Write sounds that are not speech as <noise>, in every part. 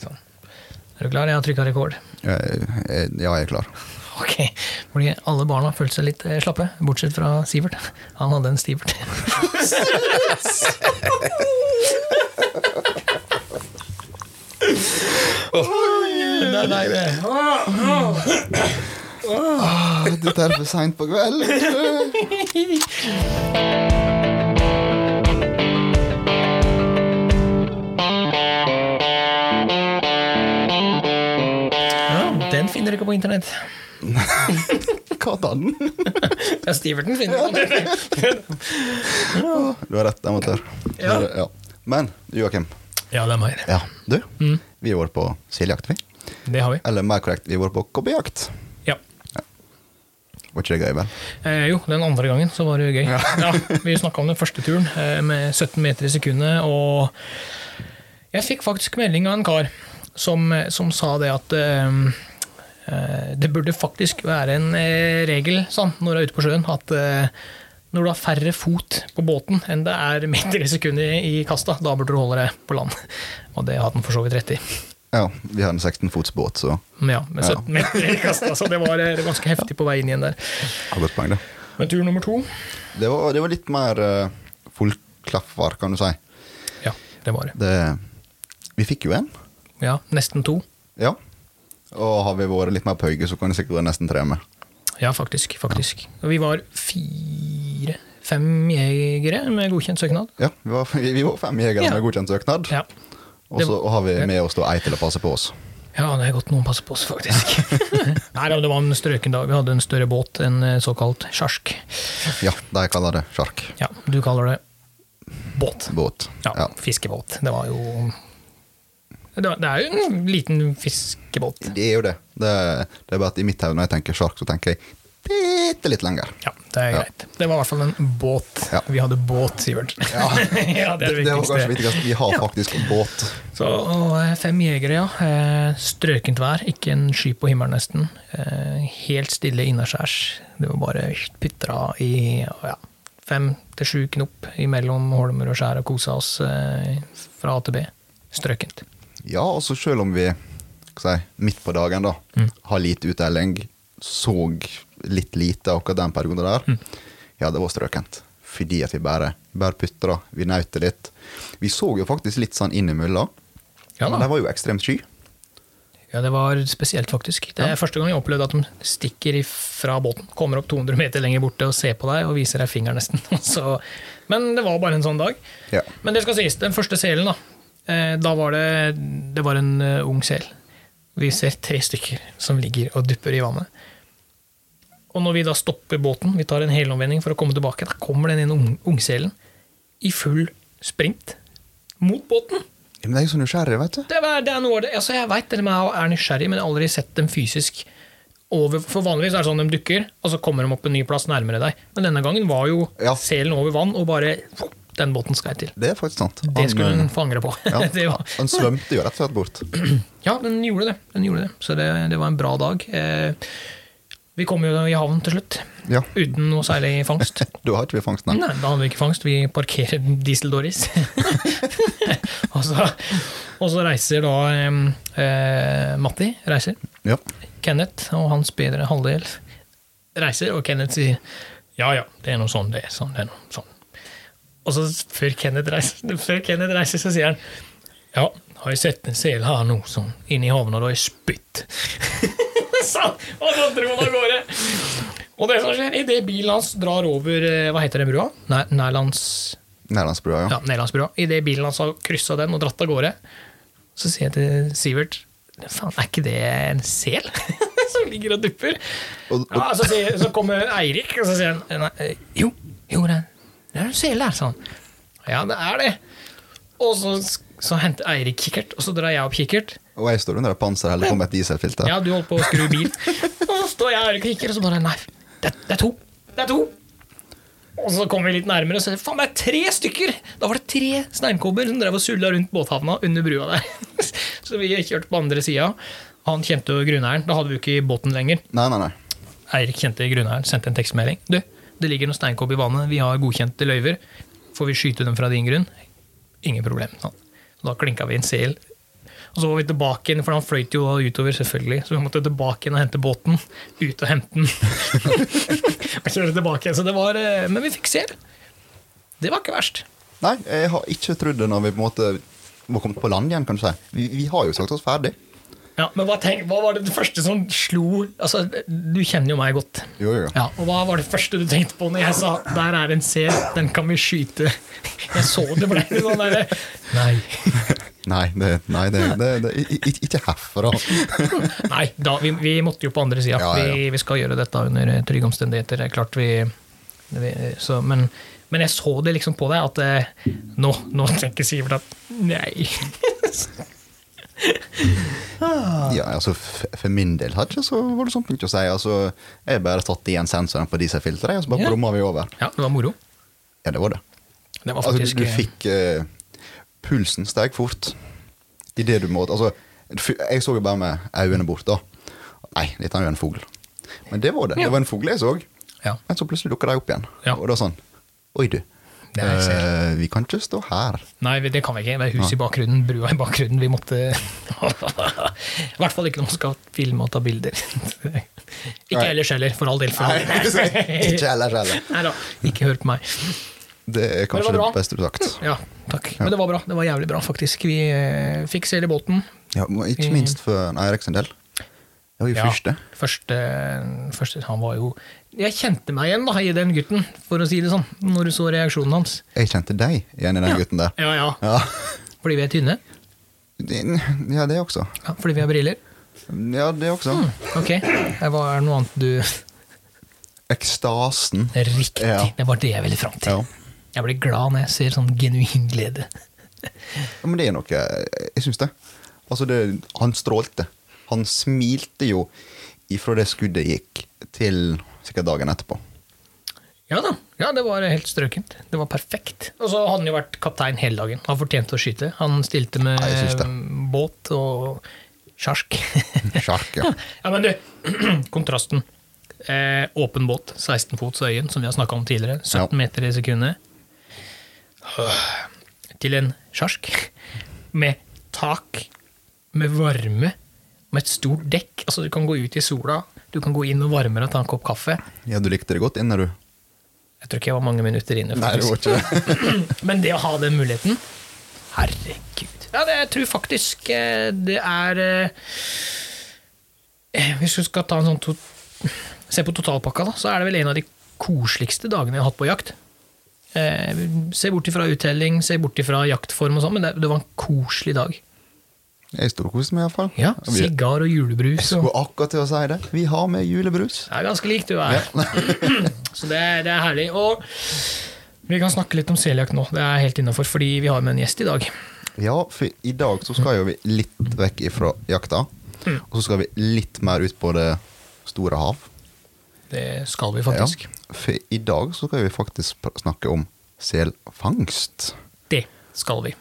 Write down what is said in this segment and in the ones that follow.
Sånn. Er du klar? Jeg har trykka rekord. <laughs> Eh, eh, Ja, jeg er klar. Ok, fordi Alle barna følte seg litt eh, slappe, bortsett fra Sivert. <laughs> Han hadde en Stivert. <laughs> Det er deg, det. Dette er for seint på <laughs> kvelden. Ja, den finner du ikke på internett. Hva da? Du Ja, Stiverten finner du på internett. har rett, jeg måtte Ja. ja. Men Joakim, <laughs> Ja, det er meg. ja. du, Mm. vi har vært på seljakt, vi. Det har vi. Eller mer korrekt, vi har vært på kobbejakt. Ja. Var ikke det gøy, vel? Eh, jo, den andre gangen så var det jo gøy. <laughs> Ja. vi snakka om den første turen eh, med 17 meter i sekundet, og jeg fikk faktisk melding av en kar som, som sa det at eh, eh, det burde faktisk være en eh, regel sånn, når du er ute på sjøen, at eh, når du har færre fot på båten enn det er meter i sekundet i i kasta, da burde du holde deg på land. Og det hadde han for så vidt rett i. Ja, vi har en 16 fots båt, så Men ja, med 17 meter i kasta, så det var eh, ganske heftig på vei inn igjen der. har godt poeng, det. Men tur nummer to Det var, det var litt mer uh, fullklaffer, kan du si. Ja, det var det. Det, vi fikk jo en, Ja, nesten to. ja. Og har vi vært litt mer på høyde, så kan det sikkert være nesten tre med. Ja, faktisk. faktisk. Og vi var fire Fem jegere med godkjent søknad. Ja, vi var, <laughs> vi, vi var fem jegere Ja. med godkjent søknad. Ja. Og så har vi med oss da ei til å passe på oss. ja, det er godt noen passer på oss, <laughs> faktisk. Nei, da, det var en strøken dag. Vi hadde en større båt, en eh, såkalt sjark. Ja, de kaller det sjark. Ja, du kaller det båt. Båt. Ja, Ja. fiskebåt. Det var jo det, var, det er jo en liten fiskebåt. Det er jo det. Det, det er bare at i mitt hode når jeg tenker sjark, så tenker jeg bitte litt lenger. Ja, det er Ja. greit. Det var i hvert fall en båt. Ja. Vi hadde båt, Sivert. <laughs> Ja, det Det, er det det var viktigste. kanskje viktigst. Vi har faktisk båt. Så, og eh, fem jegere, ja. Eh, Strøkent vær, ikke en sky på himmelen nesten. Eh, Helt stille innaskjærs. Det var bare pytra i ja, fem til sju knop imellom holmer og skjær og kosa oss eh, fra A til B. Strøkent. Ja, altså selv om vi hva skal jeg si, midt på dagen da, Mm. har lite utdeling, så litt lite akkurat den perioden der, Mm. ja, det var strøkent. Fordi at vi bare, bare putter, vi nøyte litt. Vi så jo faktisk litt sånn innimellom, Ja men det da. var jo ekstremt sky. Ja, det var spesielt, faktisk. Det er første gang jeg opplevde at de stikker fra båten, kommer opp 200 meter lenger borte og ser på deg og viser deg fingeren nesten. <laughs> Så, men det var bare en sånn dag. Ja. Men det skal sies, den første selen, da. eh, Da var det, det var en eh, ung sel. Vi ser tre stykker som ligger og dupper i vannet. Og når vi da stopper båten, vi tar en helomvending for å komme tilbake, da kommer den inn ung, ungselen i full sprint mot båten. Ja, Men jeg er jo så nysgjerrig, vet du. Det er, det er noe av det, altså jeg vet det med å være nysgjerrig, men jeg har aldri sett dem fysisk. Over, for vanligvis er det sånn de dukker, og så kommer de opp en ny plass nærmere deg. Men denne gangen var jo Ja. selen over vann, og bare Den båten skal jeg til. Det er faktisk sant. Det skulle han, hun få angre på. ja, <laughs> det var, han svømte jo rett og slett bort. ja, den gjorde det. Den gjorde det. Så det, det var en bra dag. Eh, vi kom jo i havn til slutt, Ja, uten noe særlig fangst. da har ikke vi fangst, <laughs> nei. Nei, da hadde vi ikke fangst. Vi parkerer diesel-Doris. <laughs> og, så, og så reiser da em, eh, Matti reiser. Ja. Kenneth og hans bedre halvdel reiser, og Kenneth sier ja, ja, det er noe sånn, det er sånn, det er noe sånn. Og så før Kenneth reiser, <laughs> før Kenneth reiser så sier han ja, har jeg sett en sel her nå, sånn, inne i havna, da er spytt. <laughs> sånn, og så dro han av gårde. Og det som skjer, idet bilen hans drar over, eh, hva heter den brua? Næ- Nærlands... Nærlandsbrua, ja. Ja, Nederlandsbrua. Idet bilen hans har kryssa den og dratt av gårde, så sier jeg til Sivert Faen, er ikke det en sel <laughs> som ligger og dupper? Og- og- Ja, så, sier, så kommer Eirik, og så sier han «Nei, eh, Jo, jo, det er- det er en sel der, sa han. Ja, det er det. Og så, så henter Eirik kikkert, og så drar jeg opp kikkert. Og jeg står under et panser heller på med et dieselfilter. Ja, du holdt på å skru bil. Og så står jeg her og kikker, og så bare Nei, det, det er to. Det er to. Og så kommer vi litt nærmere, og så faen, det er tre stykker! Da var det tre steinkobber som drev og sulla rundt båthavna under brua der. <laughs> Så vi kjørte på andre sida. Han kjente jo grunneieren. Da hadde vi jo ikke båten lenger. Nei, nei, nei. Eirik kjente grunneieren, sendte en tekstmelding. Du, det ligger noen steinkobb i vannet, vi har godkjente løyver. Får vi skyte dem fra din grunn? Ingen problem. sa han. Så da klinka vi en sel. Og så var vi tilbake igjen, for han fløyt jo utover, selvfølgelig. Så vi måtte tilbake igjen og hente båten. Ut og hente den. og kjøre tilbake igjen. Så det var eh, Men vi fikk se. Det var ikke verst. Nei, jeg har ikke trodd det når vi på en måte var kommet på land igjen, kan du si. Vi, vi har jo sagt oss ferdig. Ja, men hva, tenk, hva var det første som slo Altså, Du kjenner jo meg godt. Jo, jo, jo. Ja, og Hva var det første du tenkte på når jeg sa 'der er en sel, den kan vi skyte'? Jeg så det ble litt sånn derre Nei. Nei, det, nei det, det, det, i- i- ikke herfra. Nei, da, vi, vi måtte jo på andre sida. Ja, ja, ja. vi, vi skal gjøre dette under eh, trygge omstendigheter. Det er klart vi, vi så, men, men jeg så det liksom på deg, at eh, nå, nå tenker Sivert at nei. Ja, altså, f- for min del hadde ikke så voldsomt mye å si. Altså, jeg bare tatt igjen sensoren på dieselfilteret, og så bare Ja. brumma vi over. Ja, det var moro. Ja, det var det. Det var Altså, faktisk du, du fikk eh, Pulsen steg fort. I det du må Altså, f- jeg så jo bare med øynene bort, da. Nei, dette er jo en fugl. Men det var det. Ja. Det var en fugl jeg så. Ja. Men så plutselig dukka de opp igjen. Ja. Og da sånn Oi, du. Det er jeg eh, vi kan ikke stå her. Nei, det kan vi ikke. Det er hus i bakgrunnen, brua i bakgrunnen. Vi måtte <laughs> I hvert fall ikke når man skal filme og ta <laughs> bilder. ikke Nei. ellers heller, for all del. For Nei, all del. ikke heller, heller. <laughs> Neida, ikke hør på meg. Det er var kanskje det, bra. Mm. beste du har sagt. Ja, takk. Men det var bra. Det var jævlig bra, faktisk. Vi eh, fikk seil i båten. Ja, men ikke minst for Eirik sin del. Det var jo Ja, første. første, første Han var jo Jeg kjente meg igjen da i den gutten, for å si det sånn, når du så reaksjonen hans. Jeg kjente deg igjen i den gutten der. Ja, ja. Ja. Fordi vi er tynne. ja, det også. Ja, fordi vi har briller. Ja, det også. Ok, Eh, hva er det noe annet du Ekstasen. Riktig! Ja. Det var det jeg ville fram til. Ja. Jeg blir glad når jeg ser sånn genuin glede. Ja, men det er noe Jeg syns det. Altså, det, han strålte. Han smilte jo ifra det skuddet gikk, til sikkert dagen etterpå. Ja da. Ja, det var helt strøkent. Det var perfekt. Og så hadde han jo vært kaptein hele dagen. Han fortjente å skyte. Han stilte med Ja, jeg syns det. eh, båt og sjark. <laughs> Sjark, ja. ja, men du, <clears throat> kontrasten. Eh, åpen båt, 16 fots øyen, som vi har snakka om tidligere. 17 Ja. meter i sekundet. Til en sjark med tak, med varme, med et stort dekk. Altså, du kan gå ut i sola, du kan gå inn og varme deg og ta en kopp kaffe. Ja, du likte det godt inne, du? Jeg tror ikke jeg var mange minutter inne. Nei, det faktisk. var ikke det. Men det å ha den muligheten Herregud. Ja, det, jeg tror faktisk eh, det er eh, Hvis du skal ta en sånn to, se på totalpakka, da, så er det vel en av de koseligste dagene jeg har hatt på jakt. Eh, se bort ifra uttelling, se bort ifra jaktform og sånn, men det, det var en koselig dag. Jeg storkoste meg iallfall. Ja, vi Sigar og julebrus. Og, skulle akkurat til å si det. Vi har med julebrus. det er ganske lik du er. <clears throat> Så det, er- det er herlig. Og vi kan snakke litt om seljakt nå, det er helt innafor, fordi vi har med en gjest i dag. Ja, for i dag så skal jo vi litt vekk ifra jakta. Mm. Og så skal vi litt mer ut på det store hav. Det skal vi faktisk. Ja, for i dag så skal vi faktisk pr- snakke om selfangst. Det skal vi.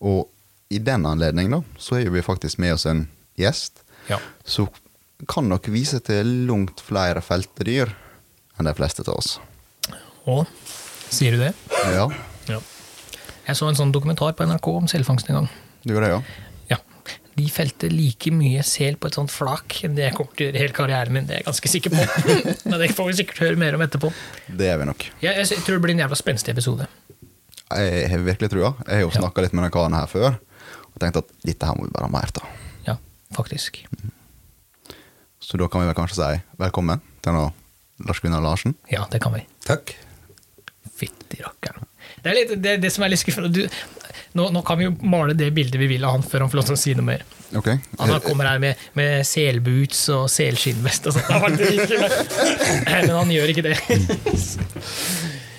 Og i den anledning da, så er jo vi faktisk med oss en gjest Ja. som kan nok vise til langt flere feltedyr enn de fleste av oss. Og sier du det? Ja, Ja. Jeg så en sånn dokumentar på NRK om selfangst en gang. du gjør det, ja. Ja. De felte like mye sel på et sånt flak enn det jeg kommer til å gjøre hele karrieren min. Det er jeg ganske sikker <laughs> på. Men det får vi sikkert høre mer om etterpå. Det er vi nok. Jeg, jeg tror det blir en jævla spenstig episode. Jeg har virkelig trua. Jeg har jo snakka litt med den karen her før og tenkt at dette her må vi bare ha mer av. Ja, faktisk. Så da kan vi vel kanskje si velkommen til nå Lars Gunnar Larsen. Ja, det kan vi. Takk. Fytti rakkeren. Det er litt, det, det som er litt skuffende du, nå, nå kan vi jo male det bildet vi vil av han før han får lov til å si noe mer. Ok? Han da kommer her med, med selboots og selskinnvest og sånt. Han var dritfin. Eh, Men han gjør ikke det.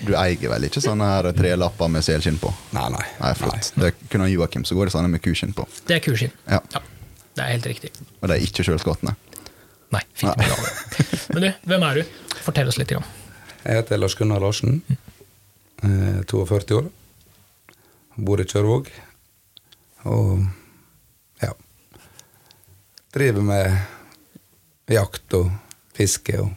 Du eier vel ikke sånne her trelapper med selskinn på? Nei, nei. Nei, flott. Det kunne Joakim, så går det sånne med kuskinn på. Det er kuskinn. Ja. Ja, det er helt riktig. Og de er ikke sjølskottene. Nei, fint med det. Men du, hvem er du? Fortell oss litt. Grann. nei. Jeg heter Lars Gunnar Larsen. eh, 42 år. Bor i Kjørvåg. Og ja. Driver med jakt og fiske og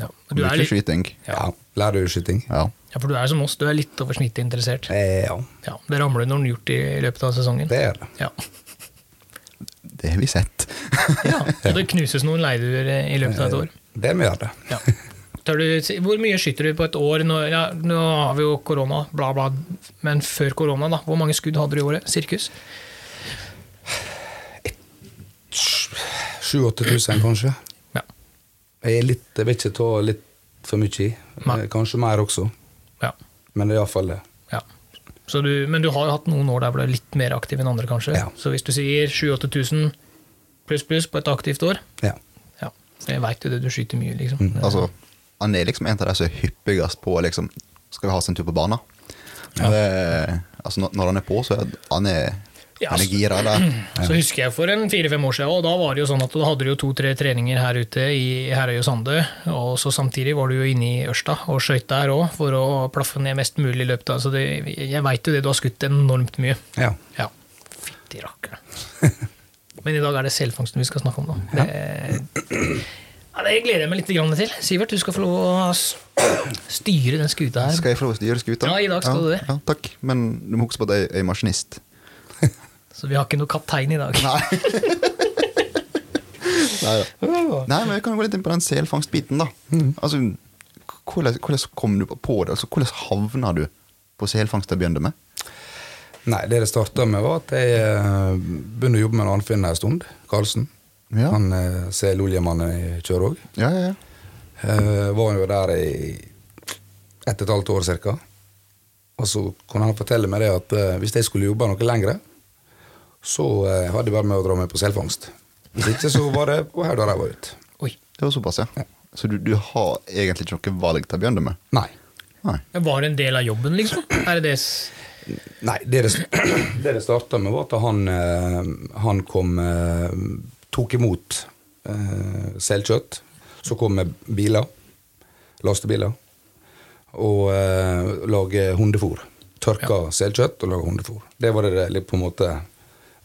Ja, du er Ikke litt, skyting. Ja. ja, lærerskyting. Ja. ja, for du er som oss, du er litt over snittet interessert. Eh, ja, Ja, det ramler noen hjort i løpet av sesongen. det er det. Ja. det har vi sett. Ja, så det knuses noen leirduer eh, i løpet av et år. Det må gjøre det. Ja. Tør du, si- hvor mye skyter du på et år? Nå, ja, nå har vi jo korona, bla, bla. Men før korona, da, hvor mange skudd hadde du i året? Sirkus? 7000-8000, kanskje. Ja. Jeg er litt, jeg vil ikke ta litt for mye i. Nei. Eh, Kanskje mer også, ja, men det er iallfall det. ja. Så du, men du har jo hatt noen år der hvor du er litt mer aktiv enn andre, kanskje. Ja. Så hvis du sier 7000-8000 pluss pluss på et aktivt år, Ja. ja, så jeg veit jo det, du skyter mye, liksom. Det- <laughs> Altså, han er liksom en av de som er hyppigst på liksom, Skal vi ha oss en tur på banen? Det- Altså, når- når han er på, så er han, er, Ja, han er altså- <clears throat> gira der. Så husker jeg for en fire-fem år siden, og da var det jo sånn at da hadde du jo to-tre treninger her ute i Herøy og Sande, og så samtidig var du jo inne i Ørsta og skøyt der òg for å plaffe ned mest mulig i løpet av Så det, jeg veit jo det, du har skutt enormt mye. ja. Ja. Fytti rakkeren. <laughs> Men i dag er det selfangsten vi skal snakke om, da. Det, ja, det gleder jeg meg litt grann til. Sivert, du skal få lov å s- styre den skuta her. Skal jeg få lov til å gjøre skuta? Ja, i dag skal ja, du det. Ja, takk. Men du må huske på at jeg jeg er maskinist. Så vi har ikke noe kaptein i dag. <laughs> Nei. Nei, da. Nei, men vi kan gå litt inn på den selfangstbiten, da. Mm. Altså, k- hvordan, hvordan kom du på det? Altså, hvordan havna du på selfangst til å begynne med? Nei, det det starta med, var at jeg eh, begynte å jobbe med en annen finne en stund. Karlsen. Ja. Han eh, seloljemannen i Kjørog. Ja, ja, ja. Eh, var jo der i ett og et halvt år ca. Og så kunne han fortelle meg det at eh, hvis jeg skulle jobbe noe lengre, så eh, hadde jeg bare med å dra meg på selfangst. Hvis ikke så var det på her da jeg var ut. Oi. Det var såpass, Ja. ja. Så du, du har egentlig ikke noe valg til å begynne med? Nei. Nei. Var det en del av jobben, liksom? Er det det s- Nei, det det, <clears throat> det, det starta med, var at han, eh, han kom eh, Tok imot eh, selkjøtt. Så kom med biler, lastebiler, og eh, lage hundefôr. Tørka selkjøtt og lage hundefôr. Det var det, det litt på en måte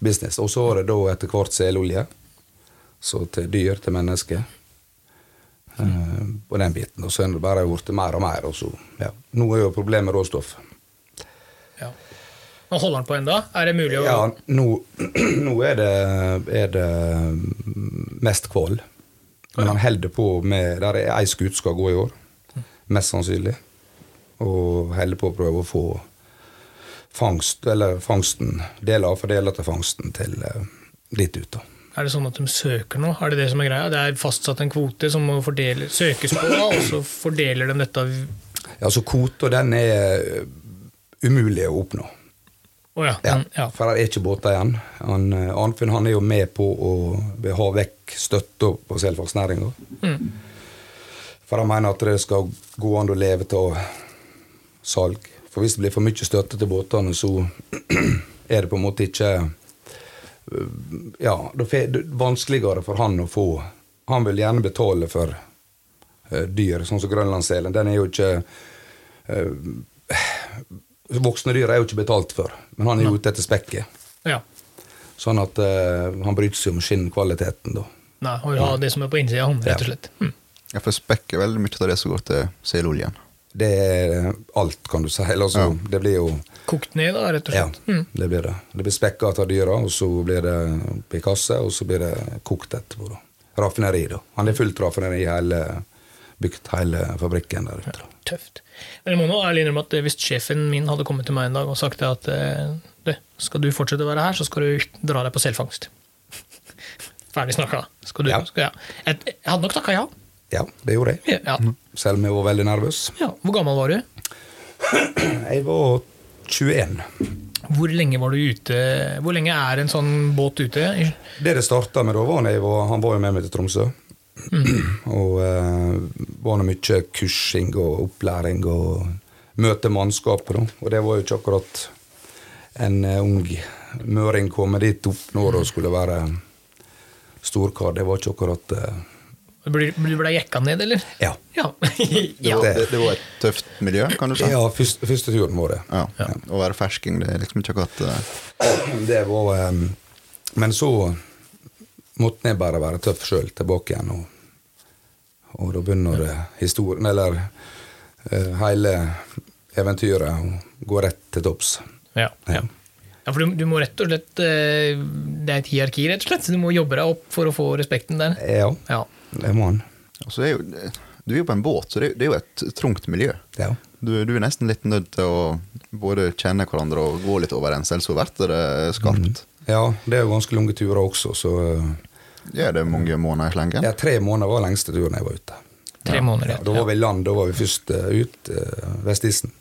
business. Og så var det da etter hvert selolje. Så til dyr, til mennesker. Eh, på den biten. Og så er det bare blitt mer og mer. Og så, ja. Nå er jo problemet råstoff. Ja. Nå holder han på enda? Er det mulig å Ja, nå, <clears throat> nå er, det, er det mm, mest kval. Men han holder på med Der er ei skute skal gå i år, mest sannsynlig. Og holder på å prøve å få fangst, eller fangsten, deler for deler til fangsten, til eh, dit ut. da. Er det sånn at de søker nå? Er det det som er greia? Det er fastsatt en kvote som må fordele, søkes på, og så fordeler de dette Å Ja, så kvota, den er eh, umulig å oppnå. ja. Ja, Den, ja. For det er ikke båter igjen. Han, eh, Arnfinn han er jo med på å ha vekk støtta på selfagsnæringa. Mm. For han mener at det skal gå an å leve av salg. For hvis det blir for mye støtte til båtene, så <clears throat> er det på en måte ikke eh, Ja, det er det er vanskeligere for han å få Han vil gjerne betale for eh, dyr, sånn som grønlandsselen. Den er jo ikke eh, Voksne dyr er jo ikke betalt for, men han er jo ute etter spekket. ja. Sånn at eh, han bryr seg om skinnkvaliteten, da. Nei, og ha det som er på innsida, han, rett og slett. Hm. Ja, for spekk er veldig mye av det som går til seloljen. Det er alt, kan du si. Eller altså, det blir jo Kokt ned, da, rett og Ja, slett. det blir det. Det blir spekka av dyra, og så blir det oppi kasse, og så blir det kokt etterpå. da. Raffineri, da. Han er fullt raffineri i hele bygd hele fabrikken der ute. da. Tøft. Men jeg må nå ærlig innrømme at eh, hvis sjefen min hadde kommet til meg en dag og sagt det at eh, du, skal du fortsette å være her, så skal du dra deg på selvfangst. <laughs> Ferdig snakka. Skal du, Ja. skal, ja. Jeg, jeg hadde nok takka ja. Ja, det gjorde jeg. Ja. Selv om jeg var veldig nervøs. ja. Hvor gammel var du? Jeg var 21. Hvor lenge var du ute Hvor lenge er en sånn båt ute? Det det starta med da, var når jeg var, han var jo med meg til Tromsø. <clears throat> Og eh, var nå mye kursing og opplæring og møte mannskapet, da. Og det var jo ikke akkurat en eh, ung møring komme dit opp når hun skulle være storkar. Det var ikke akkurat eh, Ble ble- ble jeg jekka ned, eller? Ja. Ja. <laughs> Det, ja. var- det, det var et tøft miljø, kan du si. ja første, første turen vår. det. Ja. Å være fersking, det er liksom ikke akkurat eh, Det var eh, Men så måtte jeg bare være tøff sjøl tilbake igjen. Og, og da begynner det historien, eller eh, hele eventyret, å gå rett til topps. ja. ja. Ja, for du, du må rett og slett eh, Det er et hierarki, rett og slett. så Du må jobbe deg opp for å få respekten der. Ja, Ja. det må han. Og så er jo, eh, du er jo på en båt, så det er, jo- det er jo et trangt miljø. Ja. Du, du er nesten litt nødt til å både kjenne hverandre og gå litt overens, ellers så blir det skarpt. ja, det er jo ganske lange turer også, så eh, Ja, det er mange måneder i slengen. Mm. ja, tre måneder var lengste turen jeg var ute. Tre måneder. Ja, da var vi i land, da var vi først eh, ut eh, Vestisen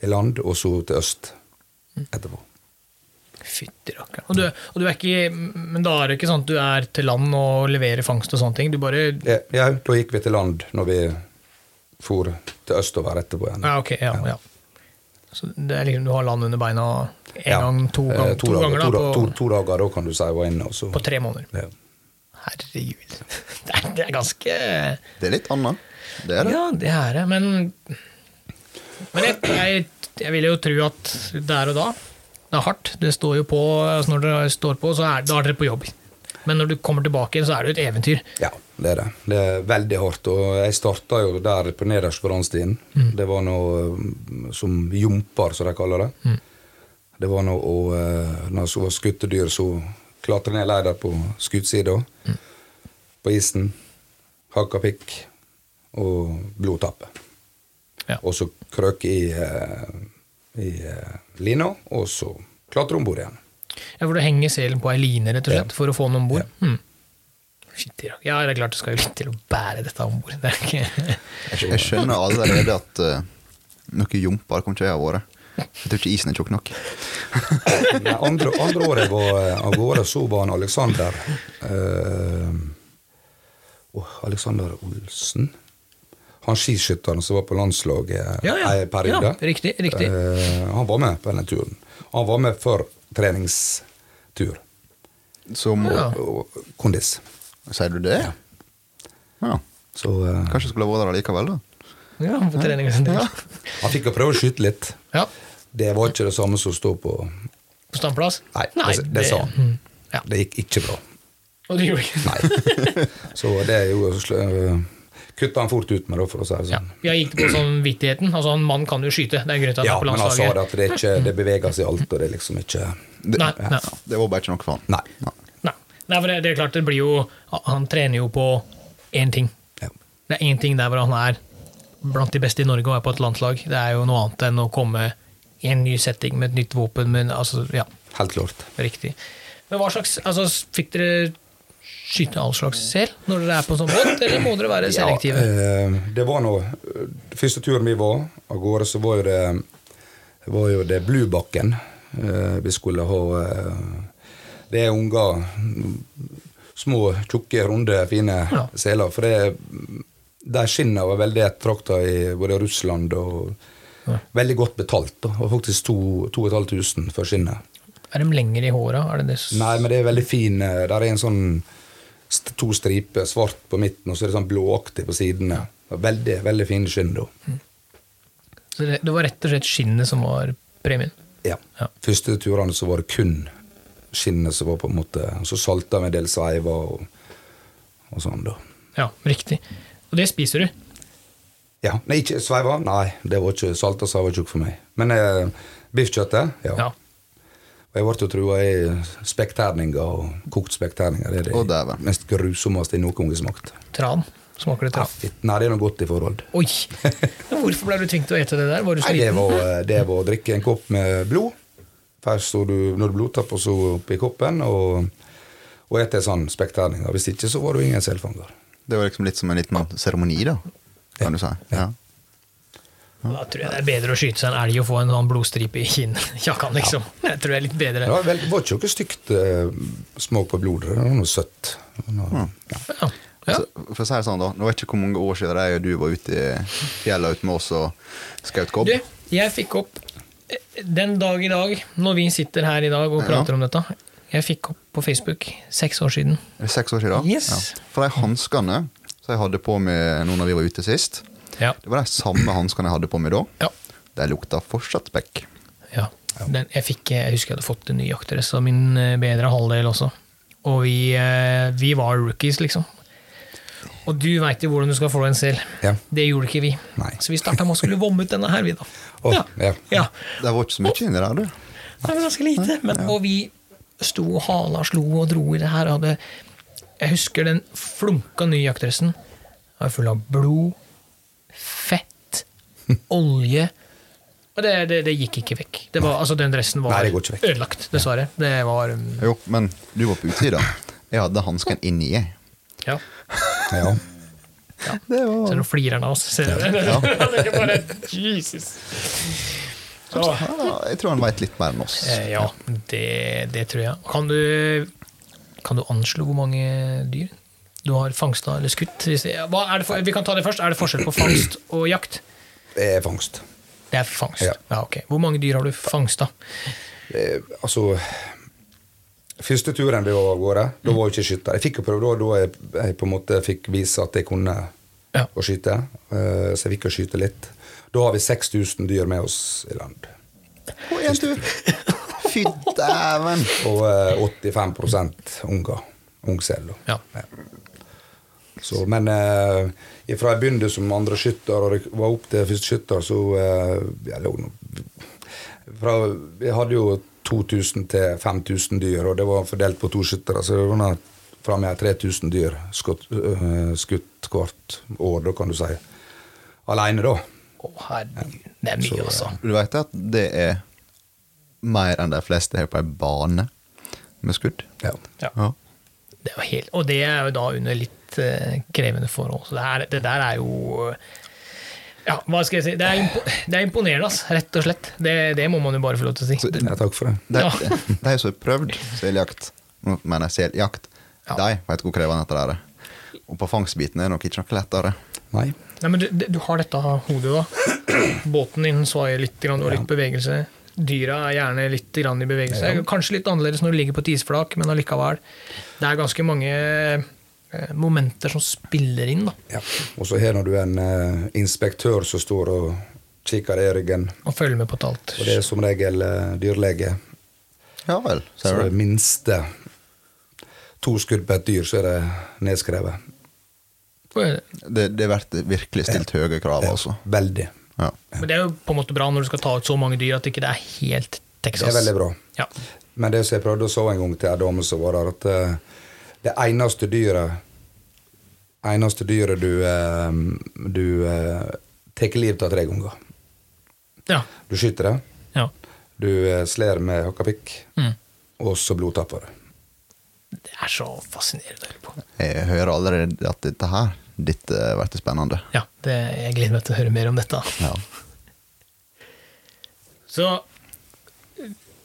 i land, og så til øst Mm. etterpå. Fytti rakkeren. Og, du- og du er ikke Men da er det ikke sånn at du er til land og leverer fangst og sånne ting? Du bare Ja, ja, da gikk vi til land når vi for til østover etterpå igjen. Ja, ok. Ja, ja. Så det er liksom du har land under beina en Ja. gang, to, Eh, gang, to, ganger da, to, på, da- to, to dager, da kan du si, var inne, og så på tre måneder. ja. Herregud. <laughs> Det er, det er ganske Det er litt annet. Det er det. Ja, det er det, men Men jeg, jeg, jeg vil jo tro at der og da Det er hardt. Det står jo på altså Når dere står på, så er, da er dere på jobb. Men når du kommer tilbake igjen, så er det jo et eventyr. Ja, det er det. Det er veldig hardt. Og jeg starta jo der på nederst på randstien. Det var noe mm, som jomper, som de kaller det. Mm. Det var noe å eh, Når jeg var skuttedyr, så klatra jeg ned leider på skutsida. Mm. På isen. Hakka pikk og blodtappe. Ja. Og så krøke i, eh, i eh, lina, og så klatre om bord igjen. Ja, hvor du henger selen på ei line, rett og slett, for å få den om bord. Hmm. Fytti rakk. Ja, det er klart det skal jo litt til å bære dette om bord. Det er ikke <laughs> Jeg, jeg skjønner allerede at eh, noen jomper kommer ikke jeg ha vært. Jeg tror ikke isen er tjukk nok. Nei, andre, andre året jeg var eh, av gårde, så var han Alexander eh, åh, Alexander Olsen. Han skiskytteren som var på landslaget Ja, ja. en periode. Ja, riktig, riktig. Eh, han var med på denne turen. Han var med for treningstur Som Ja. og kondis. Sier du det? Ja. Så eh, Kanskje jeg skulle ha vært der likevel, da. Ja, på trening og sånt. Ja. han fikk jo prøve å skyte litt. Ja. Det var ikke det samme som å stå på På standplass? Nei, altså, det, det sa han. Mm. Ja. Det gikk ikke bra. Og det gjorde <laughs> ikke Nei. Så det er jo uh, Kutta han fort ut med, da, for å si det ja. sånn. Jeg gikk på sånn vittigheten. Altså, en mann kan jo skyte. Det er greit at han Ja, er på men altså, han sa landslaget. det at det, er ikke, det beveger seg i alt, og det er liksom ikke Det, Nei, nei. det var bare ikke nok for han. Nei. Nei. Nei, for det, det er klart, det blir jo Han trener jo på én ting. Ja. Det er én ting der hvor han er blant de beste i Norge og er på et landslag. Det er jo noe annet enn å komme i en ny setting med et nytt våpen. Men, altså, ja, Helt klart. riktig. Men hva slags altså, Fikk dere skyte all slags sel når dere er på en sånn båt, eller må dere være selektive? eh, det var nå eh, Første turen vi var av gårde, så var jo det, var jo det Blubakken eh, vi skulle ha. eh, det er unger. mm, Små, tjukke, runde, fine Ja. seler. For det, de skinnene var veldig ettertrakta i både Russland og Veldig godt betalt. da. Det var faktisk 2500 for skinnet. Er de lengre i håra? Er det det? s- eh. Nei, men det er veldig fin eh, Der er en sånn st- to striper, svart på midten, og så er det sånn blåaktig på sidene. Veldig, veldig fine skinn, da. Så det, det var rett og slett skinnet som var premien? Ja. Ja. Første turene så var det kun skinnet som var på en måte og Så salta vi en del sveiver og, og sånn, da. Ja, riktig. Og det spiser du? Ja. Nei, ikke sveiver. Nei, det var ikke salta sveiver tjukk for meg. Men eh, biffkjøttet, ja. Ja. Og Jeg ble jo trua i spekkterninger og kokt spekkterninger. Det er det Å, dæven. mest grusomste jeg noen gang har smakt. Tran. Smaker det Ja. tran? Nei, det er noe godt i forhold. Oi! Men Hvorfor ble du tvunget til å ete det der? Var du Nei, det sliten? var, det var å drikke en kopp med blod. Først så du, når du blodtapper, så oppi koppen, og, og etter sånn spekkterninger. Hvis ikke, så var du ingen selfanger. Det var liksom litt som en liten seremoni, da. Kan du si. Ja. Da tror jeg det er bedre å skyte seg en elg og få en sånn blodstripe i <laughs> kinnjakka, liksom. Jeg tror det er litt Det bedre. var, vel, det var ikke noe stygt eh, smak på blodet. Det var noe søtt. Det var noe- Ja. Ja. Ja. Altså, Så, for å si det sånn, da. Nå vet jeg ikke hvor mange år siden jeg og du var ute i fjellet ute med oss og skjøt kobb. Du, jeg fikk opp eh, den dag i dag, når vi sitter her i dag og prater om dette Jeg fikk opp på Facebook seks år siden. Er det seks år siden? Yes. Ja. For de hanskene som jeg hadde på meg nå når vi var ute sist, Ja. det var de samme hanskene jeg hadde på meg da. Ja. De lukta fortsatt spekk. Ja. Den, jeg, fikk, jeg husker jeg hadde fått en ny jaktdress av min eh, bedre halvdel også. Og vi, eh, vi var rookies, liksom. Og du veit jo hvordan du skal få deg en sel. Ja. Det gjorde ikke vi. Nei. Så vi starta med å skulle vomme ut denne her, vi, da. Å, ja. ja. Det var ikke så mye inni der, du. Nei, men ganske lite. Men, og vi sto og hala og slo og dro i det her. og Hadde, jeg husker den flunka nye jaktdressen. Den var full av blod, fett, <laughs> olje. Og det, det, det gikk ikke vekk. Det var, altså, den dressen var Nei, det går ikke vekk. ødelagt, dessverre. Det var um, Jo, men du var på utsida. Jeg hadde hansken inni, jeg. Ja. Ja. Det var Så nå flirer han av oss. Ser du det? Ja. <laughs> Det er bare, Jesus. Så, Ja, Jeg tror han veit litt mer enn oss. eh, ja, det, det tror jeg. Kan du, kan du anslå hvor mange dyr du har fangsta eller skutt? Hvis det, hva er det for, vi kan ta det først. Er det forskjell på fangst og jakt? Det er fangst. Det er fangst. Ja. Ja. ok. Hvor mange dyr har du fangsta? Eh, altså Første turen vi var av gårde, da var jeg ikke skytter. Jeg fikk jo prøve da, da jeg, jeg på en måte fikk vise at jeg kunne Ja. å skyte. eh, så jeg fikk jo skyte litt. Da har vi 6000 dyr med oss i land. På én tur! <laughs> Fy dæven! Og eh, 85 unger. Ungsel. da. Ja. Så, men eh, fra jeg begynte som andre skytter og jeg var opp til første skytter, så eh, jeg lå nå fra, Jeg hadde jo 2000 til 5000 dyr, og det var fordelt på to skyttere. Så det var nå fra meg 3000 dyr skutt, eh, skutt hvert år, da kan du si. Aleine, da. Å, herregud. Det er mye, Så, altså. Du veit at det er mer enn de fleste her på ei bane med skudd? Ja. Ja. Ja. Det er jo helt, og det er jo da under litt eh, krevende forhold. Så det, er, det der er jo eh, Ja, hva skal jeg si? Det er, impo, det er imponerende, ass, rett og slett. Det, det må man jo bare få lov til å si. Så- ja, eh, takk for det. De, Ja. <laughs> de som har prøvd seljakt, nå mener jeg seljakt, Ja. de veit hvor krevende dette er. Og på fangstbiten er det nok ikke noe lettere. Nei. Nei, men du, du har dette hodet da. Båten din svaier litt, grann, du har litt bevegelse. Dyra er gjerne litt grann i bevegelse. Kanskje litt annerledes når du ligger på et isflak, men allikevel. Det er ganske mange eh, momenter som spiller inn. da, Ja. Og så har nå du en eh, inspektør som står og kikker deg i ryggen, Og følger med på et alt. og det er som regel eh, dyrlege. Ja vel, Så ser det du. minste to skudd på et dyr, så er det nedskrevet. Det, det blir virkelig stilt høye krav, altså. Veldig. Ja. Men det er jo på en måte bra når du skal ta ut så mange dyr at ikke det er helt Det Texas. er veldig bra. Ja. Men det som jeg prøvde å så en gang til ei dame som var der, at eh, det eneste dyret eneste dyret du, eh, du eh, tar livet av tre ganger. Ja. Du skyter det, ja. du eh, slår med hakkapikk, Mm. og så blodtapper du. Det er så fascinerende å høre på. Jeg hører allerede at dette her dette blir spennende. Ja, det, jeg gleder meg til å høre mer om dette. Ja. Så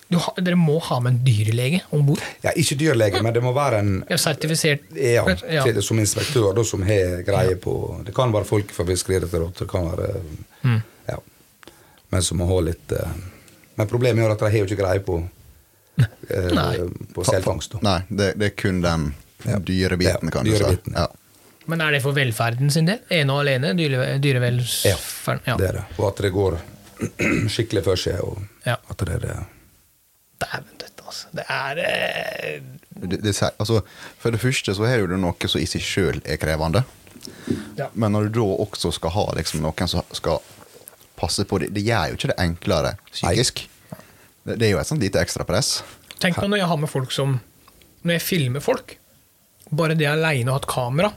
du, ha- dere må ha med en dyrlege om bord. Ja, ikke dyrlege, men det må være en Ja, sertifisert Ja, Ja. til, som inspektør, da, som har greie på Det kan være folk fra Fiskeridirektoratet, det kan være eh, Mm. Ja. Men som må ha litt eh, Men problemet er at de har jo ikke greie på eh, Nei. På selfangst. da. Nei, det, det er kun den dyre biten, Ja, kan du dyre si. biten. Ja. Men er det for velferden sin del? Ene og alene? Dyre, dyrevelferden? Ja. Det er det. Og at det går <clears throat> skikkelig for seg. Og Ja. at det er det. Dæven døtte, altså. Det er eh, Det, det, sier- altså, for det første så har du noe som i seg sjøl er krevende. ja. Men når du da også skal ha liksom, noen som skal passe på det, det gjør jo ikke det enklere psykisk. Det, det er jo et sånt lite ekstra press. Tenk på når jeg har med folk som Når jeg filmer folk, bare det aleine å ha et kamera,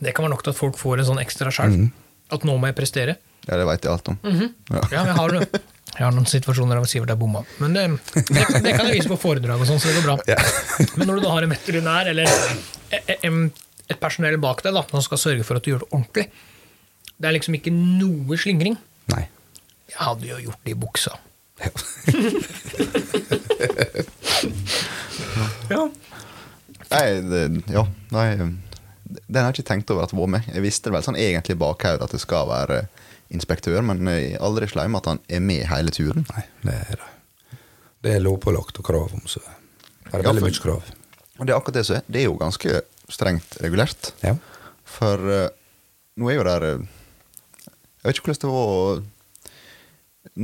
det kan være nok til at folk får en sånn ekstra skjelv. Mm. At nå må jeg prestere. Ja, det veit jeg alt om. Mhm. Ja, jeg har, det. jeg har noen situasjoner der jeg sier at jeg bomma, men det, det, det kan jeg vise på foredrag, og sånn, så det går bra. Men når du da har en veterinær eller e- em- et personell bak deg da, som skal sørge for at du gjør det ordentlig, det er liksom ikke noe slingring. <laughs> Nei. Jeg hadde jo gjort det i buksa. Ja. Ja. Nei, det, ja, nei, den har jeg ikke tenkt over at det var med. Jeg visste vel sånn egentlig i bakhodet at det skal være inspektør, men jeg er aldri sleim at han er med hele turen. Nei, det er det. Det er lovpålagt og krav om, så det er Ja, veldig for- mye krav. Og det er akkurat det som er. Det er jo ganske strengt regulert. Ja. For eh, nå er jo der eh, Jeg vet ikke hvordan det var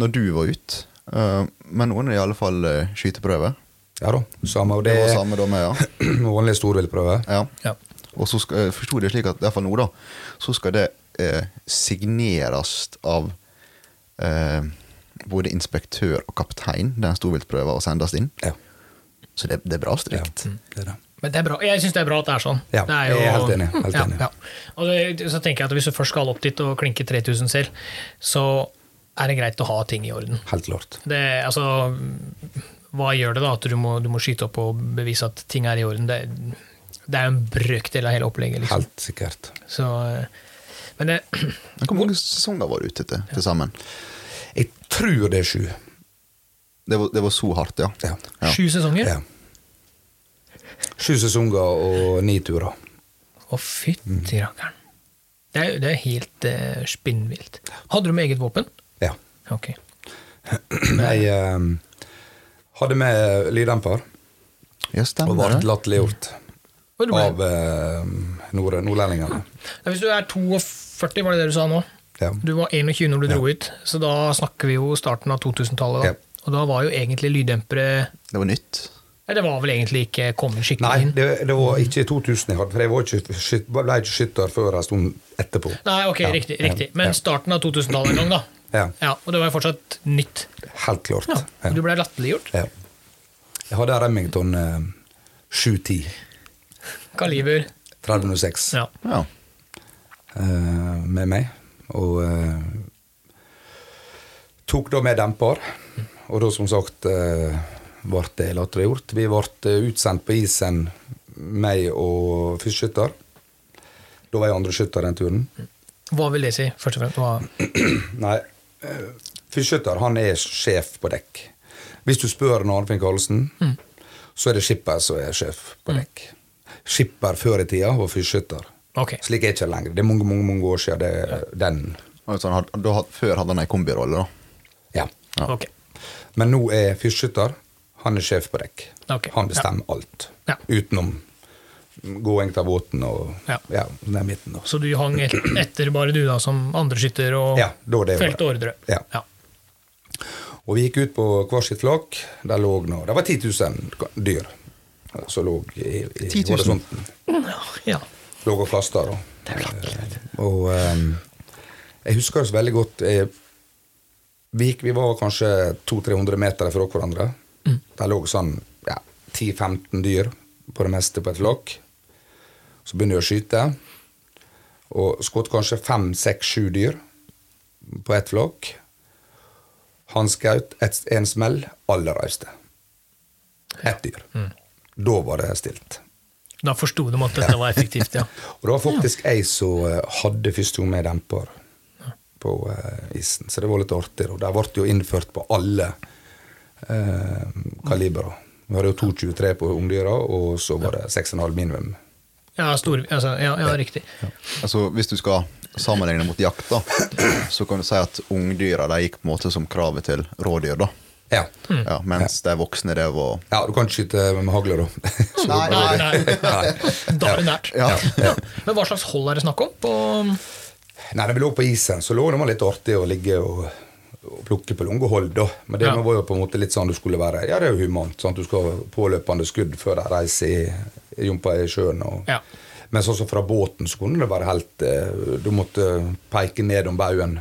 når du var ute, eh, men nå er det i alle fall eh, skyteprøve. ja da. Samme, og Det det, var <clears throat> samme da med, ja. er vanlig storviltprøve. ja. ja. Og så skal, jeg forsto det slik at i hvert fall nå da, så skal det eh, signeres av eh, både inspektør og kaptein den storviltprøven og sendes inn. Ja. Så det, det er bra ja. strikt. Det er det. Men det er bra. Jeg syns det er bra at det er sånn. Ja, det jeg er helt enig, helt Ja, enig. ja. Og så- så tenker jeg at Hvis du først skal opp dit og klinke 3000 selv, så er det greit å ha ting i orden. Helt klart. Det, altså, hva gjør det da at du må, du må skyte opp og bevise at ting er i orden? Det, det er jo en brøkdel av hele opplegget. Liksom. Helt sikkert. Så, eh, men det, <clears throat> Men Hvor mange sesonger var du ute til til sammen? Jeg tror det er sju. Det var, det var så hardt, ja. Ja. Ja. sju sesonger? ja. Sju sesonger og ni turer. Å, fytti Mm. rakkeren. Det er, det er helt eh, spinnvilt. Hadde du med eget våpen? Ja. Ok. Jeg eh, hadde med lyddemper Ja, og stemmer ble det. latterliggjort Og du ble- av eh, nord nordlendingene. Ja, Hvis du er 42, var det det du sa nå? Ja. Du var 21 når du dro ut, så da snakker vi jo starten av 2000-tallet. da. Ja. Og da var jo egentlig lyddempere Det var nytt. Nei, det var vel egentlig ikke kommet skikkelig Nei, inn. det, det var ikke i 2000 jeg hadde, for jeg var ikke, skyt- ble ikke skytter før en stund etterpå. Nei, ok, Ja. riktig. Ja. riktig. Men starten av 2000-tallet en gang, da. <clears throat> Ja, Ja, Og det var jo fortsatt nytt. helt klart. Ja. Ja. Du ble latterliggjort. Ja. Jeg hadde en Remington eh, 710 Kaliber. 3006 Ja. Ja. eh, med meg, og eh, tok da med demper, og da som sagt eh, ble det latterliggjort. Vi ble eh, utsendt på isen, meg og fyrsteskytter. Da var jeg andre skytter den turen. Hva vil det si, først og fremst? Hva? Nei, eh, fyrskytter han er sjef på dekk. Hvis du spør når Arnfinn Karlsen, så er det skipper som er sjef på dekk. Skipper før i tida var fyrskytter. Ok. Slik er det ikke lenger. Det er mange, mange, mange år siden det, den Og Sånn, had- da, had- før hadde han ei kombirolle, da. Ja. Ja. Ok. Men nå er fyrskytter, han er sjef på dekk. Ok, Han bestemmer alt. Ja. Utenom gåing av båten og Ja. ja. sånn. den midten. Også. Så du hang et- etter bare du, da, som andreskytter og Ja, da var det jo det. feltordre? Ja. Og vi gikk ut på hver sitt flak. Der lå nå, det var 10 000 dyr som lå i, i 10 000? horisonten. ja. Lå og flasta. da. Eh, Og eh, jeg husker det så veldig godt eh, vi, gikk, vi var kanskje 200-300 meter fra hverandre. Der lå sånn ja, 10-15 dyr på det meste på et flak. Så begynner jeg å skyte. Og skjøt kanskje 5-6-7 dyr på ett flak. Han skjøt ett- en smell, alle reiste. Ett dyr. Da var det stilt. Da forsto de at dette var effektivt, ja. Og det var faktisk jeg som eh, hadde første gang med demper på eh, isen, så det var litt artig. Og der ble det jo innført på alle eh, kaliberer. Vi hadde jo 2,23 på ungdyra, og så var det 6,5 minimum. Ja, stor, altså, ja, ja riktig. Altså, hvis du skal sammenligne mot jakt, da, så kan du si at ungdyra de gikk på en måte som kravet til rådyr, da. Ja. Mm. Ja, mens de voksne, det var ja, du kan ikke skyte med hagle, da. <laughs> Så Nei, Nei, nei. nei. <laughs> Nei. Da er det nært. Ja. Ja. Men hva slags hold er det snakk om? På, Nei, når vi lå på isen, så lå det var litt artig å ligge og, og plukke på lange hold, da. Men det Ja. var jo på en måte litt sånn du skulle være. Ja, det er jo humant. sant? Du skal ha påløpende skudd før de reiser i, i jumpa i sjøen. Og, Ja. Men sånn som fra båten så kunne det være helt eh, Du måtte peke ned om baugen.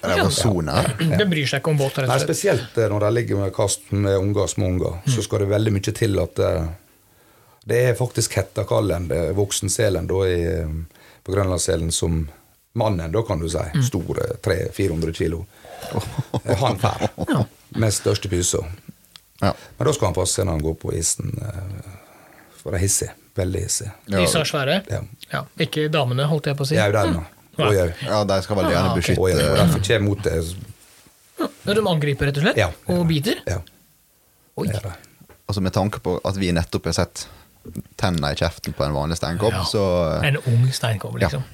De var så nær. det bryr seg ikke om båt, rett Nei, og slett. spesielt eh, når de ligger med kast med unger, små unger, Mm. så skal det veldig mye til at eh, Det er faktisk hettekallen, eh, voksenselen, da i, eh, på Grønlandsselen som mannen, da kan du si. Mm. Stor, eh, 300-400 <laughs> kilo. Eh, Han fær. Med største pysa. Ja. Men da skal han passe når han går på isen, eh, for det er hissig. Veldig hissig. Ja. Disse er svære. Ja. Ja. Ikke damene, holdt jeg på å si. Jeg er jo der nå. Og jeg, ja, de skal vel gjerne Ah, ok. og jeg, og beskytte derfor kommer jeg mot det. Ja, De angriper, rett og slett? Ja. Og biter? Ja. Oi. Det er det. Altså Med tanke på at vi nettopp har sett tenna i kjeften på en vanlig steinkopp, Ja. så eh, En ung steinkobb, liksom.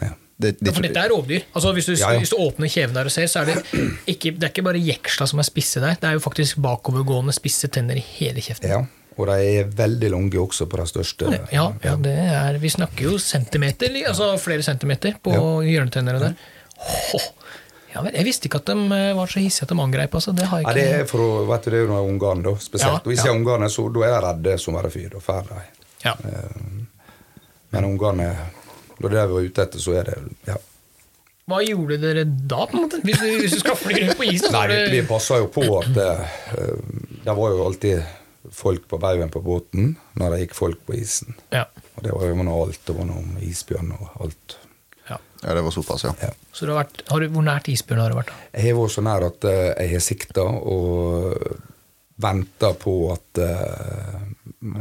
Ja. det, Ja, for dette er rovdyr. Altså, hvis, du, Ja, ja. hvis du åpner kjeven der og ser, så er det ikke, det er ikke bare jeksla som er spisse der. Det er jo faktisk bakovergående spisse tenner i hele kjeften. Ja, og de er veldig lange også på de største. Ja, ja, det er, vi snakker jo centimeter, li- altså flere centimeter på hjørnetennene der. Hå! Ja, vel, jeg visste ikke at de eh, var så hissige at de angrep. Altså. Det har Ja, jeg det ikke. er for å, vet du, det er jo noen ungene, da, spesielt. Ja, og hvis ja. jeg er ungene, så da er de redde som bare fyr. Da fær de. Ja. Men ungene, når det er vi er ute etter, så er det ja, Hva gjorde dere da, på en måte? Hvis du, hvis du skal fly rundt på isen? så Nei, er vi, vi det- passa jo på at eh, det var jo alltid folk på baugen på båten når det gikk folk på isen. ja, Og det var jo noe alt, det var noe om isbjørn og alt. ja. Ja, det var såpass, ja. Ja. Så du har vært, har du, hvor nært isbjørn har du vært? da? Jeg har vært så nær at eh, jeg har sikta og venta på at eh,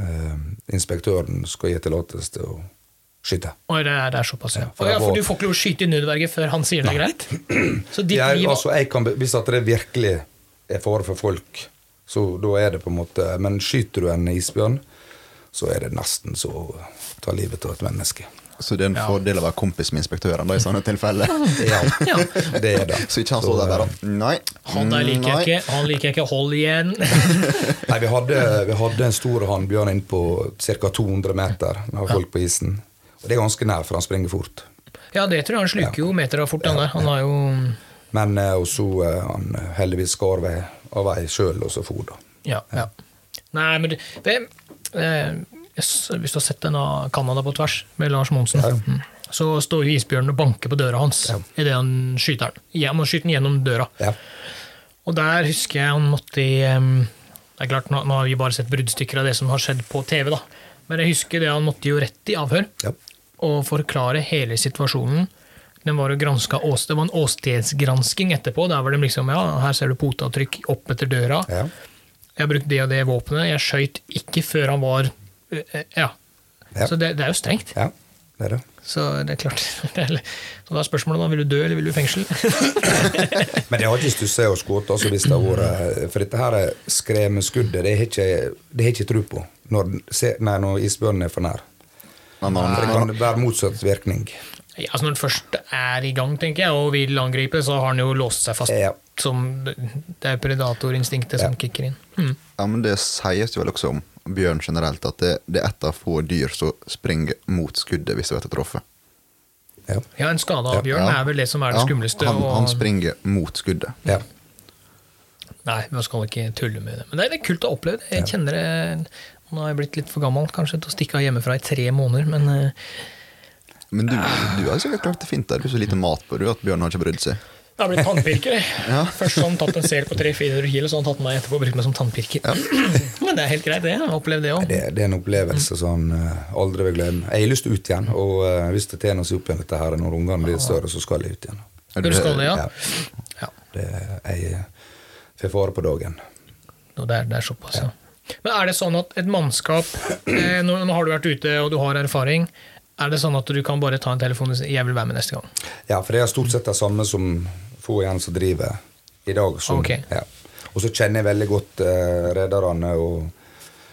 eh, inspektøren skal gi tillatelse til å skyte. Oi, det er, det er såpass, ja. Ja, for Å, ja, det for var- du får ikke lov å skyte i nødverge før han sier det er greit? Så ditt Jeg, liv altså, jeg kan, be- hvis at det virkelig er fare for folk, så da er det på en måte Men skyter du en isbjørn, så er det nesten så å ta livet av et menneske. Så det er en fordel å være kompis med inspektøren da, i sånne <laughs> tilfeller. <laughs> Ja, Ja. det er det. Så eh, ikke han står der bare Nei. Han der liker nei. jeg ikke, han liker jeg ikke, hold igjen. <laughs> Nei, vi hadde, vi hadde en stor hannbjørn inn på ca. 200 meter med folk på isen. Og det er ganske nær, for han springer fort. Ja, det tror jeg han sluker jo meter av fort, han der. Han har jo Men eh, og så eh, han eh, heldigvis skar vei, av vei sjøl, og så for, da. Ja. ja. Nei, men det, det eh, yes, Hvis du har sett den av Canada på tvers, med Lars Monsen, Ja, ja. mm, så står jo isbjørnen og banker på døra hans Ja. idet han skyter den. Ja, Han må skyte den gjennom døra. Ja. Og der husker jeg han måtte i ehm, Det er klart, nå, nå har vi bare sett bruddstykker av det som har skjedd på TV, da. Men jeg husker det han måtte jo rett i avhør Ja. og forklare hele situasjonen. Den var jo gransket ås, Det var en åstedsgransking etterpå. Der var de liksom Ja, her ser du poteavtrykk opp etter døra. Ja. Jeg brukte det og det våpenet. Jeg skøyt ikke før han var eh, eh, Ja. Ja. Så det, det er jo strengt. ja, det er det. Så det er klart. <laughs> Det er, så da er spørsmålet da, vil du dø eller vil du i fengsel? Men jeg har ikke stussa og skutt altså, hvis det har vært For dette her skremmeskuddet, det har ikke, det har ikke tro på når, den- se, nei, når isbjørnen er for nær. Men han, For det kan være motsatt virkning. Ja, altså Når den først er i gang tenker jeg, og vil angripe, så har den jo låst seg fast. Ja. Som, det er predatorinstinktet som kicker inn. Mm. ja, men det sies jo vel også om bjørn generelt at det, det er ett av få dyr som springer mot skuddet hvis det blir truffet. Ja. Ja, En skade av bjørn Ja. er vel det som er det Ja, skumleste. Han, og- han springer mot skuddet. Ja. Nei, man skal ikke tulle med det. Men det er litt kult å oppleve. det. Jeg kjenner det Nå har jeg blitt litt for gammel kanskje til å stikke av hjemmefra i tre måneder, men eh, Men du, du har sikkert klart det fint der. Du har så lite mat på du at bjørn har ikke brydd seg. det har blitt tannpirker. <laughs> jeg. Først har han tatt en sel på 300-400 kilo, så har han tatt meg etterpå og brukt meg som tannpirker. <clears throat> men det er helt greit, det. Jeg har opplevd det òg. Det, det er en opplevelse som han eh, aldri vil glemme. Jeg har lyst ut igjen, og eh, hvis det tjener seg opp igjen dette her når ungene blir større, så skal jeg ut igjen. Er Du skal det, ja. Ja. ja. Det, jeg eh, får fare på dagen. Og det er, det er såpass, ja. Men er det sånn at et mannskap eh, nå, nå har du vært ute, og du har erfaring. Er det sånn at du kan bare ta en telefon og si 'jeg vil være med neste gang'? Ja, for det er stort sett det samme som få igjen som driver i dag. Som, Ok. ja. Og så kjenner jeg veldig godt eh, rederne og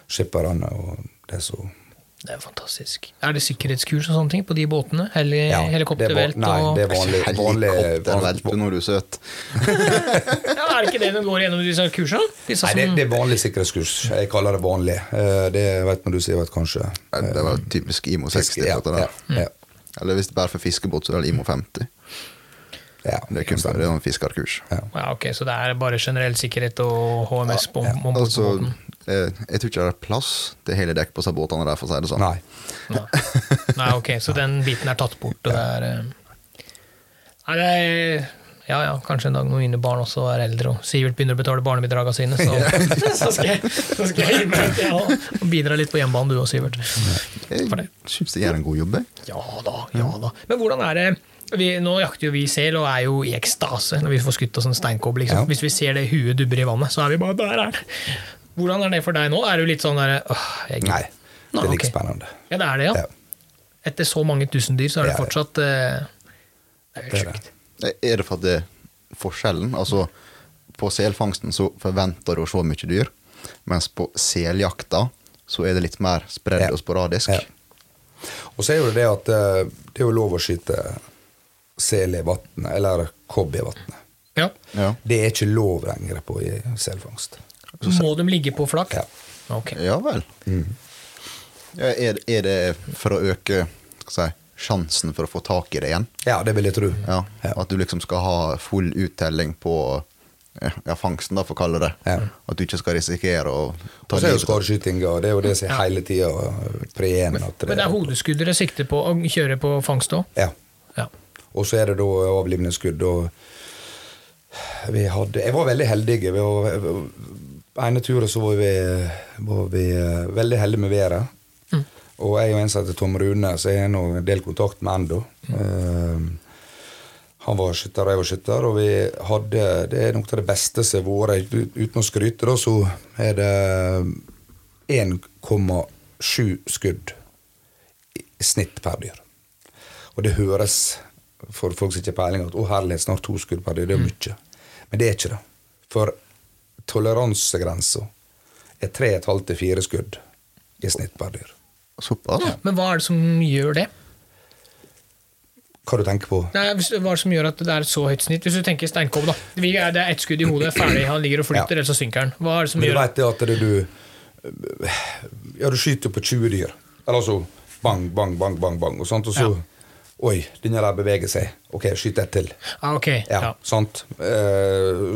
skipperne og det som Det er fantastisk. Er det sikkerhetskurs og sånne ting på de båtene? Heli, ja, helikoptervelt det er va- Nei, og det er vanlig. vanlig, Helikoptervelt, du, vanlig nå er du søt. ja, Er det ikke det de går gjennom disse kursene? Disse Nei, det, som- det er vanlig sikkerhetskurs. Jeg kaller det vanlig. Eh, Det vet man du sier, vet kanskje. Nei, Det var typisk IMO 60. ja, dette der. ja, ja, Eller hvis det bare er for fiskebåt, så er det IMO 50. ja, Det er kun det er en fiskerkurs. ja, ok, Så det er bare generell sikkerhet og HMS på om- om Altså, båten? eh, jeg tror ikke det er plass til hele dekk på disse båtene der, for å si det sånn. Nei. Nei. Nei, ok, så den biten er tatt bort, og det er eh, Nei, det er ja, ja, kanskje en dag når mine barn også er eldre og Sivert begynner å betale barnebidragene sine, <laughs> så, <laughs> så, skal, jeg- så skal jeg inn og- ja, og bidra litt på hjemmebane, du òg, Sivert. For det. Jeg syns jeg gjør en god jobb, jeg. Ja da, ja da. Men hvordan er det vi, Nå jakter jo vi sel og er jo i ekstase når vi får skutt oss en steinkobb. Liksom. Ja. Hvis vi ser det huet dubber i vannet, så er vi bare Der er det! Hvordan er det for deg nå? Er du litt sånn derre åh, jeg Nei. Det Nei, er like ok. spennende. Ja, det er det, ja. Ja. Etter så mange tusen dyr, så er det Ja, ja. fortsatt eh, Det er helt Det er sjukt. Er det for at det er forskjellen? Altså, på selfangsten så forventer du å se mye dyr, mens på seljakta så er det litt mer spredd Ja. og sporadisk. Ja. Og så er jo det det at eh, det er jo lov å skyte sel i vann, eller kobb i vannet. Ja. Ja. Det er ikke lov lenger på i selfangst. Må de ligge på flak? Ja. Eh, Ok. Ja vel. Mm. Ja, er, er det for å øke skal jeg si, sjansen for å få tak i det igjen? Ja, det vil jeg tro. Ja, At du liksom skal ha full uttelling på eh, ja, fangsten, da, for å kalle det. Ja. At du ikke skal risikere å Og ta så er jo livet av skadeskytinga, og det er jo det som er hele tida preen. at Men det er hodeskudd dere sikter på å kjøre på fangst òg? Ja. Ja. Og så er det da avlivende skudd. og vi hadde, jeg var veldig heldig. Vi var, ene turen så var vi, var vi eh, veldig heldige med været. Og jeg og en som heter Tom Rune, så jeg har nå en del kontakt med ennå. Eh, han var skytter, jeg var skytter, og vi hadde Det er noe av det beste som har vært. ut- Uten å skryte, da, så er det 1,7 skudd i snitt per dyr. Og det høres for folk som ikke har peiling, at å herlighet, snart to skudd per dyr, Mm. det er mye. Men det er ikke det. For toleransegrensa er 3,5 til 4 skudd i snitt per dyr. Såpass? Ja, men hva er det som gjør det? Hva du tenker på? Nei, hvis- hva er det som gjør at det er et så høyt snitt? Hvis du tenker steinkobb, da. Vi er, det er ett skudd i hodet, ferdig, han ligger og flyter, Ja. ellers så synker han. Hva er det som Men du gjør veit det at det du Ja, du skyter på 20 dyr. Eller altså bang, bang, bang, bang, bang. Og, sånt, og så Oi, denne der beveger seg. Ok, skyt ett til. ah, Ok, Ja, ja. sant? Eh,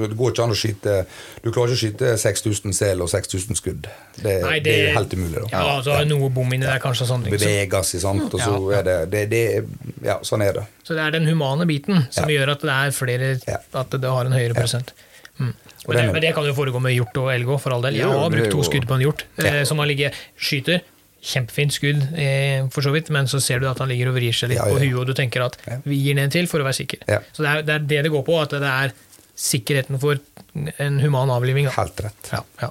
det går ikke an å skyte Du klarer ikke å skyte 6000 sel og 6000 skudd. Det, Nei, det, er helt umulig, da. Ja, altså, Noe bom inni der, kanskje. og Sånne ting. Så, Beveger seg, sant. Og så Ja. er det, det, det Ja, sånn er det. så det er den humane biten som gjør at det er flere Ja. At det har en høyere prosent. Mm. Og Men, det, den- men det kan jo foregå med hjort og elg òg, for all del. Jeg Jo, har det brukt er to jo- skudd på en hjort eh, som har ligget skyter. Kjempefint skudd, eh, for så vidt, men så ser du at han ligger og vrir seg litt Ja, ja. på huet, og du tenker at Ja. vi gir den en til for å være sikker. Ja. Så det er, det er det det går på, at det er sikkerheten for en human avliving. Da. Helt rett. Ja, ja.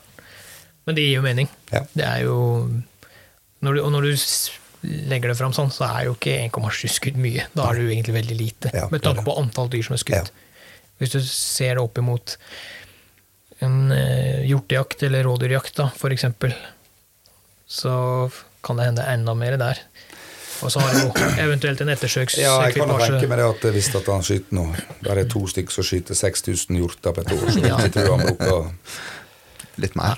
Men det gir jo mening. Ja. Det er jo når du, Og når du s- legger det fram sånn, så er jo ikke 1,7 skudd mye. Da er det jo egentlig veldig lite, Ja, med det er tanke det. på antall dyr som er skutt. Ja. Hvis du ser det opp imot en eh, hjortejakt eller rådyrjakt, da, for eksempel, så kan det hende enda mer der. Og så har du jo eventuelt en Ja, jeg kan jo tenke ettersøksekvipasje. meg det at eh, hvis at han skyter nå Der er to stykker som skyter 6000 hjorter på et år. Så Ja. jeg tror han bruker Litt mer?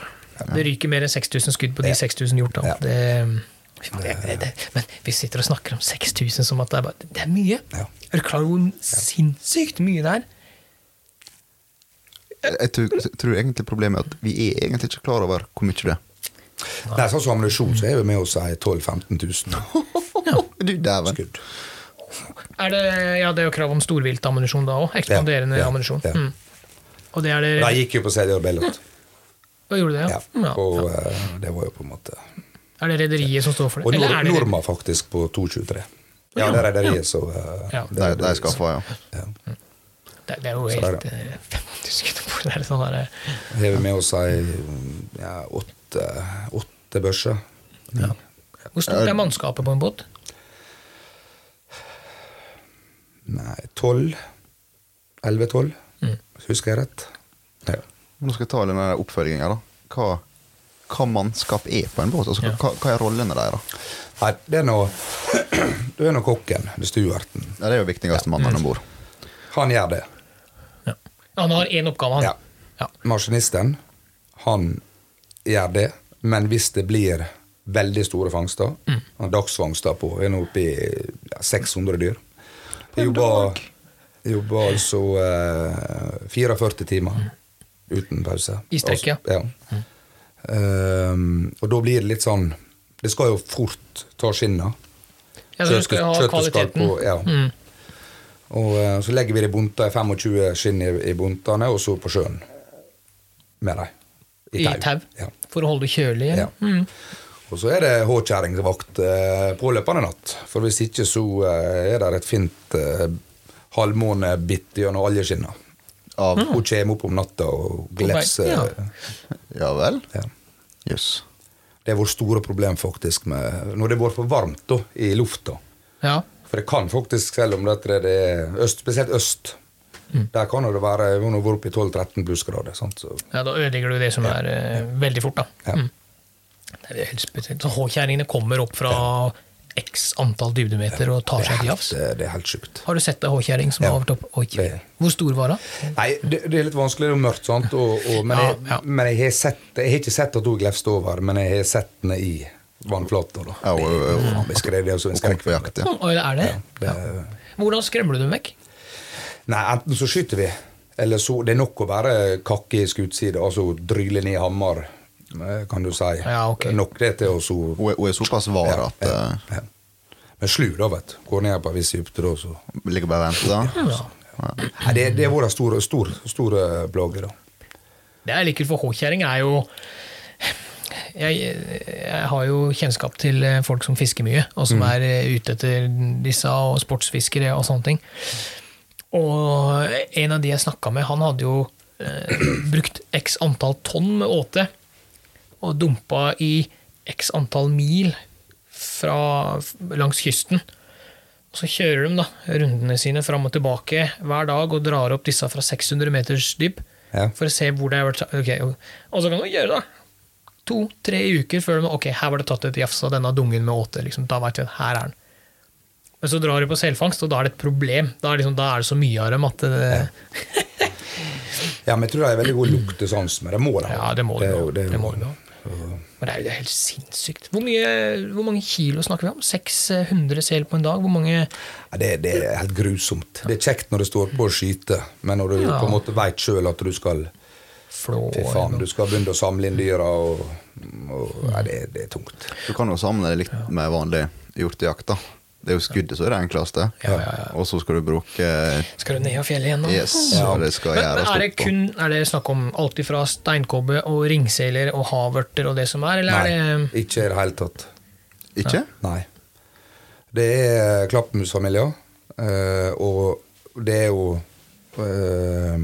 Det ryker mer enn 6000 skudd på de Ja. 6000 hjorta. Ja. Det, fy faen, det, det, men vi sitter og snakker om 6000 som at det er, bare, det er mye. Ja. Er du klar over hvor sinnssykt mye det er? Jeg, jeg tror, jeg tror egentlig problemet er at vi er egentlig ikke klar over hvor mye det er. Nei, sånn som ammunisjon så er vi med oss ei 12 000-15 <laughs> 000 Du dæven. skudd. Er det, ja, det er jo krav om storviltammunisjon da òg. Ekspanderende Ja, ja, ammunisjon. ja. Mm. Og det er det De gikk jo på Cedior Bellot. Hva gjorde det, Ja. ja? ja. Og ja. eh, det var jo på en måte Er det rederiet som står for det? Og Eller Nor er det Norma faktisk på 223. Ja, Ja, det er ja. rederiet som eh, Ja. De, det er de rederiet som- skaffa, ja. ja. Det, det er jo Så der, helt ja. eh, 50 skudd på det. er Sånn der, eh, Har vi med oss ei mm, ja, åtte, åtte børser. hvor stort er mannskapet på en båt? Nei, tolv. Elleve-tolv, Mm. husker jeg rett. Ja. Nå skal jeg ta denne oppfølginga, da. Hva, hva mannskap er på en båt? Altså, hva, hva er rollene deres? Nei, det er nå <clears throat> Du er nå kokken, du stuerten. Ja, det er jo viktigste mannen om bord. Han gjør det. Ja. Han har én oppgave, han. Ja. Ja. Maskinisten, han gjør det, men hvis det blir veldig store fangster, Mm. han har dagsfangster på, er nå oppe i ja, 600 dyr. Jeg jobber, jeg jobber altså eh, 44 timer uten pause. Mm. I strekk, Mm. Altså, ja. Ehm, og da blir det litt sånn Det skal jo fort ta skinna. Ja, så du skal ha kvaliteten. Mm. på, ja. Og eh, så legger vi det i bunta, i 25 skinn i, i buntene, og så på sjøen med dem. I tau. Ja. For å holde det kjølig. Mm. Ja. Og så er det håkjerringvakt eh, påløpende natt. For hvis ikke så eh, er det et fint eh, halvmånebitt gjennom alle skinna. Av Mm. Hun kommer opp om natta og vei- glefser. ja. Ja vel? Ja. Jøss. Det er vårt store problem faktisk med, når det har vært for varmt da, i lufta. Ja. For det kan faktisk, selv om dette er det er øst, spesielt øst Mm. Der kan jo det være vi har nå vært oppe i 12-13 plussgrader. Sant? Så, ja, da ødelegger du det som er eh, veldig fort, da. ja. Det er helt spesielt. Så Håkjerringene kommer opp fra x antall dybdemeter og tar det, er seg til helt, havs. det er helt sjukt. Har du sett ei håkjerring som Ja. har vært opp? Oi, Det- hvor stor var hun? Nei, det, det er litt vanskelig, det er mørkt, sant? Og, og, men, Ja, jeg, ja. men jeg, har sett, jeg har ikke sett at hun glefste over, men jeg har sett henne i vannflata. da. Au, au, au. Ja, vi skrev det også en Hun kommer på skrekkfilm. jakt, ja. Oi, er det? Det, Hvordan skremmer du dem vekk? nei, enten så skyter vi, eller så Det er nok å være kakke i skuddsidet, altså dryle ned hammer, eh, kan du si. Ja, ok. Nok det til å så Hun er, hun er såpass var Ja, at eh, ja. Men slu, da, vet du. Går ned på en viss dybde, da, så Ligger bare og venter, da. Ja. Nei, det, det har vært en stor, stor, stor eh, plage, da. Det jeg liker for håkjerring, er jo jeg, jeg har jo kjennskap til eh, folk som fisker mye, og Mm. som er eh, ute etter disse, og sportsfiskere og sånne ting. Og en av de jeg snakka med, han hadde jo eh, <clears throat> brukt x antall tonn med åte, og dumpa i x antall mil fra, langs kysten. Og så kjører de da rundene sine fram og tilbake hver dag og drar opp disse fra 600 meters dyp Ja. for å se hvor det har vært ok, og- Og så kan du gjøre det to-tre uker før de, ok, her var det tatt et jafs av denne dungen med åte. Liksom, da vet vi at her er den. Men så drar de på selfangst, og da er det et problem. Da er, liksom, da er det så mye av dem at det, Ja, men jeg tror det er veldig god luktesans, men det må det ha. Ja, det må det er ha. jo- er Det må jo- det ha. Men det er jo det er helt sinnssykt. Hvor, mye, hvor mange kilo snakker vi om? 600 sel på en dag? Hvor mange Ja, det, det er helt grusomt. Det er kjekt når det står på å skyte, men når du Ja. på en måte veit sjøl at du skal flår Fy faen, du skal begynne å samle inn dyra, og, og Nei, det, det er tungt. Du kan jo samle det litt med vanlig hjortejakt. da. Det er jo skuddet som er det enkleste, Ja, ja, ja. og så skal du bruke Skal du ned av fjellet igjen nå? Yes, og det skal Men, men gjøres er det slutt på. kun er det snakk om alt ifra steinkobbe og ringseiler og havørter og det som er, eller er det ikke i det hele tatt. Ikke? Nei. Det er klappmusfamilier, eh, og det er jo eh,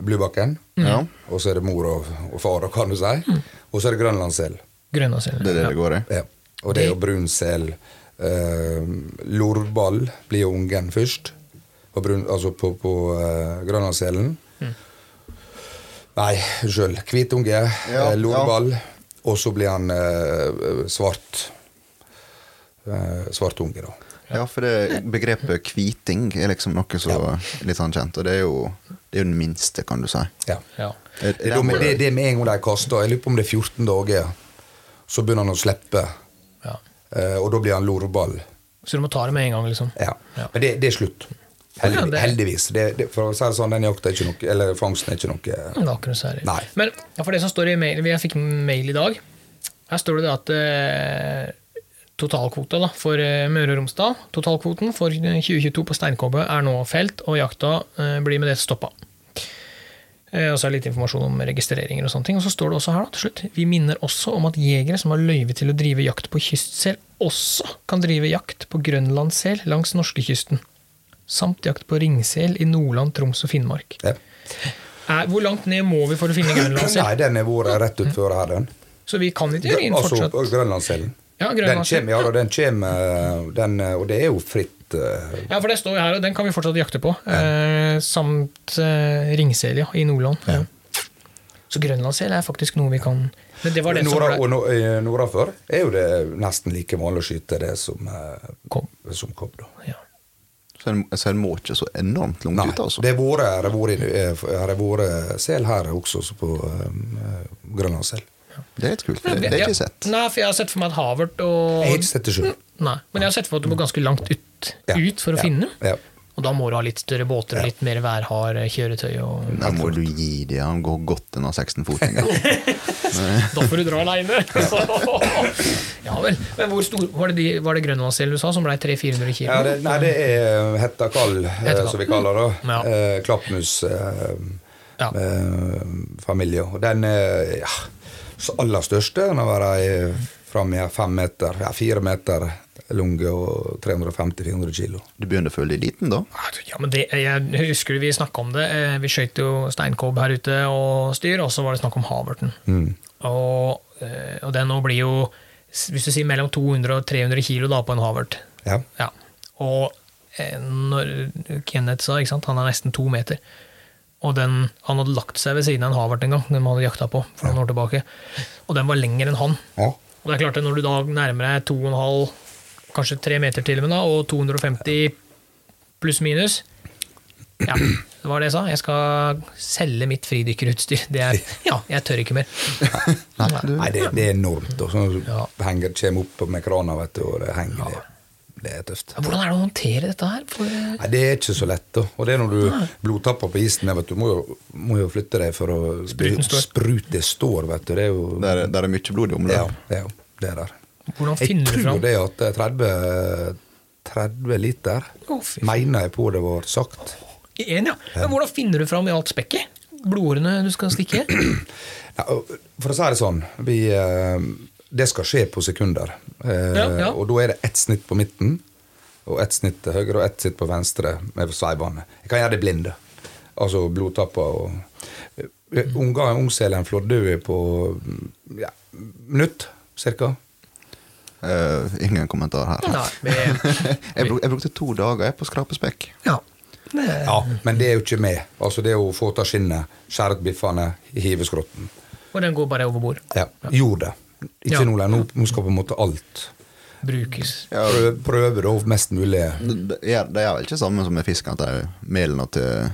Blubakken. Ja. Mm. Og så er det mor og, og far, kan du si. Og så er det grønlandssel. grønlandssel? Det er det det går i. Ja. Og det er jo brunsel. Eh, lorvball blir jo ungen først, på, brun, altså på, på eh, grønlandsselen. Nei, unnskyld. Hvitunge, Ja, eh, lorvball, og så blir han eh, svart. Eh, svart unge, da. Ja, for det begrepet hviting er liksom noe som er litt sånn kjent, og det er jo det er jo den minste, kan du si. Ja. Ja. Det, er da med- det, det er med en gang de kaster, jeg lurer på om det er 14 dager, så begynner han å slippe. ja. Eh, og da blir han lorvball. Så du må ta det med en gang, liksom? Ja. Ja. Men det, det er slutt. Heldigvis. Ja, det- heldigvis. Det, det, for å si det sånn, den jakta er ikke noe Eller fangsten er ikke noe eh, Det var ikke noe særlig. Nei. Men ja, for det som står i mailen Jeg fikk en mail i dag. Her står det det at eh, totalkvota da, for eh, Møre og Romsdal Totalkvoten for 2022 på steinkobbe er nå felt, og jakta eh, blir med det stoppa. Eh, Og så er det litt informasjon om registreringer og sånne ting. Og så står det også her da, til slutt Vi minner også om at jegere som har løyve til å drive jakt på kystsel, også kan drive jakt på grønlandssel langs norskekysten. Samt jakt på ringsel i Nordland, Troms og Finnmark. ja. Er, hvor langt ned må vi for å finne grønlandssel? Nei, <clears throat> den er vår rett utfor her, den. Så vi kan ikke gjøre inn Altså fortsatt. Grønlandsselen. Ja, Den grønlandssel. kommer, ja, da, den kommer den, eh, Og det er jo fritt eh, Ja, for det står jo her, og den kan vi fortsatt jakte på. Eh, samt eh, ringsel, ja, i Nordland. Så grønlandssel er faktisk noe vi kan Men det var det som Norda, ble Og no- eh, nordafor er jo det nesten like vanlig å skyte det som, eh, Kom. som kobb, da. Ja. Så en, så en må ikke så enormt langt Nei, ut, altså. det er våre, det er våre, eh, det er våre sel her også, så på eh, Grønlandssel. Det er litt kult. for Det, det er ikke sett. Nei, for jeg har sett for meg et havert og Jeg har ikke sett det sjøl. Nei, men jeg har sett for meg at du må ganske langt ut, Ja. ut for å Ja. finne den. Ja. Og da må du ha litt større båter og litt mer værhard eh, kjøretøy. Og Da må du gi dem. Han går godt unna <laughs> 16-fotinga. da får du dra aleine! ja vel. Men hvor stor var det, de, var det grønlandssel du sa, som ble 300-400 kilo? Ja, det, nei, det er hetta kall, eh, Hetta som vi kall. Mm. kaller det. Ja. Eh, Klappmus eh, Ja. eh, familie. Og den eh, ja, s- aller største den har vært fram i fem meter, ja, fire meter lang og 350-400 kilo. Du begynner å føle deg liten, da? Ah, Ja, men det, jeg husker vi snakka om det. Eh, Vi skøyt jo steinkobb her ute og styr, og så var det snakk om havørten. Mm. Og, eh, og den nå blir jo, s- hvis du sier mellom 200 og 300 kilo da på en havørt. Ja. Ja. Og eh, når Kenneth sa, ikke sant, han er nesten to meter. Og den, han hadde lagt seg ved siden av en havørt en gang, den han hadde jakta på for noen år tilbake. Og den var lengre enn han. Ja. Og det er klart det når du da nærmer deg 2,5, kanskje 3 meter til og med da, og 250 pluss minus Ja, det var det jeg sa. Jeg skal selge mitt fridykkerutstyr. Det er, ja, jeg tør ikke mer. Nei, du, Nei, det, det er enormt. Og så Ja. henger det kommer opp med krana, vet du, og det henger. Det, det er tøft. Hvordan er det å håndtere dette her? For, eh, Nei, Det er ikke så lett. da. Og det er Ah. når du blodtapper på isen. Vet du, du må jo, må jo flytte deg for å Spruten står. Sprute står, vet du. Det er jo der, er- der er mye blod i Ja, omløp. ja, det er der. hvordan Jeg finner du tror fram? det at 30 30 liter, Å, fy faen. mener jeg på det var sagt. I en, ja. Men hvordan finner du fram i alt spekket? Blodårene du skal stikke? Ja, og For å si det sånn, vi, eh, det skal skje på sekunder. Eh, Ja, ja. Og da er det ett snitt på midten, og ett snitt til høyre og ett snitt på venstre med sveivene. Jeg kan gjøre det blinde. Altså blodtapper og Mm. Eh, Unger omseler en flåddue på mm, ja, minutt, cirka. Eh, ingen kommentar her. Nei, vi, <laughs> Jeg, bruk, jeg brukte to dager jeg på skrapespekk. ja. Det- Ja, men det er jo ikke med. Altså Det er å få ta skinnet, skjære ut biffene, hive skrotten. Og den går bare over bord. Ja. Gjorde det. Ikke Ja. nå lenger. Nå- Nå skal på en måte alt Brukes. Prøve, prøve da mest mulig. Det, det er det er vel ikke samme som med fisk, at det er melen og til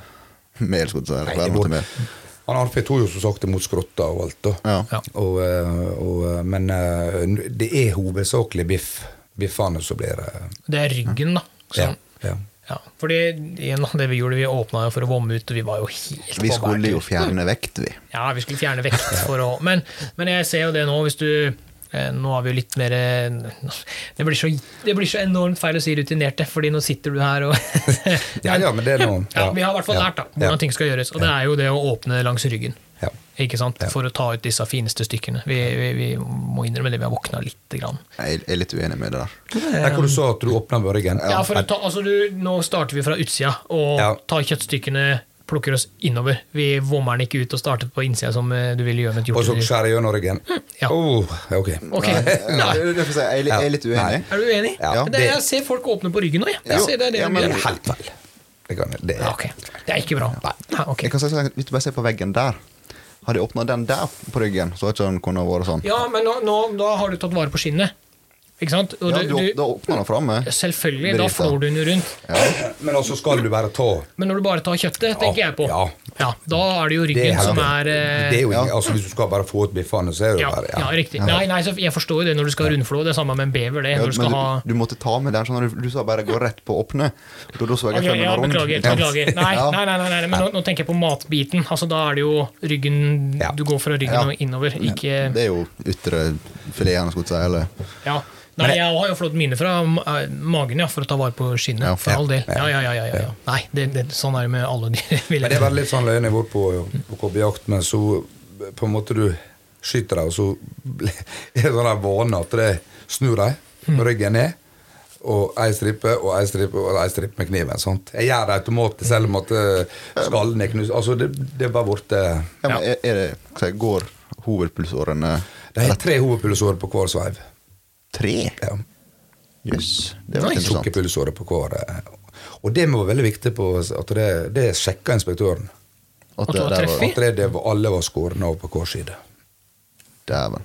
mel. Skal du si, eller hva er det nå til mel. Han Arnfrid tok jo som sagt imot skrotta og alt, da. Ja. Ja. Og, eh, og, eh, men eh, det er hovedsakelig biff. Biffene som blir eh, Det er ryggen, da. ja, Sånn. ja. Ja, fordi igjen, det vi gjorde, vi åpna for å vomme ut, og vi var jo helt Vi på skulle jo bærtur. fjerne vekt, vi. Ja, vi skulle fjerne vekt for å Men, men jeg ser jo det nå, hvis du eh, nå er vi jo litt mer eh, det blir, så, det blir så enormt feil å si rutinerte, fordi nå sitter du her og <laughs> Ja, ja, men det er noe- ja, ja. Vi har i hvert fall Ja. lært da, hvordan Ja. ting skal gjøres. Og det er jo det å åpne langs ryggen Ja. ikke sant? for å ta ut disse fineste stykkene. Vi, vi, vi må innrømme det, vi har våkna lite grann. Jeg er litt uenig med det der. Der hvor du sa at du åpna børgen. Ja, for å ta, altså du, Nå starter vi fra utsida og Ja. tar kjøttstykkene, plukker oss innover. Vi vommer den ikke ut og starter på innsida, som eh, du ville gjøre med et Og så hjortedyr. skjære gjennom ryggen. Mm, Ja. Oh, ok. Ok, Ja, <laughs> <laughs> nei. det er derfor jeg, sier, jeg, er litt- jeg er litt uenig. Er du uenig? Ja, det, det- jeg ser folk åpne på ryggen nå. Jeg. Jeg Jo, ser det, det, ja, er men- det. Helt feil. Det, kan, det, Ja, ok. det er ikke bra. Nei, ok. Jeg kan si, sånn, Hvis du bare ser på veggen der Hadde jeg åpna den der på ryggen, så hadde ikke den kunnet vært sånn. Ja, men nå, nå, da har du tatt vare på skinnet. Ikke sant? Og Ja, du, du, åp- du, da åpna den framme. selvfølgelig, da Brita. flår du den jo rundt. Men altså skal du bare ta Men når du bare tar kjøttet, tenker jeg på, ja. Ja, da er det jo det ryggen som helt- er eh, det er jo, ingen- altså Hvis du skal bare få ut biffene, så er det jo ja, bare ja, riktig. Nei, nei, så jeg forstår jo det når du skal ha rundflå. Det er samme med en bever. det, Ja, når du skal men du, ha... du måtte ta med den, sånn at du, du sa bare 'gå rett på å åpne'. Og da, da så jeg Ok, frem en ja, rund. beklager. Ja. beklager. Nei, <laughs> Ja. nei, nei, nei, nei men nå, nå tenker jeg på matbiten. Altså, da er det jo ryggen Ja. Du går fra ryggen Ja. og innover, ikke Det er jo ytre fileten, skulle jeg si. Eller ja. Nei, Men- jeg har jo flådd mine fra eh, magen, ja, for å ta vare på skinnet. Ja, for ja, all del. Ja, ja, ja, ja, ja, ja. Nei, det, det, sånn er det med alle dyr. <laughs> vil jeg Men det tro. er bare litt sånn løgn jeg har vært på, på kobbejakt, men så på en måte du skyter deg, og så <laughs> er det sånn der vane at det snur deg med ryggen ned. Og ei stripe og ei stripe og ei stripe med kniven. sant? Jeg gjør det automatisk, selv om at eh, skallen er knust. Altså, det, det er bare borte ja, men er, er det, hva jeg, Går hovedpulsårene De har tre hovedpulsårer på hver sveiv. tre? Ja. Jøss, det var Nei, interessant. Sukkerpulsåret på hver. eh, Og det må være veldig viktig på at det, det sjekka inspektøren. At At det det var der treff var i? At det, det var, alle var skårne av på hver side. Dæven.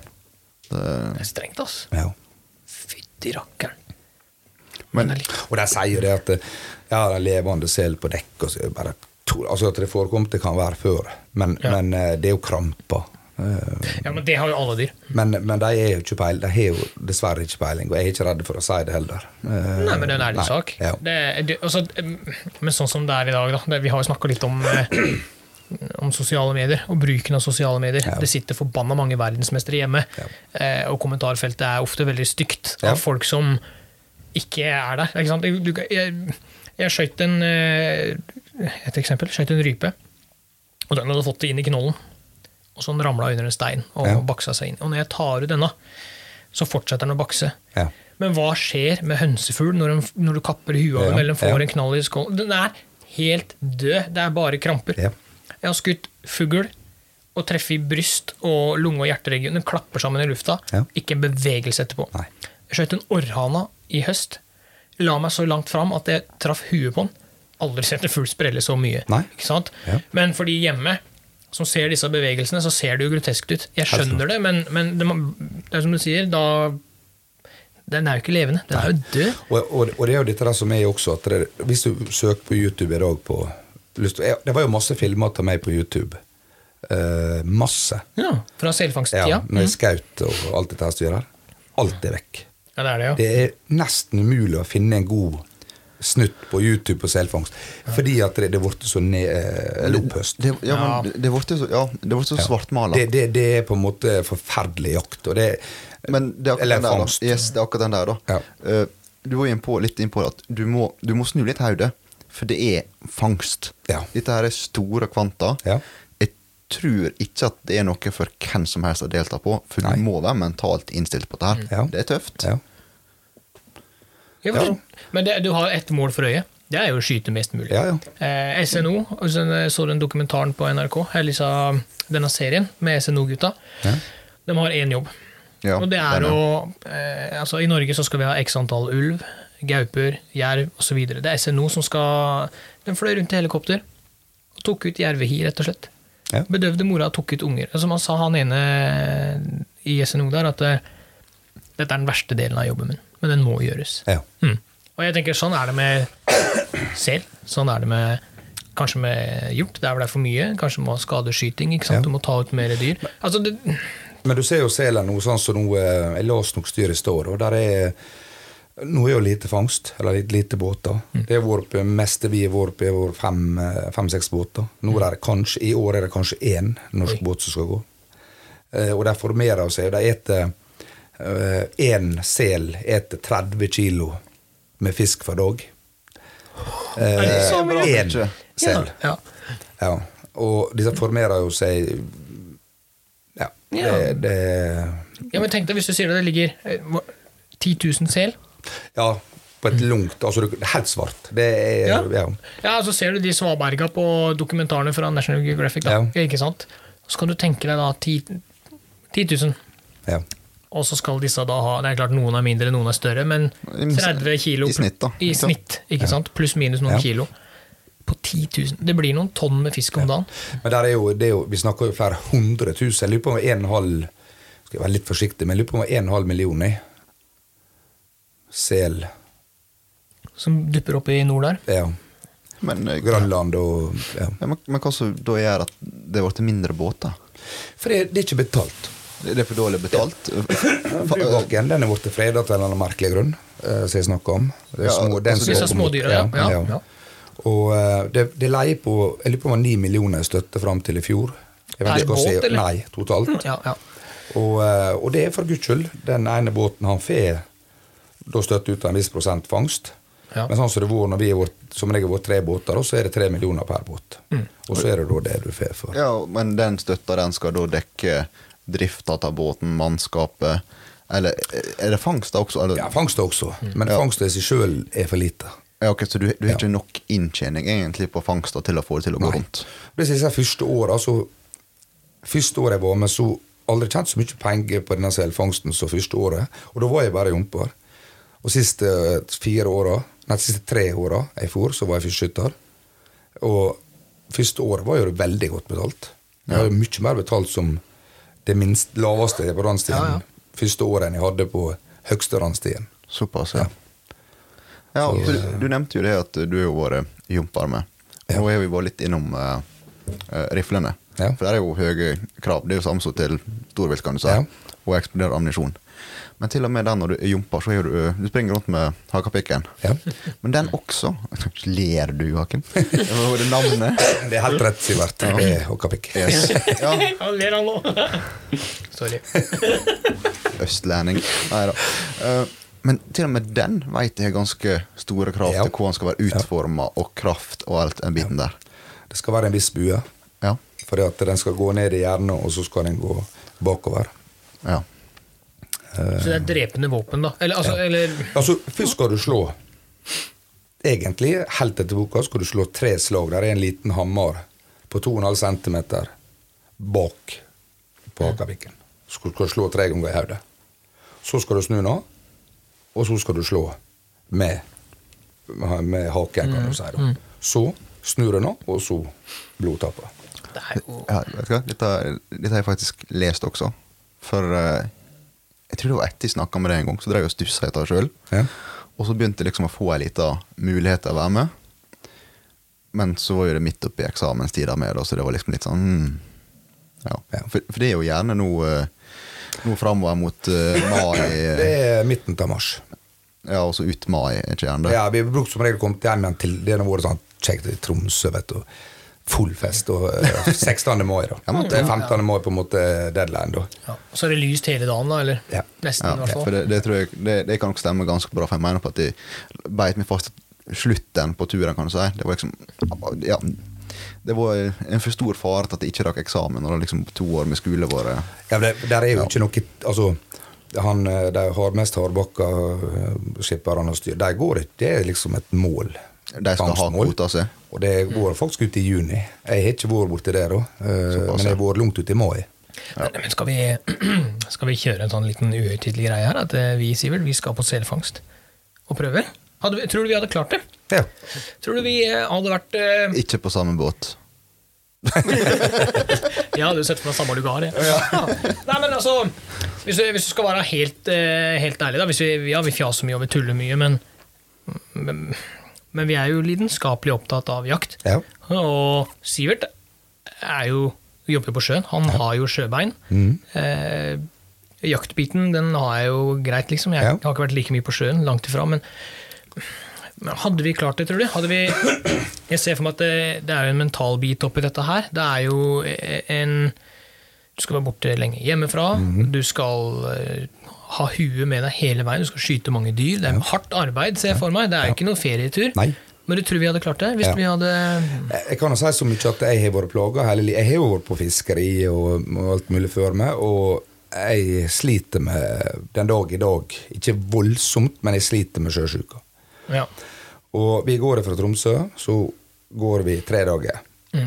Det- Det er strengt, ass. Ja. Fytti rakkeren. Men Og de sier det at eh, ja, det er levende sel på dekk og så er det bare to, altså At det forekom, det kan være før, men, men eh, det er jo kramper. Eh, Ja, men det har jo alle dyr. Men, men de er jo ikke peil, de har jo dessverre ikke peiling, og jeg er ikke redd for å si det heller. Eh, Nei, men det er en ærlig nei, sak. Ja. Det, det, altså, mm, men sånn som det er i dag, da. Det, vi har jo snakka litt om, eh, om sosiale medier og bruken av sosiale medier. Ja. Det sitter forbanna mange verdensmestere hjemme, eh, og kommentarfeltet er ofte veldig stygt Ja. av folk som ikke er der. Ikke sant? Du- Du, jeg jeg skøyt en eh, Et eksempel. Skøyt en rype, og den hadde fått det inn i knollen. Og så den ramla under en stein og Ja. baksa seg inn. Og når jeg tar ut denne, så fortsetter den å bakse. Ja. Men hva skjer med hønsefugl når, den- når du kapper huet av Ja, dem eller får ja. en knall i skålen? Den er helt død. Det er bare kramper. Ja. Jeg har skutt fugl og treffer i bryst og lunge- og hjerteregion. Den klapper sammen i lufta. Ja. Ikke en bevegelse etterpå. Nei. Jeg skjøt en orrhana i høst. La meg så langt fram at jeg traff huet på den. Aldri sett en fugl sprelle så mye. Nei. Ikke sant? Ja. Men for de hjemme som ser disse bevegelsene, så ser det jo groteskt ut. Jeg Helt skjønner det, men, men det, må- det er som du sier, da den er jo ikke levende. Den er jo død. Og, og, og det er jo dette der som er også at det, Hvis du søker på YouTube i dag på lyst til- jeg, Det var jo masse filmer av meg på YouTube. Eh, masse. Ja, Fra Mm. selfangsttida. Ja, Ja, når jeg skjøt og alt dette her styret her. Alt er vekk. det er det, ja. Det er nesten umulig å finne en god snutt på YouTube på selfangst. Fordi at det det er blitt så ned, eller opphøst. det, ja, men det- det ble så, ja, det ble så svartmala. Det, det, det er på en måte forferdelig jakt. Og det, Men det er akkurat eller den der, fangst. da. Yes, det er akkurat den der, da. Ja. Eh, du var jo inn på, litt inn på at du må, du må snu litt hodet, for det er fangst. Ja. Dette her er store kvanta. Ja. Jeg tror ikke at det er noe for hvem som helst å delta på, for Nei. du må være mentalt innstilt på dette. her. Ja. Det er tøft. Ja. Jeg Ja. forstår. Men det, du har ett mål for øye. Det er jo å skyte mest mulig. Ja, ja. Eh, SNO, og så så den dokumentaren på NRK, eller så, denne serien med SNO-gutta. Ja. De har én jobb. Ja, og det er den er- å eh, altså I Norge så skal vi ha x antall ulv, gauper, jerv osv. Det er SNO som skal De fløy rundt i helikopter og tok ut jervehi, rett og slett. Ja. Bedøvde mora og tok ut unger. Som han sa, han ene i SNO der, at eh, dette er den verste delen av jobben min, men den må gjøres. Ja. Mm. Og jeg tenker sånn er det med sel. Sånn er det med kanskje med hjort. Der hvor det er for mye. Kanskje med skadeskyting. Ikke sant? Ja. Du må ta ut mer dyr. Altså, det, Men du ser jo selen nå, sånn som nå eh, Jeg leste nok styret i stad, og der er Nå er jo lite fangst, eller litt lite båter. Det har vært oppe, meste vi har vært oppe, er fem-seks fem, seks båter. Nå er det kanskje, I år er det kanskje én norsk båt som skal gå. Eh, Og de formerer seg, og de eter eh, Én sel eter 30 kilo med fisk for dag. Eh, Er det så mye? Én Ja. sel. Ja, Ja, og disse formerer jo seg Ja, det, Ja. det ja. ja, men tenk deg hvis du sier det, det ligger eh, hva- 10 000 sel. Ja, på et langt Altså, det er helt svart. Det er Ja. Ja. Ja, så ser du de svaberga på dokumentarene fra National Geographic. Da. Ja. Ikke sant? Så kan du tenke deg da 10, 10 000. ja. Og så skal disse da ha Det er klart noen er mindre, noen er større, men I mis- 30 kilo i snitt da, I ikke sant? snitt, ikke sant? Pluss minus noen Ja. kilo. På 10 000. Det blir noen tonn med fisk om dagen. Men der er jo, det er jo, vi snakker jo flere hundre tusen. Jeg lurer på om en halv Skal jeg være litt forsiktig, men jeg lurer på om en halv million i sel. Som dupper opp i nord der. Ja. Men, eh, Grønland og ja. ja, men, men hva som da gjør at det ble mindre båter? For det, det er ikke betalt. Det det er for dårlig betalt? Fa- Bybakken den er blitt fredet til en eller annen merkelig grunn, eh, som jeg snakker om. Det er Ja, små, den altså, som disse går på mot- smådyra, ja. Ja, ja. Og eh, det, det leier på Jeg lurer på om det var 9 millioner i støtte fram til i fjor. Jeg Per vet ikke hva jeg båt, sier. eller? Mm, Nei, totalt. Ja, ja. Og, eh, og det er for guds skyld. Den ene båten han får da støtte ut av en viss prosent fangst. Ja. Men sånn som det var når vi har vært, som regel vært tre båter, da, så er det tre millioner per båt. Mm. Og så er det da det du får for. Ja, men den støtta den skal da dekke drifta av båten, mannskapet Eller eh, er det fangst da også? Eller? Ja, fangst også, Mm. men fangst i seg sjøl er for lite. Ja, ok, Så du, du har ikke nok inntjening egentlig på fangsta til å få det til å gå rundt? De siste første åra, så Første året jeg var med, så aldri tjent så mye penger på denne selfangsten som første året. Og da var jeg bare jomper. Og siste eh, fire åra, nei, siste tre åra jeg for, så var jeg fiskeskytter. Og første året var jo det veldig godt betalt. Jeg var jo mye mer betalt som det minst laveste på randstien Ja, ja. første året enn jeg hadde på høgste randstien. Såpass, ja. ja og du, du nevnte jo det at du har jo vært jomper med. eh, Ja. Nå har vi vært litt innom eh, eh, riflene. Ja. For det er jo høye krav. Det er jo samme som til storvilt, kan du si. Ja. Og eksploderer ammunisjon. Men til og med den når du er jomper, så er du, eh, du springer rundt med hakapikken. Ja. Men den også <laughs> Ler du, Joakim? <laughs> Det var det navnet. Det er helt rett, Sivert. Det er hokkapikk. Yes. Ja, Ja, ler han nå? Sorry. østlending. Nei da. Eh, men til og med den veit jeg har ganske store krav Ja. til hvordan skal være utforma, og kraft og alt den biten der. Det skal være en viss bue. Ja. Fordi at den skal gå ned i hjernen, og så skal den gå bakover. ja. Så det er drepende våpen, da. Eller, altså, eller Altså, først skal du slå Egentlig, helt etter boka, skal du slå tre slag. Der er en liten hammer på 2,5 cm bak på hakapikken. Så skal du slå tre ganger i hodet. Så skal du snu nå, og så skal du slå med, med haken, kan du si. Da. Så snur du nå, og så blodtapper. det er jo ja vet du hva? Dette, dette har jeg faktisk lest også. For eh, jeg tror det var etter jeg snakka med deg en gang, så drev jeg og stussa etter det sjøl. Ja. Og så begynte jeg liksom å få ei lita mulighet til å være med. Men så var jo det midt oppi eksamenstida med det, så det var liksom litt sånn mm. ja. Ja. For, for det er jo gjerne noe, noe framover mot eh, mai. Det er midten av mars. Ja, og så ut mai, er ikke gjerne det? Ja, vi har brukt som regel kommet hjem igjen til det har vært sånn kjekt i Tromsø, vet du. full fest. <laughs> Og eh, 16. mai, da. det er 15. mai på en måte deadline, da. Ja. Så er det lyst hele dagen, da? Eller Ja. nesten, Ja, i hvert for fall. det, det, tror jeg, det, det kan nok stemme ganske bra, for jeg mener på at de beit meg fast slutten på turen, kan du si. Det var liksom ja, Det var en for stor fare til at jeg ikke rakk eksamen når det liksom to år med skole eh, var Ja, det, der er jo ikke noe Altså, han, eh, de hardmest hardbakka eh, skipperne og styr, de går ikke. Det er liksom et mål. De skal ha altså. Mm. Fangstmål. kvota si. Og det går faktisk ut i juni. Jeg har ikke vært borti det, da. eh, Såpass, Men jeg har vært langt ut i mai. Men, men skal, vi, <clears throat> skal vi kjøre en sånn liten uhøytidelig greie her? At eh, vi, Sivert, vi skal på selfangst og prøver? Hadde vi, tror du vi hadde klart det? Ja. Tror du vi eh, hadde vært eh, Ikke på samme båt. Jeg hadde jo sett for meg samme lugar. jeg. Nei, men altså, hvis du, hvis du skal være helt, eh, helt ærlig, da. Hvis vi, ja, vi fjaser mye og vi tuller mye, men, men, men vi er jo lidenskapelig opptatt av jakt. ja. Og Sivert er jo, jobber jo på sjøen. Han har jo sjøbein. Mm. Eh, jaktbiten den har jeg jo greit, liksom. Jeg Ja. har ikke vært like mye på sjøen, langt ifra. Men, men hadde vi klart det, tror du? Hadde vi, jeg ser for meg at det, det er jo en mental bit oppi dette her. Det er jo en Du skal være borte lenge hjemmefra. Mm. Du skal eh, ha huet med deg hele veien. Du skal skyte mange dyr. Det er hardt arbeid, ser jeg for meg. Det er jo ikke noe ferietur. Nei. Men du tror vi hadde klart det? Hvis Ja. vi hadde Jeg Eh, jeg kan jo si så mye at jeg har vært plaga hele livet. Jeg har jo vært på fiskeri og, og alt mulig før meg, og jeg sliter med den dag i dag. Ikke voldsomt, men jeg sliter med sjøsjuka. Ja. Og vi går fra Tromsø, så går vi tre dager.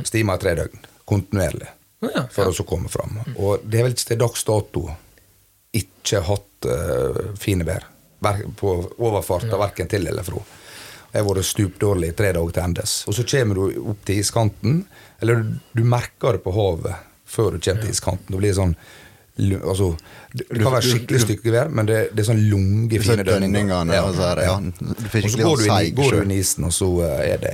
Stimer i tre døgn. Kontinuerlig. Ja, For å så komme fram. Og det er vel ikke til dags dato ikke hatt eh, fine vær Ver- på overfarta verken til eller fra. Jeg har vært stupdårlig i tre dager til endes. Og så kommer du opp til iskanten, eller du, du merker det på havet før du kommer til iskanten. Det blir sånn lu- altså, Det det kan være skikkelig stykkevær, men det, det er sånn lunge, Så fine dønningene og så her, altså, ja. Du får og skikkelig så går du, inn, i- seig går du sjø. inn i isen, og så eh, er det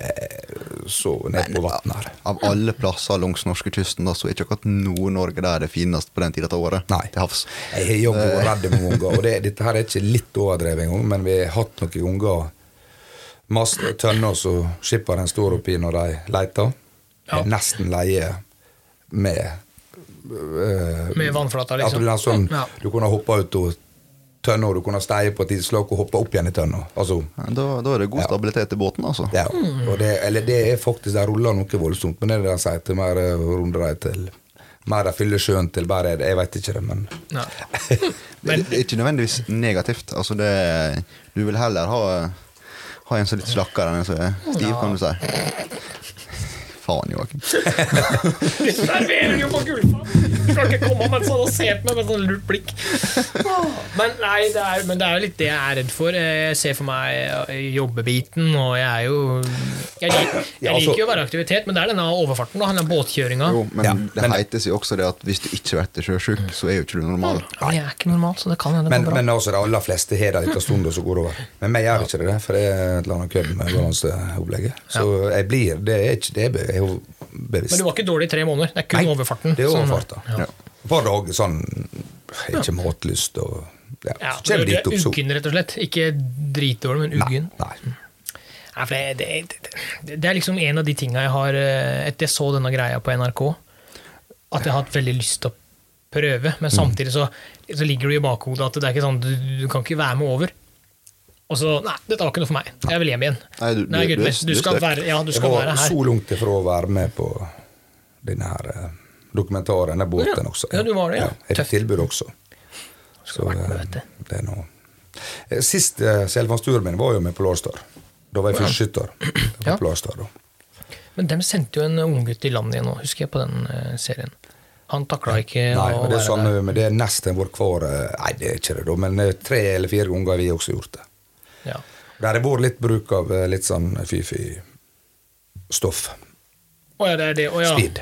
så ned på vann her. Av alle plasser langs norskekysten, da, så er ikke akkurat Nord-Norge der det finest på den tida av året. Nei. Til havs. Jeg har jobbet og redd med unger, og det, dette her er ikke litt overdrevet engang, men vi har hatt noen unger mast og tønner som skipperen står oppi når de leter. Ja. Er Nesten leie med øh, Med vannflata, at liksom. du, nesten- Ja. du kunne hoppe ut av tønna, og du kunne steie på et isflak og hoppe opp igjen i tønna. Altså, Ja, Da, da er det god stabilitet i båten, altså. Ja, Hmm. og det, eller det er faktisk De ruller noe voldsomt, men det er det de sier til mer eh, runder de til Mer de fyller sjøen til bare er det, jeg vet ikke det, men Nei. Det det er ikke nødvendigvis negativt. Altså det, du vil heller ha, ha en som er litt slakkere enn en som er stiv, kan du si. Faen, Joakim. Du serverer jo på gullfat! Du kan ikke komme mens han har sett meg med sånn lurt blikk. Men nei, det er, men det er jo litt det jeg er redd for. Jeg ser for meg eh, jobbebiten, og jeg er jo Jeg, lik, Ja, jeg altså- liker jo å være i aktivitet, men det er denne overfarten, da. Den båtkjøringa. Jo, men Ja, det men- heites jo også det at hvis du ikke blir sjøsjuk, så er jo ikke du normal. Men jeg er ikke normal, så det kan hende det Men, går bra. men altså, de aller fleste har det en liten stund, og så går det over. Men meg gjør ikke det, for det er et eller annet kødd med balanseopplegget. Så jeg blir Det er ikke det er be- jeg er jo Men du bevisst. var ikke dårlig i tre måneder. Det er kun Nei, overfarten. Det er som- overfarta. Ja. Ja. Et par dager sånn jeg har Ikke matlyst og ja. Ja, Så du kommer du dit er opp, så uggen, rett og slett. Ikke dritdårlig, men Nei. uggen. nei. Nei, for det, det, det, det er liksom en av de tinga jeg har eh, Etter jeg så denne greia på NRK, at jeg har hatt veldig lyst til å prøve. Mm. Men samtidig så, så ligger det i bakhodet at det er ikke sånn, du, du kan ikke være med over. Og så Nei, dette var ikke noe for meg. Jeg vil hjem igjen. Nei, du- du- Nei, gutten du er- min, du du er skal stuck. være, ja, du Jeg skal var være her. så langt ifra å være med på denne her eh, dokumentaren, den båten Ja. også. Ja, du var det, ja. jeg Tøft. fikk tilbud også. Skulle vært med, vet du. eh, det er noe. Eh, Sist eh, selvfangsturen min var jo med Polarstar. Da var jeg <clears throat> fyrskytter. på Ja. Polarstar, da. Men dem sendte jo en unggutt i land igjen nå, husker jeg, på den eh, serien. Han takla ikke Nei, å og det er sånn, være samme, der. men det er nesten vår hver eh, Nei, det er ikke det, da, men eh, tre eller fire ganger har vi også gjort det. eh, Ja. Der har det vært litt bruk av eh, litt sånn fy-fy-stoff. Å ja, det er det. Å ja. Speed.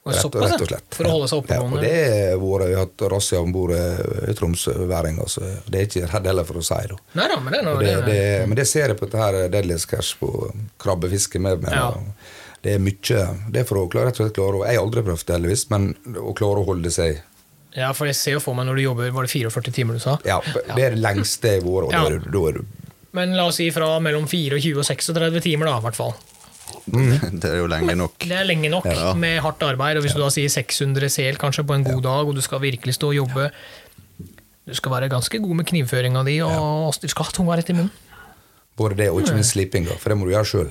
Og Rett, såpass, rett ja. og slett. For å holde seg Ja, og oppegående. det er våre, Vi har hatt razzia om bord i Tromsø hver gang. Altså. Det er ikke redd heller for å si. Da. Nei da, men det er Og noe Det, det er- det, men det ser jeg på dette her eh, Deadliest Cash på eh, krabbefiske med meg. Ja. Det er mye Det er for å klare, rett og slett klare å- Jeg har aldri prøvd det, heldigvis, men å klare å holde seg Ja, for jeg ser jo for meg når du jobber Var det 44 timer du sa? Ja, det er det lengste i vår, og da Ja. er du- da er du Men la oss si fra mellom 24 og 36 timer, da, i hvert fall. <laughs> Det er jo lenge nok. Det er lenge nok Ja. med hardt arbeid. Og hvis du da sier 600 sel kanskje på en god dag, og du skal virkelig stå og jobbe Du skal være ganske god med knivføringa di, og du skal ha tunga rett i munnen. Både det og ikke minst sliping, da, for det må du gjøre sjøl.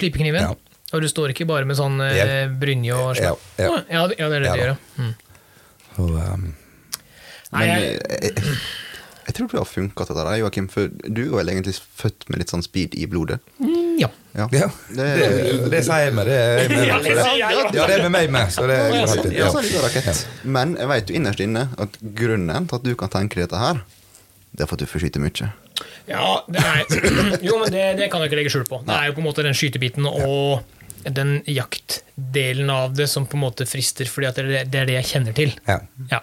Slipe kniven. Ja. Og du står ikke bare med sånn eh, Hjelp. brynje og Ja, slapp. ja. Å, Ja, det- ja, det er det Ja du gjør, da. ja. Mm. ehm, Nei, Men eh, jeg, jeg, jeg, jeg tror det har funka, dette der, Joakim. For du er vel egentlig født med litt sånn speed i blodet? mm, ja. Ja. Ja, det, Det er det sier jeg meg. Det er jeg med, Ja, meg, det så sier jeg, det- ja, det er med meg med, så det går helt fint. Ja, Ja. så er det litt av rakett. Men jeg vet jo innerst inne at grunnen til at du kan tenke deg dette her, det er for at du får skyte mye. Ja, det er, <clears throat> jo, men det, det kan jeg ikke legge skjul på. Det er jo på en måte den skytebiten og den jaktdelen av det som på en måte frister, fordi at det, er- det er det jeg kjenner til. Ja. Ja.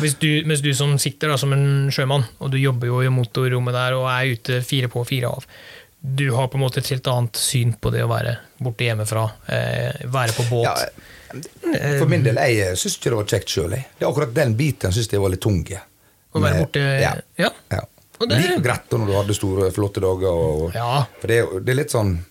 Hvis du, mens du som sitter da, som en sjømann, og du jobber jo i motorrommet der og er ute fire på, fire av, du har på en måte et helt annet syn på det å være borte hjemmefra, eh, være på båt. eh, Ja, eh, for min del, jeg syns ikke det var kjekt sjøl. Det er akkurat den biten syns jeg var litt tung. å være Men- borte Ja. ja. ja. Og det- Like greit da når du hadde store, flotte dager. Og, Ja. For det er, jo- det er litt sånn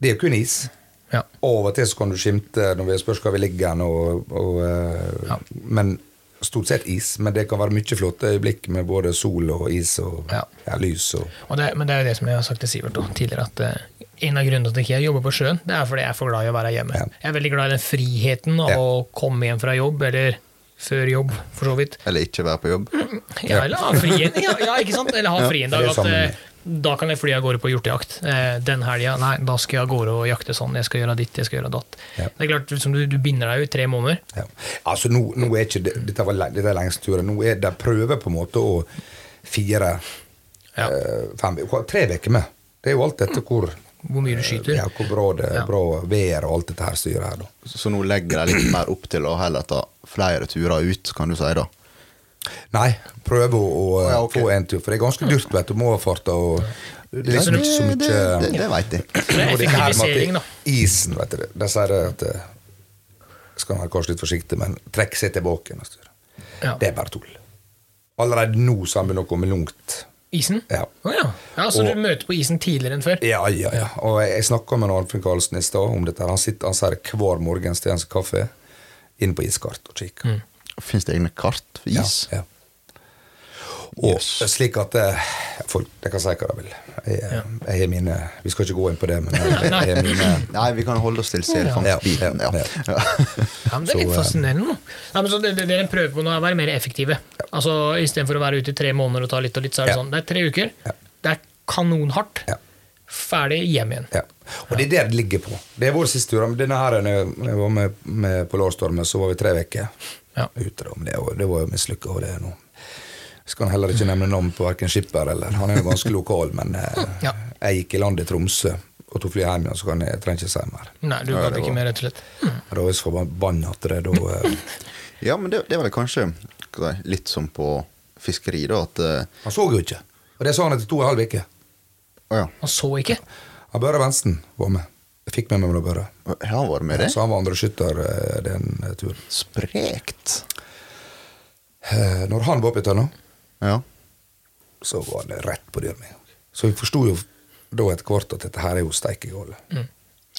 Det er jo kun is. Ja. Av og til så kan du skimte når vi spørs hvor vi ligger hen, og, og, eh, men stort sett is. Men det kan være mye flotte øyeblikk med både sol og is og Ja. ja, lys og Og det, men det er jo det som jeg har sagt til Sivert også tidligere, at eh, en av grunnene til at ikke jeg jobber på sjøen, det er fordi jeg er for glad i å være hjemme. Ja. Jeg er veldig glad i den friheten av Ja. å komme hjem fra jobb, eller før jobb, for så vidt. Eller ikke være på jobb. Ja, eller ha fri en, ja, ja, ikke sant? Eller ha fri en dag. det er At, sammen. eh, da kan jeg fly av gårde på hjortejakt. Eh, den helga, nei, da skal jeg av gårde og jakte sånn. Jeg skal gjøre ditt, jeg skal gjøre datt. Ja. Det er klart, liksom, du, du binder deg jo i tre måneder. Ja. Altså, nå, nå er ikke det, dette, var, le- dette er lengste turen. Nå er de prøver på en måte å fire Ja. eh, fem, hva- Tre uker med. Det er jo alt dette hvor, Hvor mye du skyter. Eh, ja, hvor bra det Ja. bra vær og alt dette her styret her, da. Så nå legger jeg litt mer opp til å heller ta flere turer ut, kan du si da. Nei, prøve å, å eh, Ja, ok. få en tur, for det er ganske dyrt, vet du, med overfarter og Det er liksom ikke så det, det, det, mye det veit jeg. Det er Og det her med at det- effektivisering, da. Isen, vet du. De sier det at eh, Skal man være kanskje litt forsiktig, men trekk seg tilbake neste tur. Ja. Det er bare tull. Allerede nå så har vi noe med langt Isen? Ja. Å ja. ja. Så Og- du møter på isen tidligere enn før? Ja, ja, ja. Og jeg, jeg snakka med Arnfinn Karlsen i stad om dette. her. Han sitter han sier det hver morgen til hans kaffe inn på iskart og Mm. kikker. Fins det egne kart for Ja, is? ja. Og slik at eh, folk De kan si hva de vil. Jeg, eh, jeg har mine Vi skal ikke gå inn på det, men jeg, jeg har mine Nei, vi kan holde oss til selfangstbiten. Ja, Ja, ja, Ja, men Det er litt eh, fascinerende. da. Nei, men så det, det det en prøver på nå, er å være mer effektive. Altså, Istedenfor å være ute i tre måneder og ta litt og litt, så er det Ja. sånn. Det er tre uker. Ja. Det er kanonhardt. Ja. Ferdig, hjem igjen. Ja. Og det er der det ligger på. Det er vår siste tur. Men denne her, når jeg- når jeg var med, med Polarstormen, så var vi tre uker Ja. ute. da, men Det, og det var jo mislykka. Og det er noe. Skal han heller ikke nevne navn på verken skipper eller Han er jo ganske lokal, men eh, Ja. jeg gikk i land i Tromsø og tok flyet hjem igjen, så kan jeg, jeg trenger ikke si mer. Nei, du Ja, gadd det ikke var- mer, rett og slett. Da var jeg så forbanna at det da eh, ja men det, det er vel kanskje hva skal jeg si, litt som på fiskeri, da, at eh, Han så jo ikke. Og det sa han etter to og en halv uke. Å ja, Han så ikke. Han Børre Bensen var med. Jeg fikk med meg med Børre. har han vært med i det? sånn Så han var andreskytter eh, den eh, turen. Sprekt. Eh, Når han var oppi tønna Ja. så var det rett på døra mi. Så vi forsto jo da etter hvert at dette her er jo steike gale.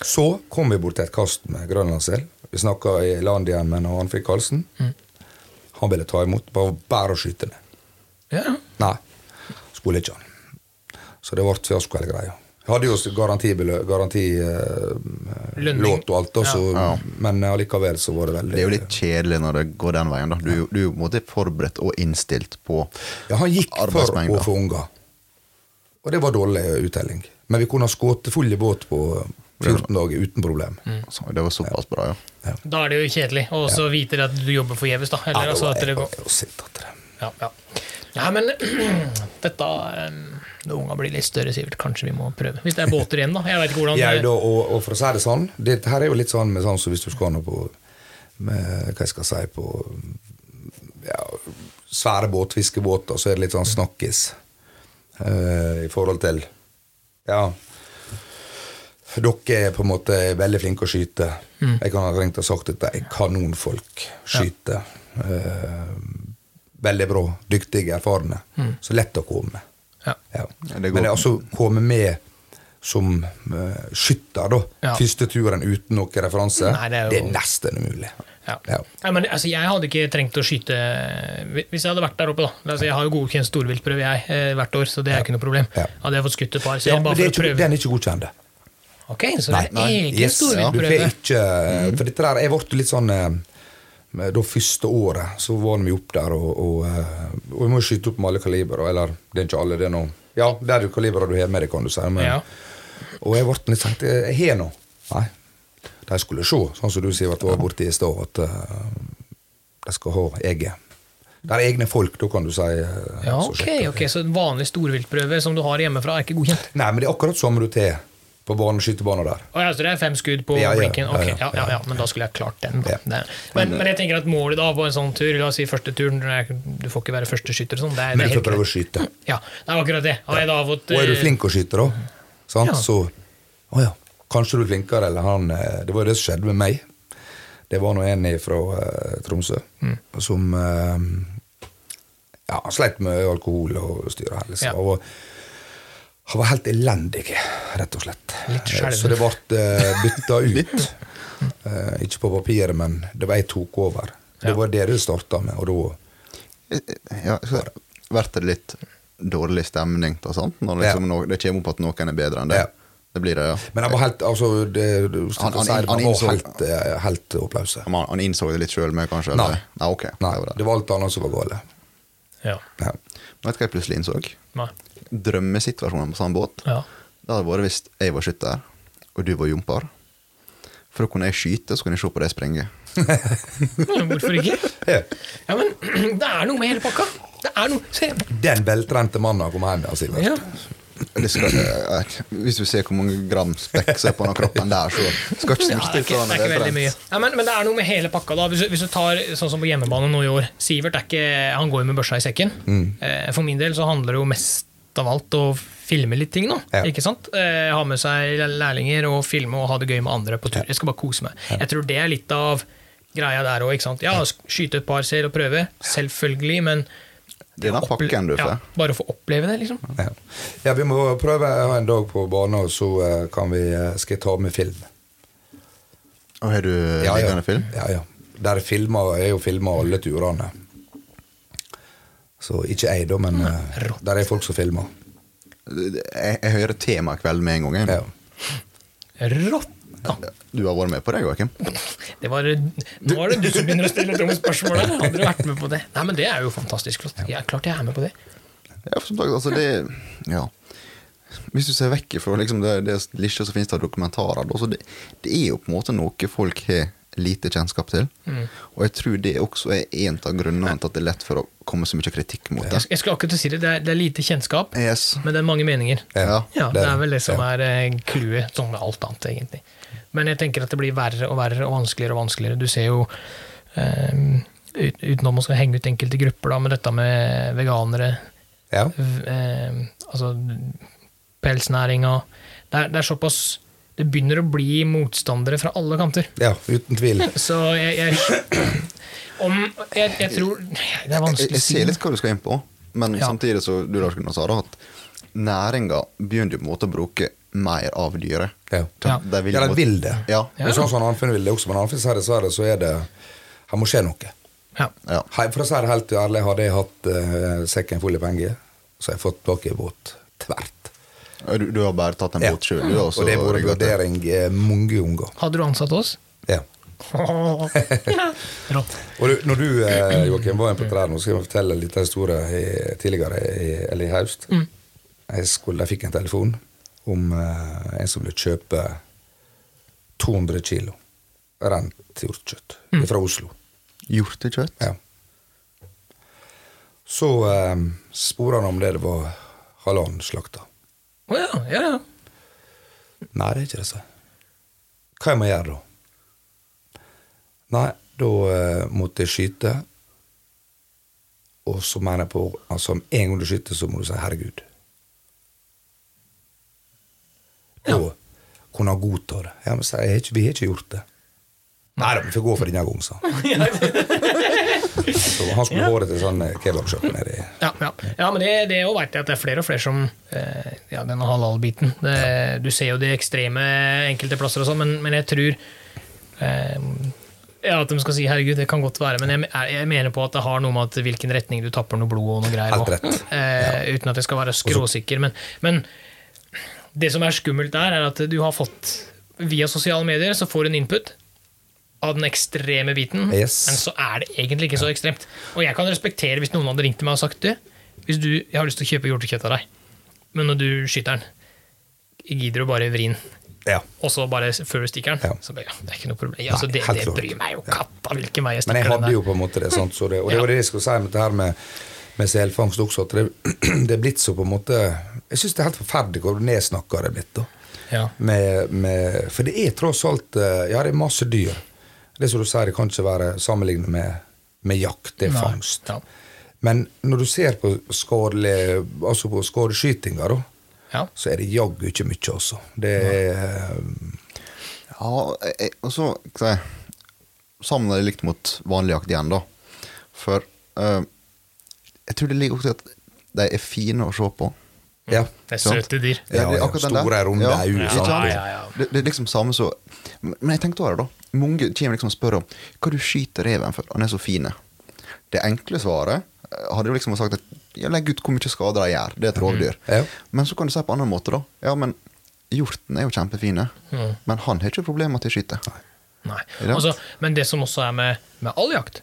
Så kom vi bort til et kast med grønlandssel. Vi snakka i land igjen med han fikk Karlsen. Han ville ta imot. Bare, bare å skyte ned. Ja. Nei, skulle ikke han. Så det ble fiasko hele greia. Jeg hadde jo s- garantibelø- garanti eh, Lønning. låt og alt, da, så, Ja. men eh, allikevel så var det veldig Det er jo litt kjedelig når det går den veien. da. Du, du er jo på en måte forberedt og innstilt på Ja, han gikk for arbeidsmengda. å få unger. Og det var dårlig eh, uttelling. Men vi kunne ha skutt full i båt på 14 dager uten problem. Så Det var såpass bra, ja. Da er det jo kjedelig å også vite at du jobber forgjeves, da. Eller, Ja, altså, at det det var går. jeg var sint at det. Ja, ja. Nei, men <clears throat> dette eh, Når unga blir litt større, Sivert, kanskje vi må prøve. Hvis det er båter igjen, da. Jeg vet ikke hvordan Jeg da, og, og for å si det sånn, det her er jo litt sånn med sånn som hvis du skal nå på med, Hva jeg skal si på ja, svære båt, fiskebåter, så er det litt sånn snakkis eh, i forhold til Ja, dere er på en måte veldig flinke å skyte. Jeg kan ha trengt å sagt dette. Jeg kanonfolk skyter. Eh, veldig bra, dyktige, erfarne. Så lett å komme med. Ja. Ja. Ja, det Men går- det er altså komme med som eh, skytter, da. Ja. Første turen uten noen referanse. Nei, det er jo- nesten umulig. Ja. Ja. Nei, men, altså, jeg hadde ikke trengt å skyte Hvis jeg hadde vært der oppe, da. Altså, jeg har jo godkjent storviltprøve jeg, eh, hvert år, så det er ikke noe problem. Ja. Hadde jeg fått skutt et par, så Ja, jeg men bare det er for å ikke, prøve. den er ikke godkjent. Ok, så det er egen Yes. Ja. Du får storviltprøve. ikke eh, Mm. For dette der Jeg ble litt sånn eh, Da første året så var vi opp der, og, og, eh, og vi må skyte opp med alle kaliber. Eller det er ikke alle, det er noe Ja, det er jo kaliberet du har med deg, kan du si. Men, Ja. Og jeg ble litt sånn Jeg har noe. Nei. De skulle se, sånn som du sier at du var borte i stad, at eh, de skal ha eget. Det er egne folk, da kan du si. eh, Ja, som ok, sjekker. ok, Så en vanlig storviltprøve som du har hjemmefra, er ikke godkjent? Nei, men det er akkurat som du tar på banen, skytebanen der. Å, ja, så det er fem skudd på Ja, ja, blinken? Ok, ja, ja, ja, ja, ja, Men da skulle jeg klart den. Da. Ja. eh, Det er- Men, men jeg tenker at målet da på en sånn tur, la oss si første turen når jeg- Du får ikke være førsteskytter og sånn. Det er, det Men er du får helt prøve greit. å skyte. Ja, det er akkurat det. Har jeg da fått Og er du eh, flink å skyte, da, sant? Ja. så Å ja, kanskje du er flinkere eller han eh, Det var jo det som skjedde med meg. Det var nå en fra eh, Tromsø Mm. som eh, ja, han sleit med alkohol og styr og helse. Ja. Han, var, han var helt elendig, rett og slett. Eh, Litt skjelven. Så det ble eh, bytta <laughs> ut. Eh, ikke på papiret, men det var jeg tok over. Det Ja. var det det starta med, og da Eh, Ja, så vært det litt dårlig stemning og sånt, når liksom Ja. no, det kommer opp at noen er bedre enn det. Ja. Det blir det, ja. Men han var helt altså, det, det, Han- han- han, han innså- var helt, eh, helt oppløse. Han, han innså det litt sjøl med, kanskje? Nei. Eller? Nei, ok. Nei, Det var det. det var alt annet som var galt. Ja. Ja. Vet du hva jeg plutselig innså? Nei. Drømmesituasjonen på samme båt. Ja. Det hadde vært hvis jeg var skytter, og du var jomper. For da kunne jeg skyte, så kunne jeg se på deg sprenge. Ja, Hvorfor ikke? Ja. Ja, men <clears throat> det er noe med hele pakka. Det er noe Se. Den veltrente mannen kom hjem der, Sivert. Ja. Det skal, eh, hvis du ser hvor mange gram spekk som er på den kroppen der, så skal Ja, ikke det er ikke, det stikke ifra er når det ikke er veldig mye. trent. Ja, men, men det er noe med hele pakka. da Hvis du, hvis du tar sånn som på hjemmebane nå i år Sivert er ikke, han går jo med børsa i sekken. Mm. Eh, For min del så handler det jo mest av alt å filme litt ting nå. Ja. Ikke sant? Eh, Ha med seg lærlinger og filme og ha det gøy med andre på tur. Jeg skal bare kose meg. Jeg tror det er litt av greia der òg. Ja, skyte et par serier og prøve. Selvfølgelig, men Det er den opple- pakken du ja, får. bare få oppleve det, liksom. Ja. ja, vi må prøve å ha en dag på banen, og så eh, kan vi, eh, skal jeg ta med film. Og har du Ja, ja. liggende film? Ja, ja. Der filmer, jeg jo filmer alle turene. Så ikke jeg, da, men eh, rått. der er folk som filmer. Jeg, jeg hører tema i kveld med en gang. jeg. Ja. Rått! da. Du har vært med på det, Joakim? Det var, nå er det du som begynner å stille dumme spørsmål her. Hadde du vært med på det? Nei, men det er jo fantastisk flott. Ja, klart jeg er med på det. Ja, for som sagt, altså det Ja. Hvis du ser vekk fra liksom det, det lille som finnes av dokumentarer, da, så det, det er jo på en måte noe folk har lite kjennskap til. Og jeg tror det også er en av grunnene til at det er lett for å komme så mye kritikk mot det. Jeg, jeg skulle akkurat til å si det. Det er, det er lite kjennskap, Yes. men det er mange meninger. Ja. Ja, det er vel det som ja. er eh, clouet, sånn med alt annet, egentlig. Men jeg tenker at det blir verre og verre og vanskeligere og vanskeligere. Du ser jo eh, ut- Utenom å skal henge ut enkelte grupper, da, med dette med veganere Ja. v- eh, altså pelsnæringa det, er- det er såpass Det begynner å bli motstandere fra alle kanter. ja, uten tvil. Så jeg, jeg Om jeg, jeg tror Det er Jeg, vanskelig å jeg si. ser litt hva du skal inn på, men Ja. samtidig så du Lars Gunnar sa da, at næringa begynner jo på en måte å bruke mer av dyret. Ja. Ja. De Ja, de mot- vil det. Ja. Ja. Og sånn som Arnfinn vil det også, men Arnfinn sier dessverre så er det Her må skje noe. Ja. ja. Hei, For å si det helt ærlig, hadde jeg hatt eh, sekken full av penger, så hadde jeg fått tak i båt tvert. Du, du har bare tatt en Ja. båt sjøl, du, og Og så det har vært rygget til. vurdering eh, mange unger. Hadde du ansatt oss? Ja. Rått. Og du, når du, eh, Joakim, var inne på trærne, nå skal jeg fortelle en liten historie i- tidligere, i, eller i høst. Jeg, skulle, jeg fikk en telefon om eh, en som ville kjøpe 200 kilo rent hjortekjøtt fra Oslo. Hjortekjøtt? Ja. Så eh, spora han om det det var halvannen slakta. Å ja, ja, ja. Nei, det er ikke det, sa jeg. Hva jeg må gjøre da? Nei, da eh, måtte jeg skyte. Og så mener jeg på altså Med en gang du skyter, så må du si 'herregud'. Da kunne han godta det. Ja, men sa jeg, jeg har ikke, 'Vi har ikke gjort det'. Nei da, vi får gå for denne gangen, sa han. så han skulle Ja. håret til sånn eh, kebabshop nedi Ja, ja. ja men det, det jo vet jeg at det er flere og flere som eh, Ja, denne halal-biten. Det, Du ser jo de ekstreme enkelte plasser og sånn, men, men jeg tror eh, ja, At de skal si 'herregud, det kan godt være', men jeg, jeg- jeg mener på at det har noe med at hvilken retning du tapper noe blod og noe greier Helt også. rett. Eh, uten at jeg skal være skråsikker. Men, men det som er skummelt der, er at du har fått Via sosiale medier så får du en input av den ekstreme biten, Yes. men så er det egentlig ikke så ekstremt. Og jeg kan respektere hvis noen hadde ringt til meg og sagt du, hvis du, jeg har lyst til å kjøpe hjortekjøtt av deg, men når du skyter den, gidder du bare vri den, Ja. og så bare før du stikker den, Ja. så bare, ja, det er ikke noe problem. Ja, altså, Nei, det, helt det klart. bryr meg jo katta hvilken vei jeg Men jeg stikker den hadde der. jo på en måte det, sant? Så det og det Ja. var det jeg skulle si med dette her med, med selfangst også, at det, <clears throat> det er blitt så på en måte Jeg syns det er helt forferdelig hvor nedsnakka det er blitt. da. Ja. Med, med, for det er tross alt eh, Ja, det er masse dyr. Det som du sier, det kan ikke være sammenlignet med, med jakt. Det er Nei, fangst. ja. Men når du ser på, skadelig, altså på skadeskytinga, da, Ja. så er det jaggu ikke mye, altså. Det er Ja, jeg- jeg- og så hva skal jeg Savner det likt mot vanlig jakt igjen, da. For eh, jeg tror det ligger også i at de er fine å se på. Ja. Det er Sant. søte dyr. Ja, ja, akkurat den der. store, runde Ja, øyne, ikke sant? sant? Ja, ja, ja. Det, det er liksom samme som Men jeg tenkte over det, da. Mange kommer liksom og spør om hva du skyter reven for, han er så fin. Det enkle svaret eh, hadde jo liksom sagt at ja, legg ut hvor mye skader de gjør, Mhm. det er et rovdyr. Ja. Men så kan du si på en annen måte, da. Ja, men hjorten er jo kjempefine, Mhm. men han har ikke problemer med at de skyter. Nei. Rart. Altså, men det som også er med, med all jakt,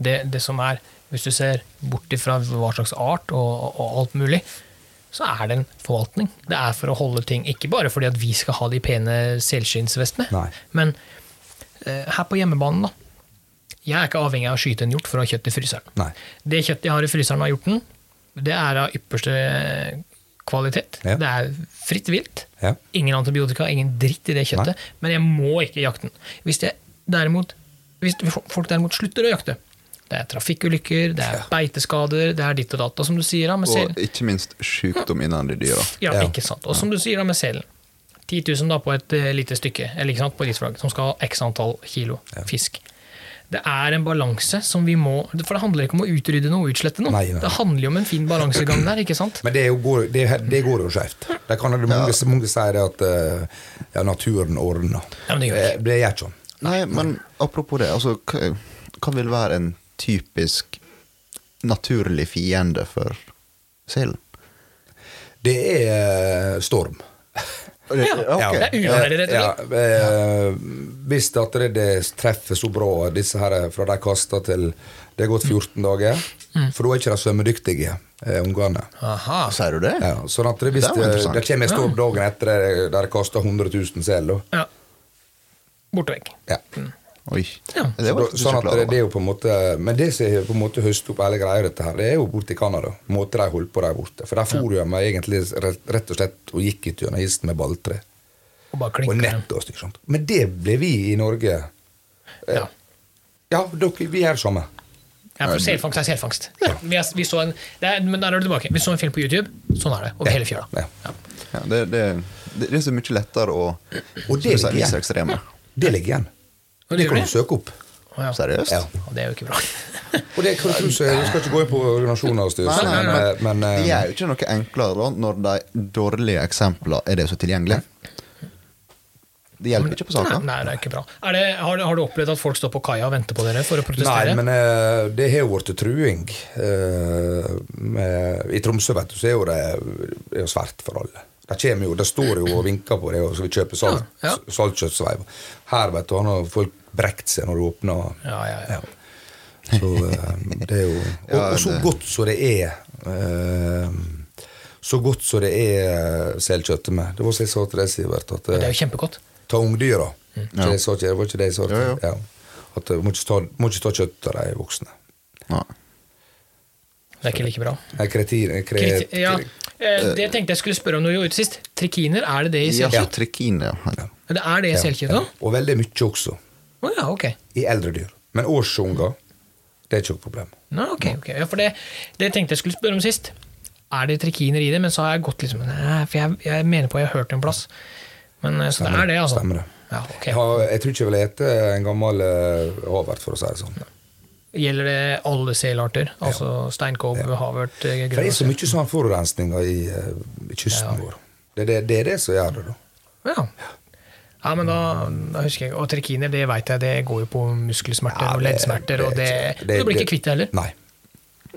det, det som er Hvis du ser bort ifra hva slags art og, og, og alt mulig, så er det en forvaltning. Det er for å holde ting Ikke bare fordi at vi skal ha de pene selskinnsvestene, Nei. men eh, her på hjemmebanen, da. Jeg er ikke avhengig av å skyte en hjort for å ha kjøtt i fryseren. Nei. Det kjøttet jeg har i fryseren av hjorten, det er av ypperste kvalitet. Ja. Det er fritt vilt. Ja. Ingen antibiotika, ingen dritt i det kjøttet. Men jeg må ikke jakte den. Hvis, jeg, derimot, hvis folk derimot slutter å jakte Det er trafikkulykker, det er beiteskader, det er ditt og datt. Og som du sier, da, med sel Og ikke minst sykdom innen de dyra. ja, Ja. ikke sant. Og som du sier da med selen. 10 000 da på et eh, lite stykke, eller ikke sant, på isflagg, som skal ha x antall kilo fisk. Det er en balanse som vi må For det handler ikke om å utrydde noe og utslette noe. Nei, nei. Det handler jo om en fin balansegang der, ikke <clears throat> sant? Men det, er jo, går- det, er- det går jo skjevt. Det kan det mange, mange sier det at eh, ja, naturen ordner. Ja, men det gjør det Eh, det gjør ikke sånn. Nei, men apropos det, altså, hva, hva vil være en typisk naturlig fiende for selen? Det er eh, storm. Ja, ok. Det er uværet, rett og slett. Ja, eh, hvis det, at det, det treffer så bra, disse her eh, fra de kaster til det er gått 14 dager, Mm. for da er ikke de svømmedyktige, eh, ungene. Aha. Sier du det? Ja, sånn at det, hvis Det det, var interessant. det kommer en storm dagen etter eh, der de kaster 100 000 sel, da. Ja. Borte vekk. Ja. Oi. Ja. Det var Så da- sånn at det, det det, er jo på en måte Men det som har på en måte høstet opp hele greia, dette her, det er jo borte i Canada. Måten de holdt på der borte. For der for de meg egentlig rett rett og slett og gikk ut gjennom isen med balltre. Og bare Og klinker dem. nett og styr sånt. Men det ble vi i Norge. Ja. Ja, dere, vi er det samme. Ja, for selfangst er selfangst. Vi, er, vi så en, det er, men der er du tilbake. Vi så en film på YouTube. Sånn er det. Over hele fjøla. Ja. ja, det, det, det, det er så mye lettere å Og som du sier, det vise ligger igjen. ekstreme. Det ligger igjen. Og Det gjør kan det. du søke opp. Å, ja. Seriøst? Ja. Og det er jo ikke bra. <laughs> Og det kan du tro, så jeg skal ikke gå inn på organisasjoner og styr, Nei, nei, men, men, men, eh, det er jo ikke noe enklere da, når de dårlige eksemplene er det som er tilgjengelig. Det hjelper ikke på saken. Nei, det er ikke bra. Er det, har, du- har du opplevd at folk står på kaia og venter på dere for å protestere? Nei, men eh, det har jo blitt truing. eh, med, I Tromsø vet du, så er jo det, det er jo svært for alle. Det kommer jo, det står jo og vinker på det, og skal vi kjøpe salt, Ja, ja. saltkjøttsveiv. Her vet du, han har folk brekt seg når du åpner. Ja, ja, ja. Så eh, det er jo Og, og så godt som det er eh, Så godt som det er eh, selkjøttet med. Det var som jeg sa til deg, Sivert. At, eh, Det er jo kjempegodt. ta ungdyra. Mm. Så jeg sa ikke, det var ikke det jeg sa. til- Jo, jo. Ja. At du må ikke ta, må ikke ta kjøtt av de voksne. Nei. Det er ikke like bra. Nei, kretin, kre, Kriti- Ja, eh, det tenkte jeg skulle spørre om når vi var ute sist. Trikiner, er det det i Ja, selkjøtt? så trikine, ja. Det er det i selkjøtt ja. òg? Og veldig mye også. Å ja, ok. I eldre dyr. Men årsunger, det er ikke noe problem. Nå, ok, ok. Ja, for det, det tenkte jeg skulle spørre om sist. Er det trikiner i det? Men så har jeg gått liksom Nei, for jeg, jeg mener på jeg har hørt det en plass. Men, eh, så det er det, altså. Stemmer det. Ja, Jeg, ok. har, jeg tror ikke jeg vil ete en gammel eh, havert, for å si det sånn. Gjelder det alle selarter? Altså steinkobbe, havørt, eh, For det er så grønn mye sånn forurensning i, eh, i kysten vår. Det, er det, det er det som gjør det, da. Ja. ja, men da, da husker jeg Og trikiner, det veit jeg, det går jo på muskelsmerter og leddsmerter, og det, Du blir ikke kvitt det heller. Nei.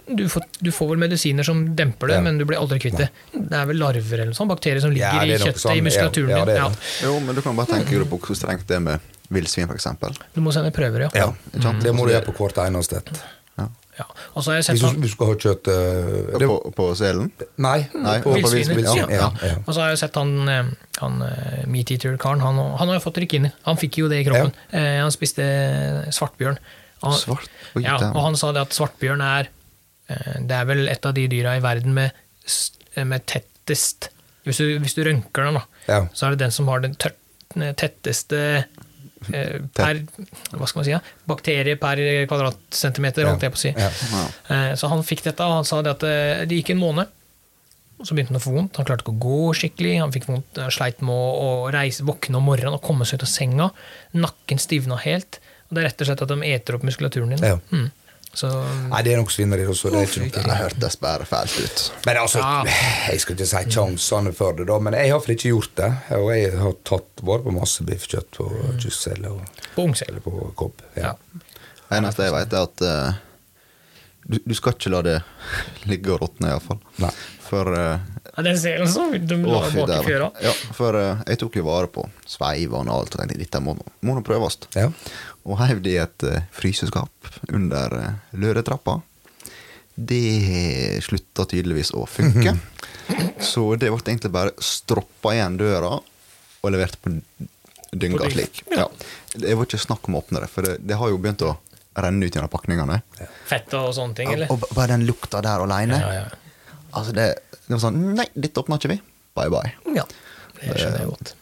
Du får, du får vel medisiner som demper det, Ja. men du blir aldri kvitt det. Det er vel larver eller noe sånt, bakterier som ligger Ja, i det er noe kjøttet, sånn, i ja, muskulaturen ja, det din. er Ja, det. Jo, men du kan bare tenke deg på hvor strengt det er med villsvin, f.eks. du må sende prøver, ja. Ja. ikke sant? Det må du gjøre på hvert eneste et. Ja. ja. Og så har jeg Hvis Mm. sett du, han- hvis du skal ha kjøtt eh, det, På, på selen? Nei. Nei, på, på Villsvinet, villsvin. ja. Ja, ja. ja. Og så har jeg sett han, eh, han eh, meat eater-karen. Han, han har jo fått trikiner. Han fikk jo det i kroppen. Eh, Han spiste eh, svartbjørn. Og Han, Svart? Oi, ja, dæven. og han sa det at svartbjørn er eh, Det er vel et av de dyra i verden med, s- eh, med tettest hvis du, hvis du rønker den, da, Ja. så er det den som har den tørt, den tetteste <laughs> eh, per Hva skal man si? Ja? Bakterie per kvadratcentimeter, holdt jeg på å si. Ja. Eh, Så han fikk dette, og han sa det at eh, det gikk en måned. Og så begynte han å få vondt. Han klarte ikke å gå skikkelig. Han fikk vondt, eh, sleit med å, å reise, våkne om morgenen og komme seg ut av senga. Nakken stivna helt. Og det er rett og slett at de eter opp muskulaturen din. Ja. Mm. Så Nei, det er nok svineri også. Det er ikke noe. Det hørtes bare fælt ut. Men altså, Ja. jeg skal ikke si sjansene for det, da, men jeg har iallfall ikke gjort det. Og jeg har tatt vare på masse biffkjøtt på kystsel og på ungsel. eller på kobb. Ja. Ja. Det eneste jeg vet, er at eh, du, du skal ikke la det <laughs> ligge og råtne, iallfall. Nei. For eh, Ja, den selen som de å, la fy bak i dæven. fjøra. Ja, for eh, jeg tok jo vare på sveivene og alt, og tenkte dette må, må nå prøves. Ja. Og heiv det i et eh, fryseskap under uh, Løretrappa. Det slutta tydeligvis å funke. Mhm. Så det ble egentlig bare stroppa igjen døra og levert på dynga På dynga, slik. ja. Ja. Det var ikke snakk om å åpne det, for det, det har jo begynt å renne ut gjennom pakningene. Fett og sånne ting, Ja, eller? Og b- bare den lukta der aleine. Ja, ja. Altså det, det var sånn Nei, dette åpna ikke vi. Bye bye. ja. Det skjønner Eh, jeg godt.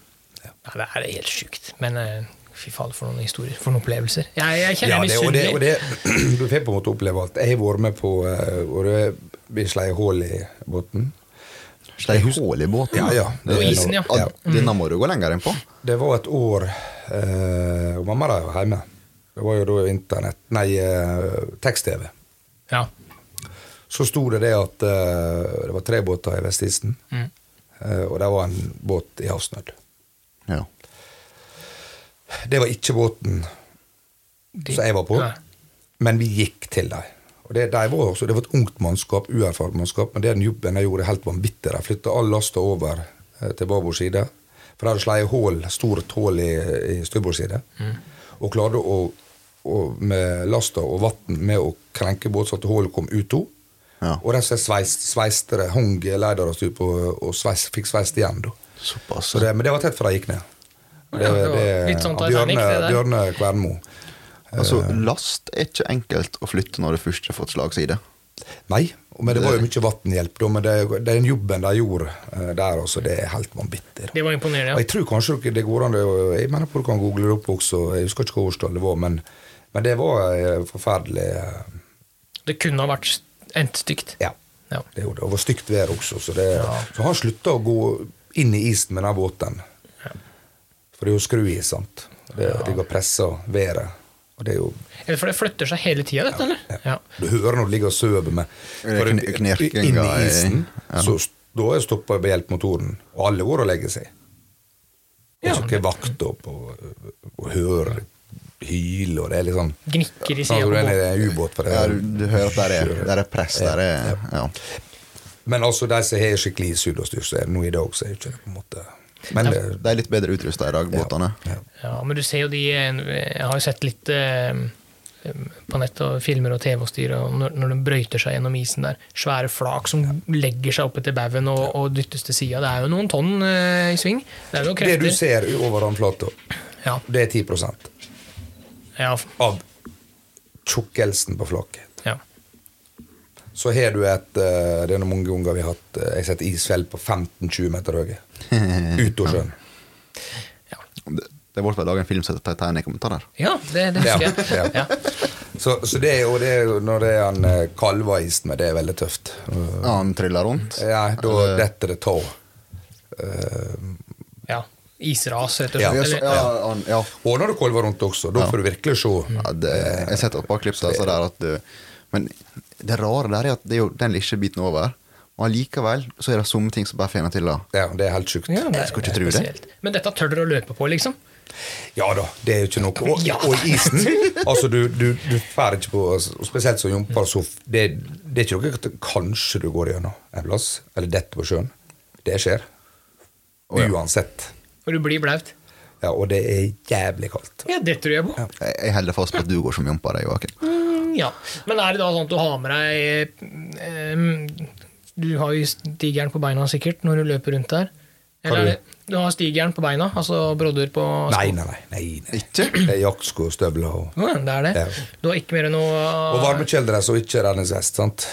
Ja, det er helt sjukt. Men eh, fy faen, for noen historier. For noen opplevelser. Jeg, jeg Ja, kjenner det, og det, og misunnelig. det, <clears throat> du får på en måte oppleve alt. Jeg har vært med på eh, og det Vi slei hull i båten. Slei hull i båten. Ja, ja. Det, Og isen, ja. Mm. Ja, Denne må du gå lenger inn på. Det var et år eh, og Mamma da var hjemme. Det var jo da internett Nei, eh, tekst-TV. Ja. Så sto det det at eh, det var tre båter i Vestisen, mm. eh, og det var en båt i havsnød. Ja. Det var ikke båten De- som jeg var på, Nei. men vi gikk til dem. Og det, de var også, det var et ungt mannskap, uerfart mannskap, men den jobben jeg gjorde, er helt vanvittig. De flytta all lasta over eh, til babord side. For de hadde slått hull, stort hull i, i styrbord side. Mm. Og klarte å, å, med lasta og vann med å krenke båten så at hullet kom ut to. Ja. Og rett og slett sveist- sveiste det, hang leidere og, og sveist, fikk sveist igjen. da. Såpass. Så det, men det var tett fra jeg gikk ned. Ja, det var litt sånn Titanic, Bjørne, det der. Bjørne Kvernmo. Altså, last er ikke enkelt å flytte når du først har fått slagside. Nei, men det var jo mye vatnhjelp, da. Men det, det er den jobben de gjorde eh, der også, det er helt vanvittig. da. Det var imponerende, Og ja. jeg tror kanskje dere- det går an å- Jeg mener på du kan google det opp også, jeg husker ikke hva årstall det var, men, men det var eh, forferdelig. eh, Det kunne ha vært endt stygt. Ja. Ja. Det gjorde det. Og det var stygt vær også, så, det, Ja. så han slutta å gå inn i isen med den båten. For det er jo skru i, sant. Det ligger og presser været. Og det er jo Eller for det flytter seg hele tida, dette, eller? Ja. Du hører når du ligger og sover med Det er for kn- knerkinga Inni i- isen. ja. Så st- da er stoppa ved hjelp motoren, og alle går og legger seg. Og Ja, så det- ikke vakt opp og, og hører hyl, og det er litt sånn Gnikker i sida Sånn som på du er båten. nede i en ubåt. for det Ja, er- du, du hører at der er, der er press. Der er, ja. Men altså, de som har skikkelig ishud og styr, så er det nå i dag, så er det ikke det på en måte Men det, De er litt bedre utrusta i dag, båtene. ja. Ja, men du ser jo de Jeg har jo sett litt eh, på nett og filmer og TV-styr og når, når de brøyter seg gjennom isen der. Svære flak som legger seg opp etter baugen og, og dyttes til sida. Det er jo noen tonn eh, i sving. Det er jo det du krefter. ser over vannflata, Ja, det er 10 ja, av tjukkelsen på flaket. ja. Så har du et eh, Det er noen mange ganger vi har hatt eh, Jeg har sett isfjell på 15-20 meter høye. Ut av sjøen. Det, det ble vel laget en film som heter Titanic om dette der. ja det, det Ja, husker jeg. ja. Ja. Så, så det, er jo- det er jo når det er en eh, kalva is med, det er veldig tøft. Ja, Han triller rundt. Eh, Ja, da detter det tå. Ja. Isras, rett og Ja. slett. Ja, så, eller- ja, han- ja. Og når du kolver rundt også, da får du virkelig se. Ja, det, jeg har sett et par klipp der, så der at du, Men det rare der er at det er jo den lille biten over, og allikevel så er det somme ting som bare finner til det. Ja, det er helt sjukt. Ja, det, Jeg skulle ikke det er tro det. spesielt. Men dette tør dere å løpe på, liksom? Ja da, det er jo ikke noe. Og, Ja. og isen altså du, du, du fær ikke på og Spesielt som jomper, så f- det, det er ikke noe at kanskje du går gjennom en plass, eller detter på sjøen. Det skjer. Uansett. For du blir blaut. Ja, og det er jævlig kaldt. Ja, det tror jeg på. Jeg jeg holder fast på at du går som jompa, deg, Joakim. Mm, Ja. Men er det da sånn at du har med deg eh, mm, Du har jo stigeren på beina sikkert når du løper rundt der. Eller Hva er du? det, du har stigeren på beina, altså brodder på Nei, nei, nei. nei, nei. Ikke? Det er jaktsko, støvler og, Ja, det er det. Ja. Du har ikke mer enn noe og varmekjeledress og ikke redningsvest. sant?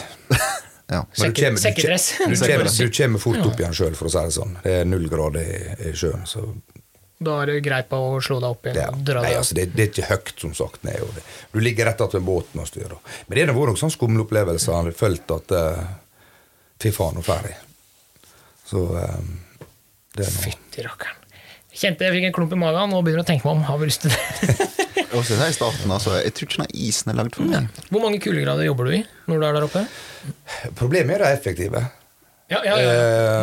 Ja. Men du Sekke- kommer- du sekkedress. kommer- Du kommer, du kommer fort opp igjen sjøl, for å si det sånn. Det er null grader i, i sjøen. så Da er det greit på å slå deg opp igjen det er, og dra nei, deg altså, det, det er ikke høyt, som sagt. Ned, og det. Du ligger rett attmed båten og styrer. Men det har vært noen sånne skumle opplevelser. Han har følt at eh, Fy faen, nå ferdig. Så eh, det er noe. Fytti rakkeren. Kjente jeg fikk en klump i magen, nå begynner jeg å tenke meg om. Har vi lyst til det? <laughs> Og så i starten, altså. Jeg tror ikke den isen er lagd for meg. Hvor mange kuldegrader jobber du i når du er der oppe? Problemet er de effektive. Ja, ja, ja.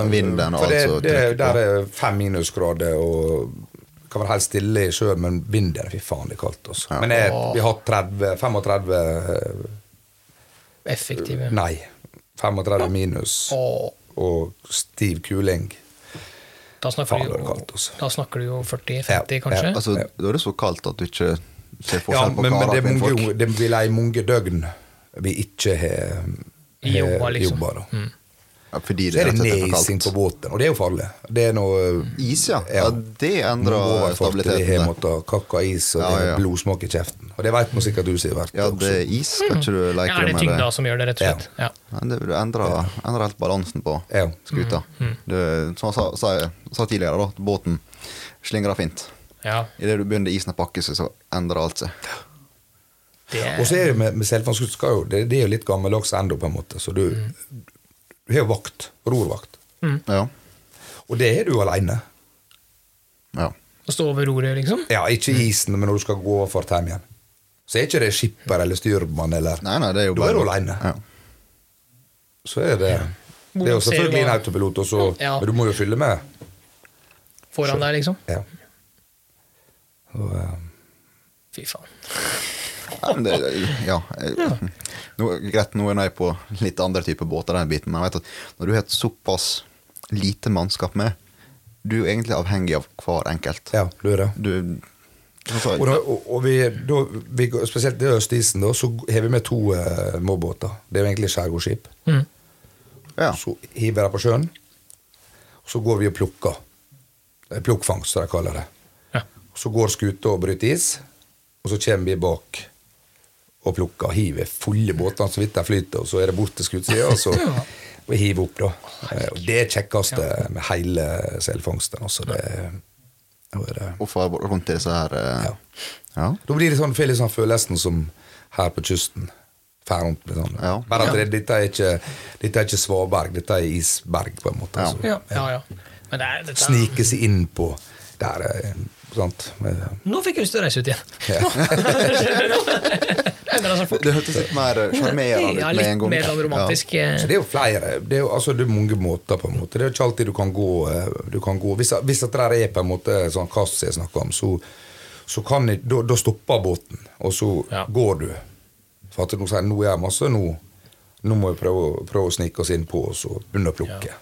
Eh, Vinden og for det, alt som det, trykker på. Der er fem minusgrader og kan være helt stille i sjøen, men vinden Fy faen, det er kaldt. Altså. Men jeg, vi har 30, 35 eh, Effektive. Nei, 35 minus Åh, og stiv kuling. da snakker, Faen, du det var jo, kaldt, altså. da snakker du jo 40-50, Ja, kanskje? ja, Altså, da er det så kaldt at du ikke ser Ja, forskjell på men, men det, karer er og mange, kvinnfolk. det vil ei mange døgn vi ikke har har Jobba, liksom. eh, jobba, da. Ja, fordi Så det er er det Mm. rett og slett for nedsing på kaldt. båten, og det er jo farlig. Det er noe Is, ja. ja det endrer Vi har stabiliteten. der. måttet kakke is, og Ja, det ja. er blodsmak i kjeften. Og det vet nå sikkert du, Sivert. Ja, også. det er is. Skal ikke du Ja, leke er altså. det med tyngda det? som gjør det, rett og slett? Ja. Ja, det vil endre, endre helt balansen på Ja. skuta. Mm, Det, som jeg sa, sa, sa tidligere, da, at båten slingrer fint. ja. Idet du begynner isen å pakke seg, så endrer alt seg. Det Og så er det med, med selvfangskutt, skal jo- det, det er jo litt gammeldags ennå, på en måte. Så du, Mm. du har jo vakt. Rorvakt. Ja. Og det har du aleine. ja. å stå over roret, liksom? Ja, ikke i isen, men når du skal gå fart hjem igjen. Så er ikke det skipper eller styrmann eller Nei, nei, det er jo Du bare er jo alene. Ja. så er det Det er jo Hvordan ser selvfølgelig du en hva- autopilot, og så, Ja. men du må jo fylle med. Foran deg, liksom? Ja. Og, eh, Fy faen. Ja, men det, ja. jeg- <laughs> Nå, greit, nå er jeg på litt andre typer båter, den biten, men jeg vet at når du har et såpass lite mannskap med, du er egentlig avhengig av hver enkelt. ja, du er det. Du altså, Og, da, og, og vi, da, vi, går- spesielt i østisen, da, så har vi med to eh, måbåter. Det er jo egentlig skjærgårdsskip. Mm. ja. Så hiver de på sjøen, og så går vi og plukker. Det er Plukkfangst, som de kaller det. Ja. Så går skuta og bryter is, og så kommer vi bak og plukker. Hiver fulle båtene så vidt de flyter, og så er det bort til skutesida, og så og hiver opp, da. Eh, Og det er kjekkeste med hele selfangsten. Altså, det, da er det. Og far rundt til disse her eh, Ja. ja. Da blir det sånn, får litt sånn følelsen som her på kysten. Fær rundt med sånn. Ja. Bare at det, dette, er ikke, dette er ikke svaberg, dette er isberg, på en måte. Ja. altså. Ja, ja. ja. Men det er, dette er- Snike seg inn på der, eh, sant? Eh, Nå fikk jeg lyst til å reise ut igjen! Ja. Endra seg fort. Det hørtes litt mer eh, sjarmerende Ja, ut med en litt gang. mer sånn romantisk. eh, Så det er jo flere det er jo, altså, det er mange måter, på en måte. Det er jo ikke alltid du kan gå, eh, du kan gå. Hvis, hvis at det der er på en måte sånn kass jeg snakker om, så, så kan jeg, da, da stopper båten, og så Ja. går du. For at nå sier jeg, nå er jeg masse, nå, nå må vi prøve, å- prøve å snike oss inn på og så begynne å plukke.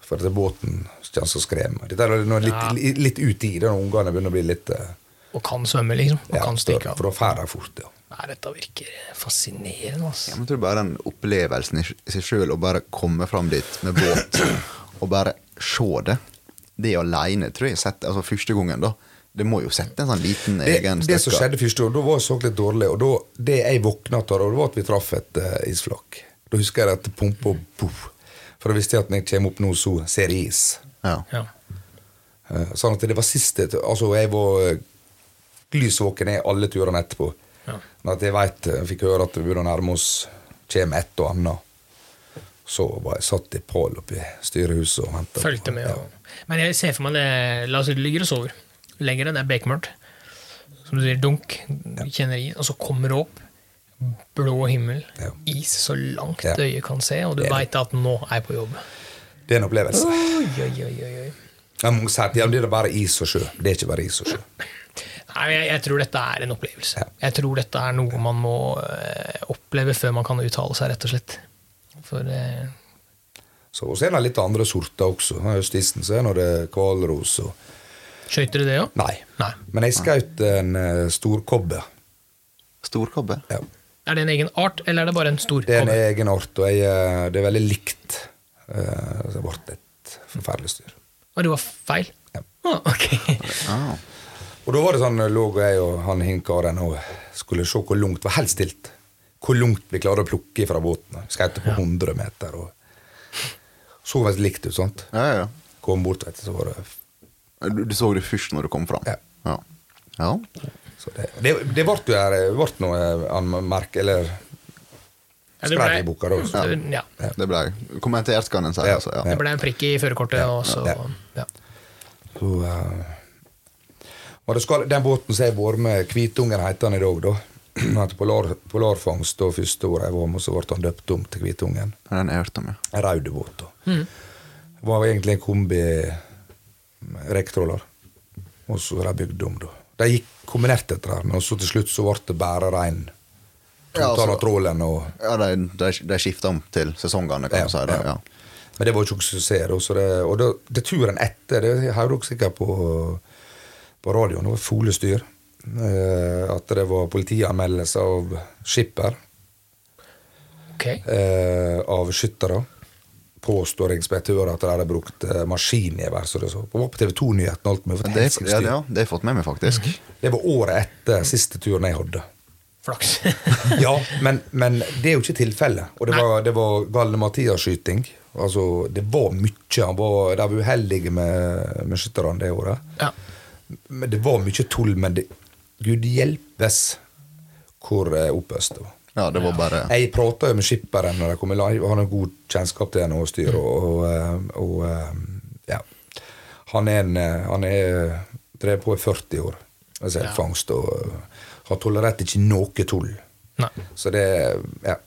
For at båten kommer til å skremme. Dette er nå litt, Ja. li- litt ut i det når ungene begynner å bli litt eh, Og kan svømme, liksom. Og ja, kan stikke av. For da fær de fort, ja. Nei, dette virker fascinerende, Ja, altså. men jeg tror bare den opplevelsen i s- seg sjøl, å bare komme fram dit med båt og bare se det Det aleine, tror jeg, sett, altså første gangen, da. Det må jo sette en sånn liten det, egen det som støkk. skjedde første år, da var jeg så litt dårlig. Og da, det jeg våkna av, da, det var at vi traff et eh, isflak. Da husker jeg at det pumpa boff. For da visste jeg at når jeg kommer opp nå, så ser jeg is. Ja. Ja. Eh, sånn at det var siste Altså, jeg var eh, lysvåken i alle turene etterpå. Ja. Men at jeg vet, eh, jeg fikk høre at vi begynner å nærme oss, kommer et og annet. Så var jeg satt i pål oppe i styrehuset og venta. Fulgte med. Ja. Og... Men jeg ser for meg det La oss si du ligger og sover. Legger deg, det er bekmørkt. Som du sier, dunk. Kjenner i. Og så kommer du opp. Blå himmel. Ja. Is så langt Ja. øyet kan se, og du Det er veit at nå er jeg på jobb. Det er en opplevelse. Oi, oi, oi, oi, oi. Ja, men Mange sier at ja, men det er da bare is og sjø. Det er ikke bare is og sjø. Nei, jeg, jeg tror dette er en opplevelse. Ja. Jeg tror dette er noe man må eh, oppleve før man kan uttale seg, rett og slett. For eh, Så og så er det litt andre sorter også. Her i Høstisen så er nå det hvalros og skøyter du det òg? Nei. Nei. Men jeg skjøt en eh, storkobbe. Storkobbe? Ja. Er det en egen art, eller er det bare en stor Det er en e- kobbe? egen art, og jeg, eh, det er veldig likt. Eh, så Det ble et forferdelig styr. Og det var feil? Ja. Ah, ok. Ah. Og da var det sånn, lå jeg og han hinkaren og skulle se hvor langt, var helt stilt, hvor langt vi klarte å plukke fra båten. Skjøt på 100 meter. og Så veldig likt ut, sant? Ja, ja, ja. Kom bort, vet du, så var det Du, du så det først når du kom fram? Ja. Ja. ja. så det, det, det ble jo her, det ble noe eh, anmerk, eller Ja, det ble- spredd i boka da. også. Det- Ja. Det ble kommentert, kan en si. Ja. Altså, ja. Det ble en prikk i førerkortet. og så, ja. ja. Så, eh, og det skal, den båten som jeg har vært med, Kvitungen heter han i dag, da. Han hadde polar, polarfangst da første året jeg var med, så ble han døpt om til Kvitungen. Det er Den jeg har hørt om, ja. En rød båt. da. Det var egentlig en kombi rektroller. Og så var de bygd om, da. De gikk kombinert etter her, men så til slutt så ble det bare rein. Ja, altså- Total av trålen og ja de, de, de skifter om til sesongene, kan Ja, du si. Det. ja. Ja. Men det var jo ikke noen suksess. da, så det, og det, det turen etter, det hører dere sikkert på, på radioen, det var folestyr. Eh, at det var politianmeldelse av skipper, Ok. eh, av skyttere. Påstår inspektører at de hadde brukt eh, maskingevær, som det så. Det var på TV 2-nyhetene alt mulig. for Det, helt er- sikkert ja, styr. det- ja, det har jeg fått med meg, faktisk. Det var året etter siste turen jeg hadde. Flaks. <laughs> Ja, men, men det er jo ikke tilfellet. Og det var, det var Galle-Mathias-skyting. Altså, det var mye. Han var, de var uheldige med, med skytterne det året. ja. Men det var mye tull, men det, gud hjelpes hvor eh, oppøst det var. Ja, det var bare Jeg prata jo med skipperen når jeg kom i live, og han har god kjennskap til henne og styr. Og, og, eh, og eh, ja. Han er en eh, Han er drevet på i 40 år med selfangst og eh, har tolerert ikke noe tull. Nei. Så det Ja.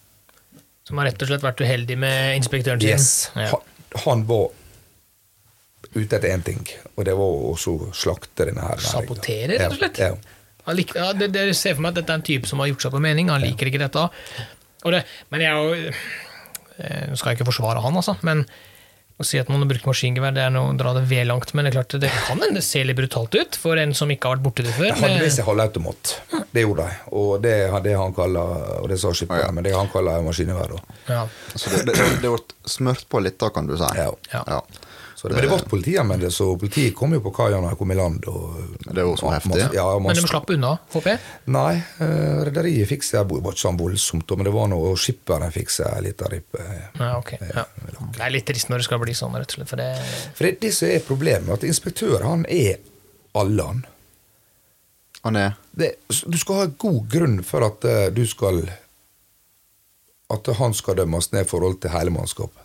Som har rett og slett vært uheldig med inspektøren sin. Yes. Ja. Han, han var ute etter én ting, og det var å så slakte denne her. næringen. Sabotere, rett og slett. Ja, ja. Han lik, ja, det, Dere ser for meg at dette er en type som har gjort seg på mening. Han liker ikke dette. Og det, men jeg er jo eh, Nå skal jeg ikke forsvare han, altså, men å si at man har brukt maskingevær, det er noe å dra det vel langt. Men det er klart, det kan hende det ser litt brutalt ut for en som ikke har vært borti det før. Jeg hadde med men- seg halvautomat. Det gjorde de. Og det er det han kaller Og det sa skipperen, Ja. men det han kaller maskinevær. da. ja. altså, det, det, det ble smørt på litt, da, kan du si. Ja. Ja. Så det, men det Eh. ble politianmeldelse, så politiet kom jo på kaia da jeg kom i land. Og, Det var jo så og- heftig. Ja, man- Men de slapp unna, håper jeg. Nei, eh, rederiet fikk seg Det var ikke sånn voldsomt, da, men det var noe, og skipperen fikk seg en liten rippe. Ja, ok. Ja. Det er litt trist når det skal bli sånn, rett og slett. For det, For det, det som er problemet, at inspektør han er alle han. Han er Det, så du skal ha god grunn for at eh, du skal At han skal dømmes ned i forhold til hele mannskapet.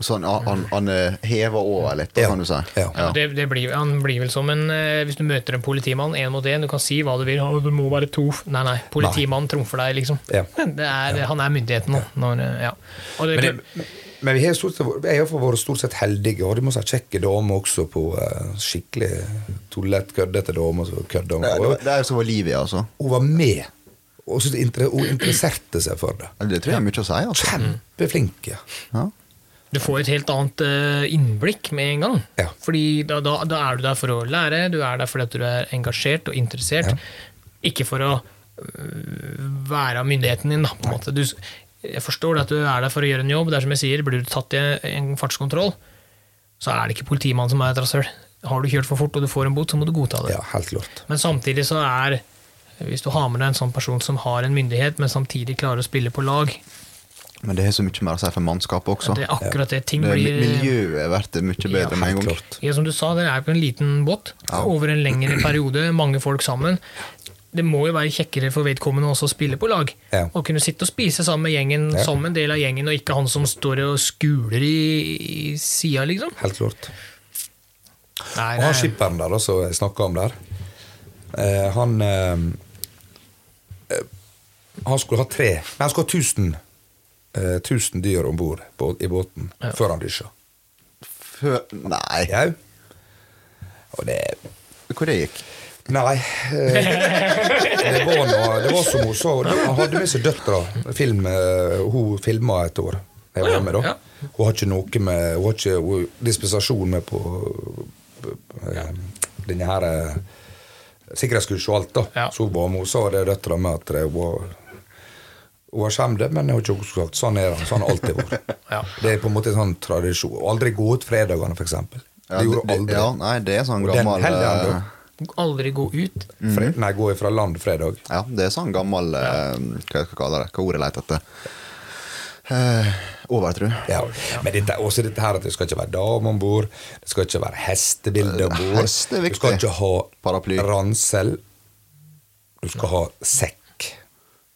sånn, han, han, han er heva over litt, da, Ja. kan du si. Ja. Ja. det, det blir, han blir vel som en eh, Hvis du møter en politimann én mot én, du kan si hva du vil. «Å, Du må være to. Nei, nei. Politimannen trumfer deg, liksom. Ja. <laughs> Det er, han er myndigheten nå. Når, eh, ja. Og det, Men, det, men vi har stort sett, vært- jeg har fått vært stort sett heldige, og det må si kjekke damer også på eh, skikkelig tullete, køddete damer. som kødder om- Det, det, og det er jo som var livet, altså. Hun var med, og så inter, hun interesserte seg for det. Det tror jeg er mye å si, altså. Kjempeflinke. Ja. du får et helt annet eh, innblikk med en gang. Ja. Fordi da, da, da er du der for å lære, du er der fordi at du er engasjert og interessert. Ikke for å øh, være av myndigheten din, da, på en måte. Du, s- jeg forstår det at du er der for å gjøre en jobb. Det er som jeg sier, blir du tatt i en fartskontroll, så er det ikke politimannen som er et rasshøl. Har du kjørt for fort og du får en bot, så må du godta det. Ja, helt klart. Men samtidig så er Hvis du har med deg en sånn person som har en myndighet, men samtidig klarer å spille på lag, Men det har så mye mer å si for mannskapet også. Sånn, det er akkurat det. Ting Det, blir miljøet blir det mye bedre med en Helt gang. klart. Ja, som du sa, dere er på en liten båt over en lengre periode, mange folk sammen. Det må jo være kjekkere for vedkommende også å spille på lag. Ja. Å kunne sitte og spise sammen med gjengen, Ja. som en del av gjengen, og ikke han som står og skuler i, i sida, liksom. Helt klart. Nei, Og han det- skipperen der da, som jeg snakka om der, eh, han eh, eh, Han skulle ha tre Nei, han skulle ha 1000 eh, 1000 dyr om bord i båten Ja. før han dusja. Før Nei, Jau. Og det hvor det gikk? Nei. eh, Det var, noe, det var som hun sa. Han hadde med seg døtra. Film, eh, hun filma et år. Jeg var med, Ja. da. Hun har ikke noe med Hun har ikke hun, dispensasjon med på eh, denne her eh, sikkerhetskurs og alt, da. Ja. Så hun var med, hun sa det døtra med at det var hun har skjemt det, men jeg har ikke også sagt sånn er han. Sånn har han alltid vært. Ja. Det er på en måte en sånn tradisjon. Aldri gå ut fredagene, f.eks. Ja, det gjorde hun aldri. Ja, nei, det er sånn Og den gammel heller han, eh, da. Aldri gå ut. Mm. Fre- Nei, gå ifra land fredag. Ja, det er sånn gammel eh, Hva jeg skal kalle det? Hva ordet jeg leter etter? Eh, overtro. Ja. Men dette, også dette her at det skal ikke være dame om bord, det skal ikke være hestebilde om bord. Hest er Du viktig. skal ikke ha Paraply. ransel. Du skal ha sekk.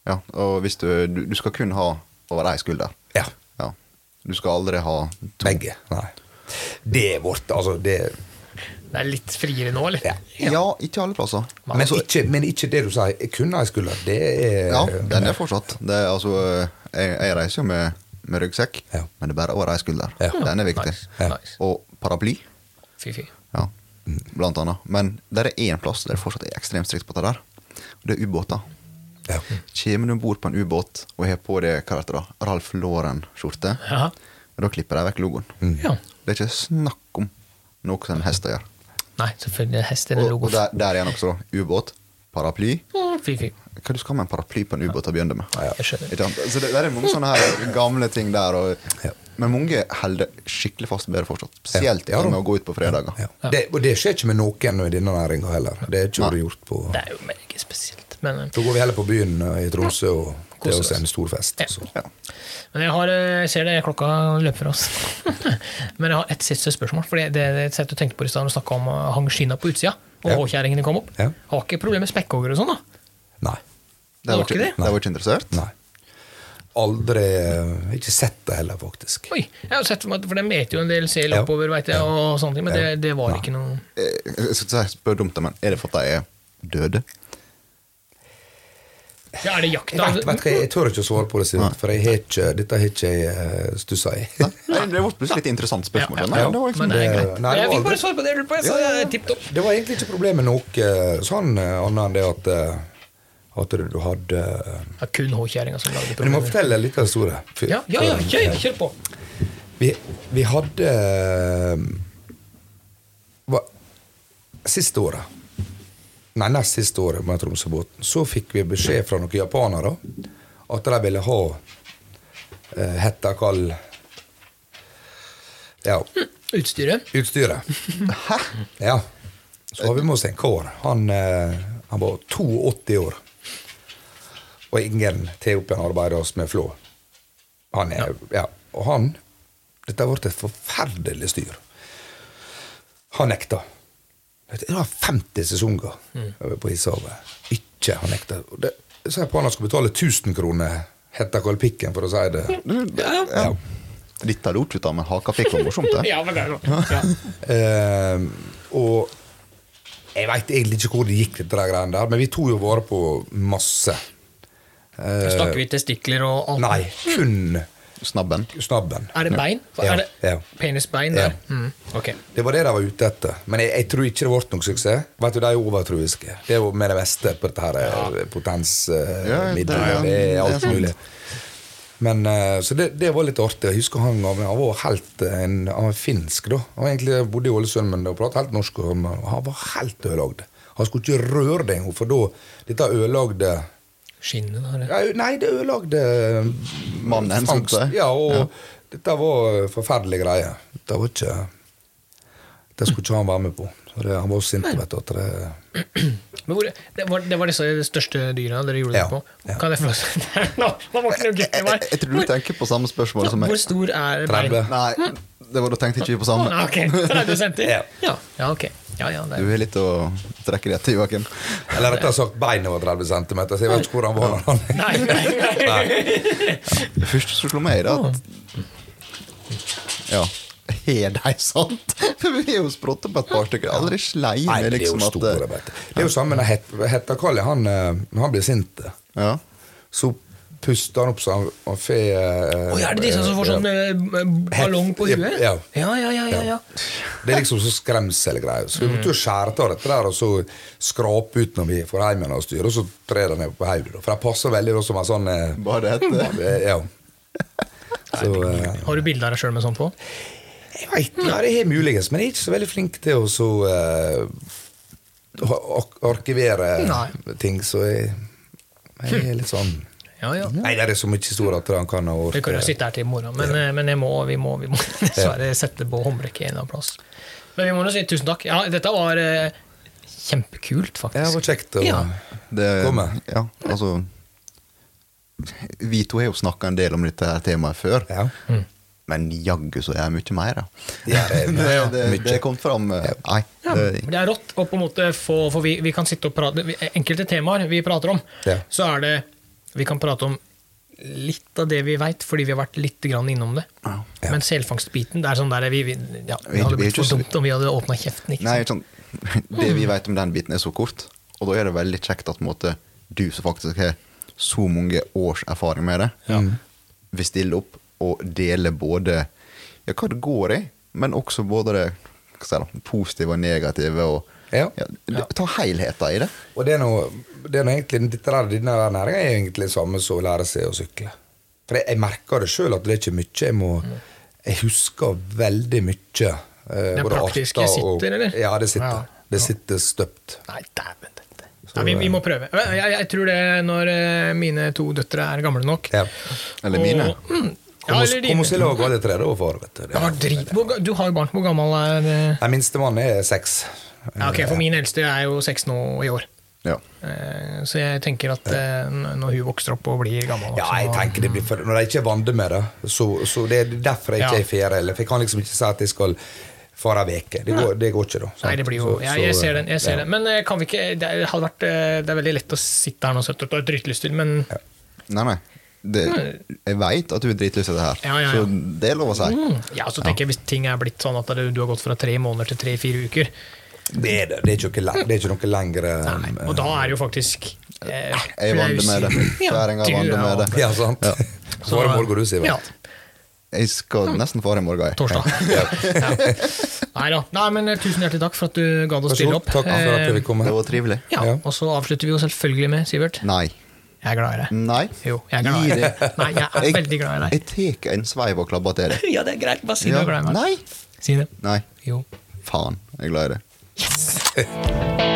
Ja, og hvis du, du, du skal kun ha over ei skulder. Ja. Ja. Du skal aldri ha to. Begge. Nei. Det er vårt, altså. Det, Det er litt friere nå, eller? ja. Ja, ikke alle plasser. men, ikke, men ikke det du sier. Jeg kunne jeg skulle. Det er Ja, den er fortsatt. Det er, altså, jeg, jeg reiser jo med, med ryggsekk, Ja. men det er bare over ei skulder. Ja. Den er viktig. Nice. Ja. nice. Og paraply, Fy, fy. ja, Mm. blant annet. Men der er én plass der det fortsatt er ekstremt strikt på det der. Og det er ubåter. Ja. Kommer du om bord på en ubåt og har på deg hva heter det, da, Ralf Lauren-skjorte, Ja. da klipper de vekk logoen. Mm. ja. Det er ikke snakk om noe som en hest gjør. Nei, selvfølgelig. Hest er Og, en og logo. der, der igjen også, da. Ubåt, paraply. Mm, Fy, fy. Hva du skal med en paraply på en ubåt til å begynne med? Jeg skjønner. Ikke sant? Så det, det er mange sånne her gamle ting der. Og, Men mange holder skikkelig fast bedre fortsatt. Spesielt Ja, da. med å gå ut på fredager. Ja. Det, og det skjer ikke med noen i denne næringa heller. Det er ikke gjort på Det er jo meget spesielt. Men, Da går vi heller på byen eh, i Tromsø, og det er Koser også en stor fest. Ja. Så. men jeg, har, eh, jeg ser det, klokka løper oss. <laughs> men jeg har et siste spørsmål. For det, det, det satt og tenkte på i stad, når du snakka om eh, hang skina på utsida, og Ja. håkjerringene kom opp. Ja. Har ikke problem med spekkhoggere og sånn, da? Nei. Det var Var ikke ikke, det? det var ikke interessert. Nei. Aldri eh, Ikke sett det heller, faktisk. Oi, jeg har jo sett for meg, at- for de eter jo en del sel Ja. oppover, vet jeg, og sånne ting, men det, det var ikke noe Eh, Jeg skal ikke si spør dumt, men er det for at de er døde? ja, Er det Jeg, jakta? vet, vet hva, jeg tør ikke å svare på det, Sivert, for jeg har ikke, dette har ikke jeg stussa i. <laughs> Nei, Det ble plutselig et interessant spørsmål. Ja, ja. Nei, det var liksom ikke Men det er det- greit. Nei, det jeg var fikk aldri- bare svar på det jeg lurte på, jeg, så Ja, ja, det ja. er tipp topp. Det var egentlig ikke problemet med noe eh, sånn eh, annet enn det at, eh, at du hadde eh, Det er kun håkjerringa som lagde Men jeg må problemer. fortelle en liten historie. Eh, Fy- Ja, ja, ja, før- kjør, kjør på. Vi, vi hadde eh, hva- Siste året Nei, nest siste året med Tromsøbåten Så fikk vi beskjed fra noen japanere At de ville ha eh, Hetta kall Ja, Utstyret. utstyret Hæ? Ja Så har vi med oss en kår Han, eh, han var 82 år Og ingen til opp igjen arbeidet oss med flå han er, ja. Og han Dette har vært et forferdelig styr. Han nekta. Det var 50 sesonger på Ishavet. Ikke han nekta. Og det- Så sa jeg på han at han skulle betale 1000 kroner hetta kalpikken, for å si det. Ja. Litt av lort ut av, men haka fikk var morsomt, <laughs> det. Ja, men det er godt. <laughs> Ja. Eh, og jeg veit egentlig ikke hvor det gikk, dette der greiene der, men vi tok jo vare på masse. Snakker vi testikler og alt? Eh. Nei, kun Snabben. snabben. Er det bein? Ja, Er det ja. penisbein der? Ja. Mm, ok. Det var det de var ute etter. Men jeg, jeg tror ikke det ble noen suksess. Vet du, De er jo overtroiske. Det er jo med det meste på dette her eh, ja. Ja, det- potensmiddelet. ja, det det er er alt sant. mulig. Men, eh, så det, det var litt artig. Jeg husker han gamle. Han var helt eh, en, han var finsk, da. Han var egentlig eh, bodde i Ålesund, men han pratet helt norsk. Og han var helt ødelagd. Han skulle ikke røre det engang, for da Dette ødelagde Skinnet der. ja. ja, Nei, det ødelagde eh, Mannen som fangst. seg. Ja, og dette var eh, forferdelige greier. Dette var ikke Det skulle ikke han være med på. Så det, han var jo sint, vet du. At det, Men hvor, det, var, det var disse største dyra dere gjorde Ja, det på? ja. Kan jeg få <laughs> Nå nå var ikke noe gutt i Jeg, meg. jeg, jeg tror du tenker på samme spørsmål som Hvor meg. stor er bein? 30. Nei, det var da tenkte jeg ikke på samme. Ah, ok, 30 cm? Ja. Ja. ja, ok. Ja, ja, det Du er. har litt å trekke deg til, Joakim. eller rettere sagt, beinet var 30 cm, så jeg vet ikke hvor han var. når han- Nei, nei, nei. Det første som slo meg, er at Ja. har de sant? <laughs> For vi har jo sprått på et par stykker. Aldri sleim Nei, med det er jo liksom at store eh, bøtter. Det er jo samme når Het- Hetta-Kalle han, eh, han blir sint. ja. Så puster han opp så han, han får eh, Oi, er det disse som får sånn eh, b- ballong på Ja, huet? ja. ja, ja, ja, ja, ja. Det er liksom så skremselgreier. Så vi måtte jo skjære av dette der og så skrape ut når vi får hjem igjen og styre, og så trer den ned på hodet. da. For den passer veldig da som en sånn eh, Bare det <laughs> heter eh, Ja. Så eh, Har du bilde av deg sjøl med sånt på? Jeg vet ikke, ja, det er muligens, men jeg er ikke så veldig flink til å så eh, ha- ak- arkivere Nei. ting, så jeg, jeg er litt sånn Ja, ja. Nei, det er så mye historier at han kan ha Vi kan jo orket. sitte her til i morgen, men, eh, men jeg må, vi må, vi må <laughs> dessverre sette på håndbrekket en eller annen plass. Men vi må jo si tusen takk. Ja, dette var eh, kjempekult, Ja, det faktisk. var kjekt å Ja. det. Komme. Ja, altså Vi to har jo snakka en del om dette her temaet før, Ja. men jaggu så er det mye mer. da. Ja, det, <laughs> Det, er- det, det kom fram eh, Nei. Ja, Det, det er rått å på en måte få For vi, vi kan sitte og prate vi- Enkelte temaer vi prater om, Ja. så er det Vi kan prate om litt av det vi veit, fordi vi har vært litt grann innom det. Men selfangstbiten det er sånn der vi, vi, ja, Vi- Det hadde vi er blitt for ikke så- dumt om vi hadde åpna kjeften. Ikke Nei, sant? ikke sant. <laughs> Det vi vet om den biten, er så kort. Og da er det veldig kjekt at på en måte, du som faktisk har så mange års erfaring med det, Mm. vil stille opp og dele både ja, hva det går i, men også både det hva skal jeg si da, positive og negative. Og, Ja. d- ta helheten i det. Og det er noe, det er noe egentlig, dette der, denne der næringen er egentlig det samme som å lære seg å sykle. For jeg, jeg merker det sjøl at det er ikke mye. Jeg, må, jeg husker veldig mye. eh, Mm. Det både praktiske arter og- sitter, eller? Ja, det sitter. Ja. Det sitter støpt. Nei, dæven dette. Nei, vi, vi må prøve. Men Jeg, jeg tror det når eh, mine to døtre er gamle nok. Ja. Eller mine. Og, mm, ja, Kom oss- eller kom oss i dine. lag alle tre, da, far. Vet du. Det Ja, er- drit, hvor, ga- du har jo barn. Hvor gammel er eh? Nei, Minstemann er seks. ja, Ok, For min eldste er jo seks nå i år. Ja. Eh, Så jeg tenker at eh, n- når hun vokser opp og blir gammel Ja, jeg så- tenker det blir for, Når jeg ikke er vant med det, så, så det er derfor jeg ikke Ja. er i ferie. Eller, for jeg kan liksom ikke si at jeg skal fare ei uke. Det, går- det går ikke, da. sant? Nei, det blir jo sånn. Så- Jeg, jeg så- ser den. jeg ser ja. den Men eh, kan vi ikke Det er- hadde vært eh, Det er veldig lett å sitte her nå og sette ut og dritlyst til, men Nei, nei. Det, jeg veit at du er dritlyst til det her, Ja, Mm. ja, ja. så det er lov å si. ja, så tenker jeg hvis ting er blitt sånn at det- du har gått fra tre måneder til tre-fire uker Det er det. Det er ikke, noe le- det er ikke noe lengre eh, Nei, Og da er det jo faktisk eh, Jeg vant med det. <laughs> Kjæringa du vant med er- det. <laughs> Ja, sant? Så var det mål, går du, Siver. Ja, Jeg skal nesten fare i morgen. jeg. torsdag. <laughs> ja. Nei da. Nei, men eh, tusen hjertelig takk for at du gadd å Vær så stille god. opp. Takk for at Eh, du ville komme. Det var trivelig. ja, Ja. Og så avslutter vi jo selvfølgelig med, Sivert, Nei. jeg er glad i deg. Nei. Jo, jeg er glad i Gi deg. det. Nei, jeg er veldig glad i deg. Jeg tar en sveiv og klabber til deg. Ja, det er greit. Bare si du Ja. er glad i meg. Nei. Si det. Nei. Jo. Faen, jeg er glad i deg. Yes!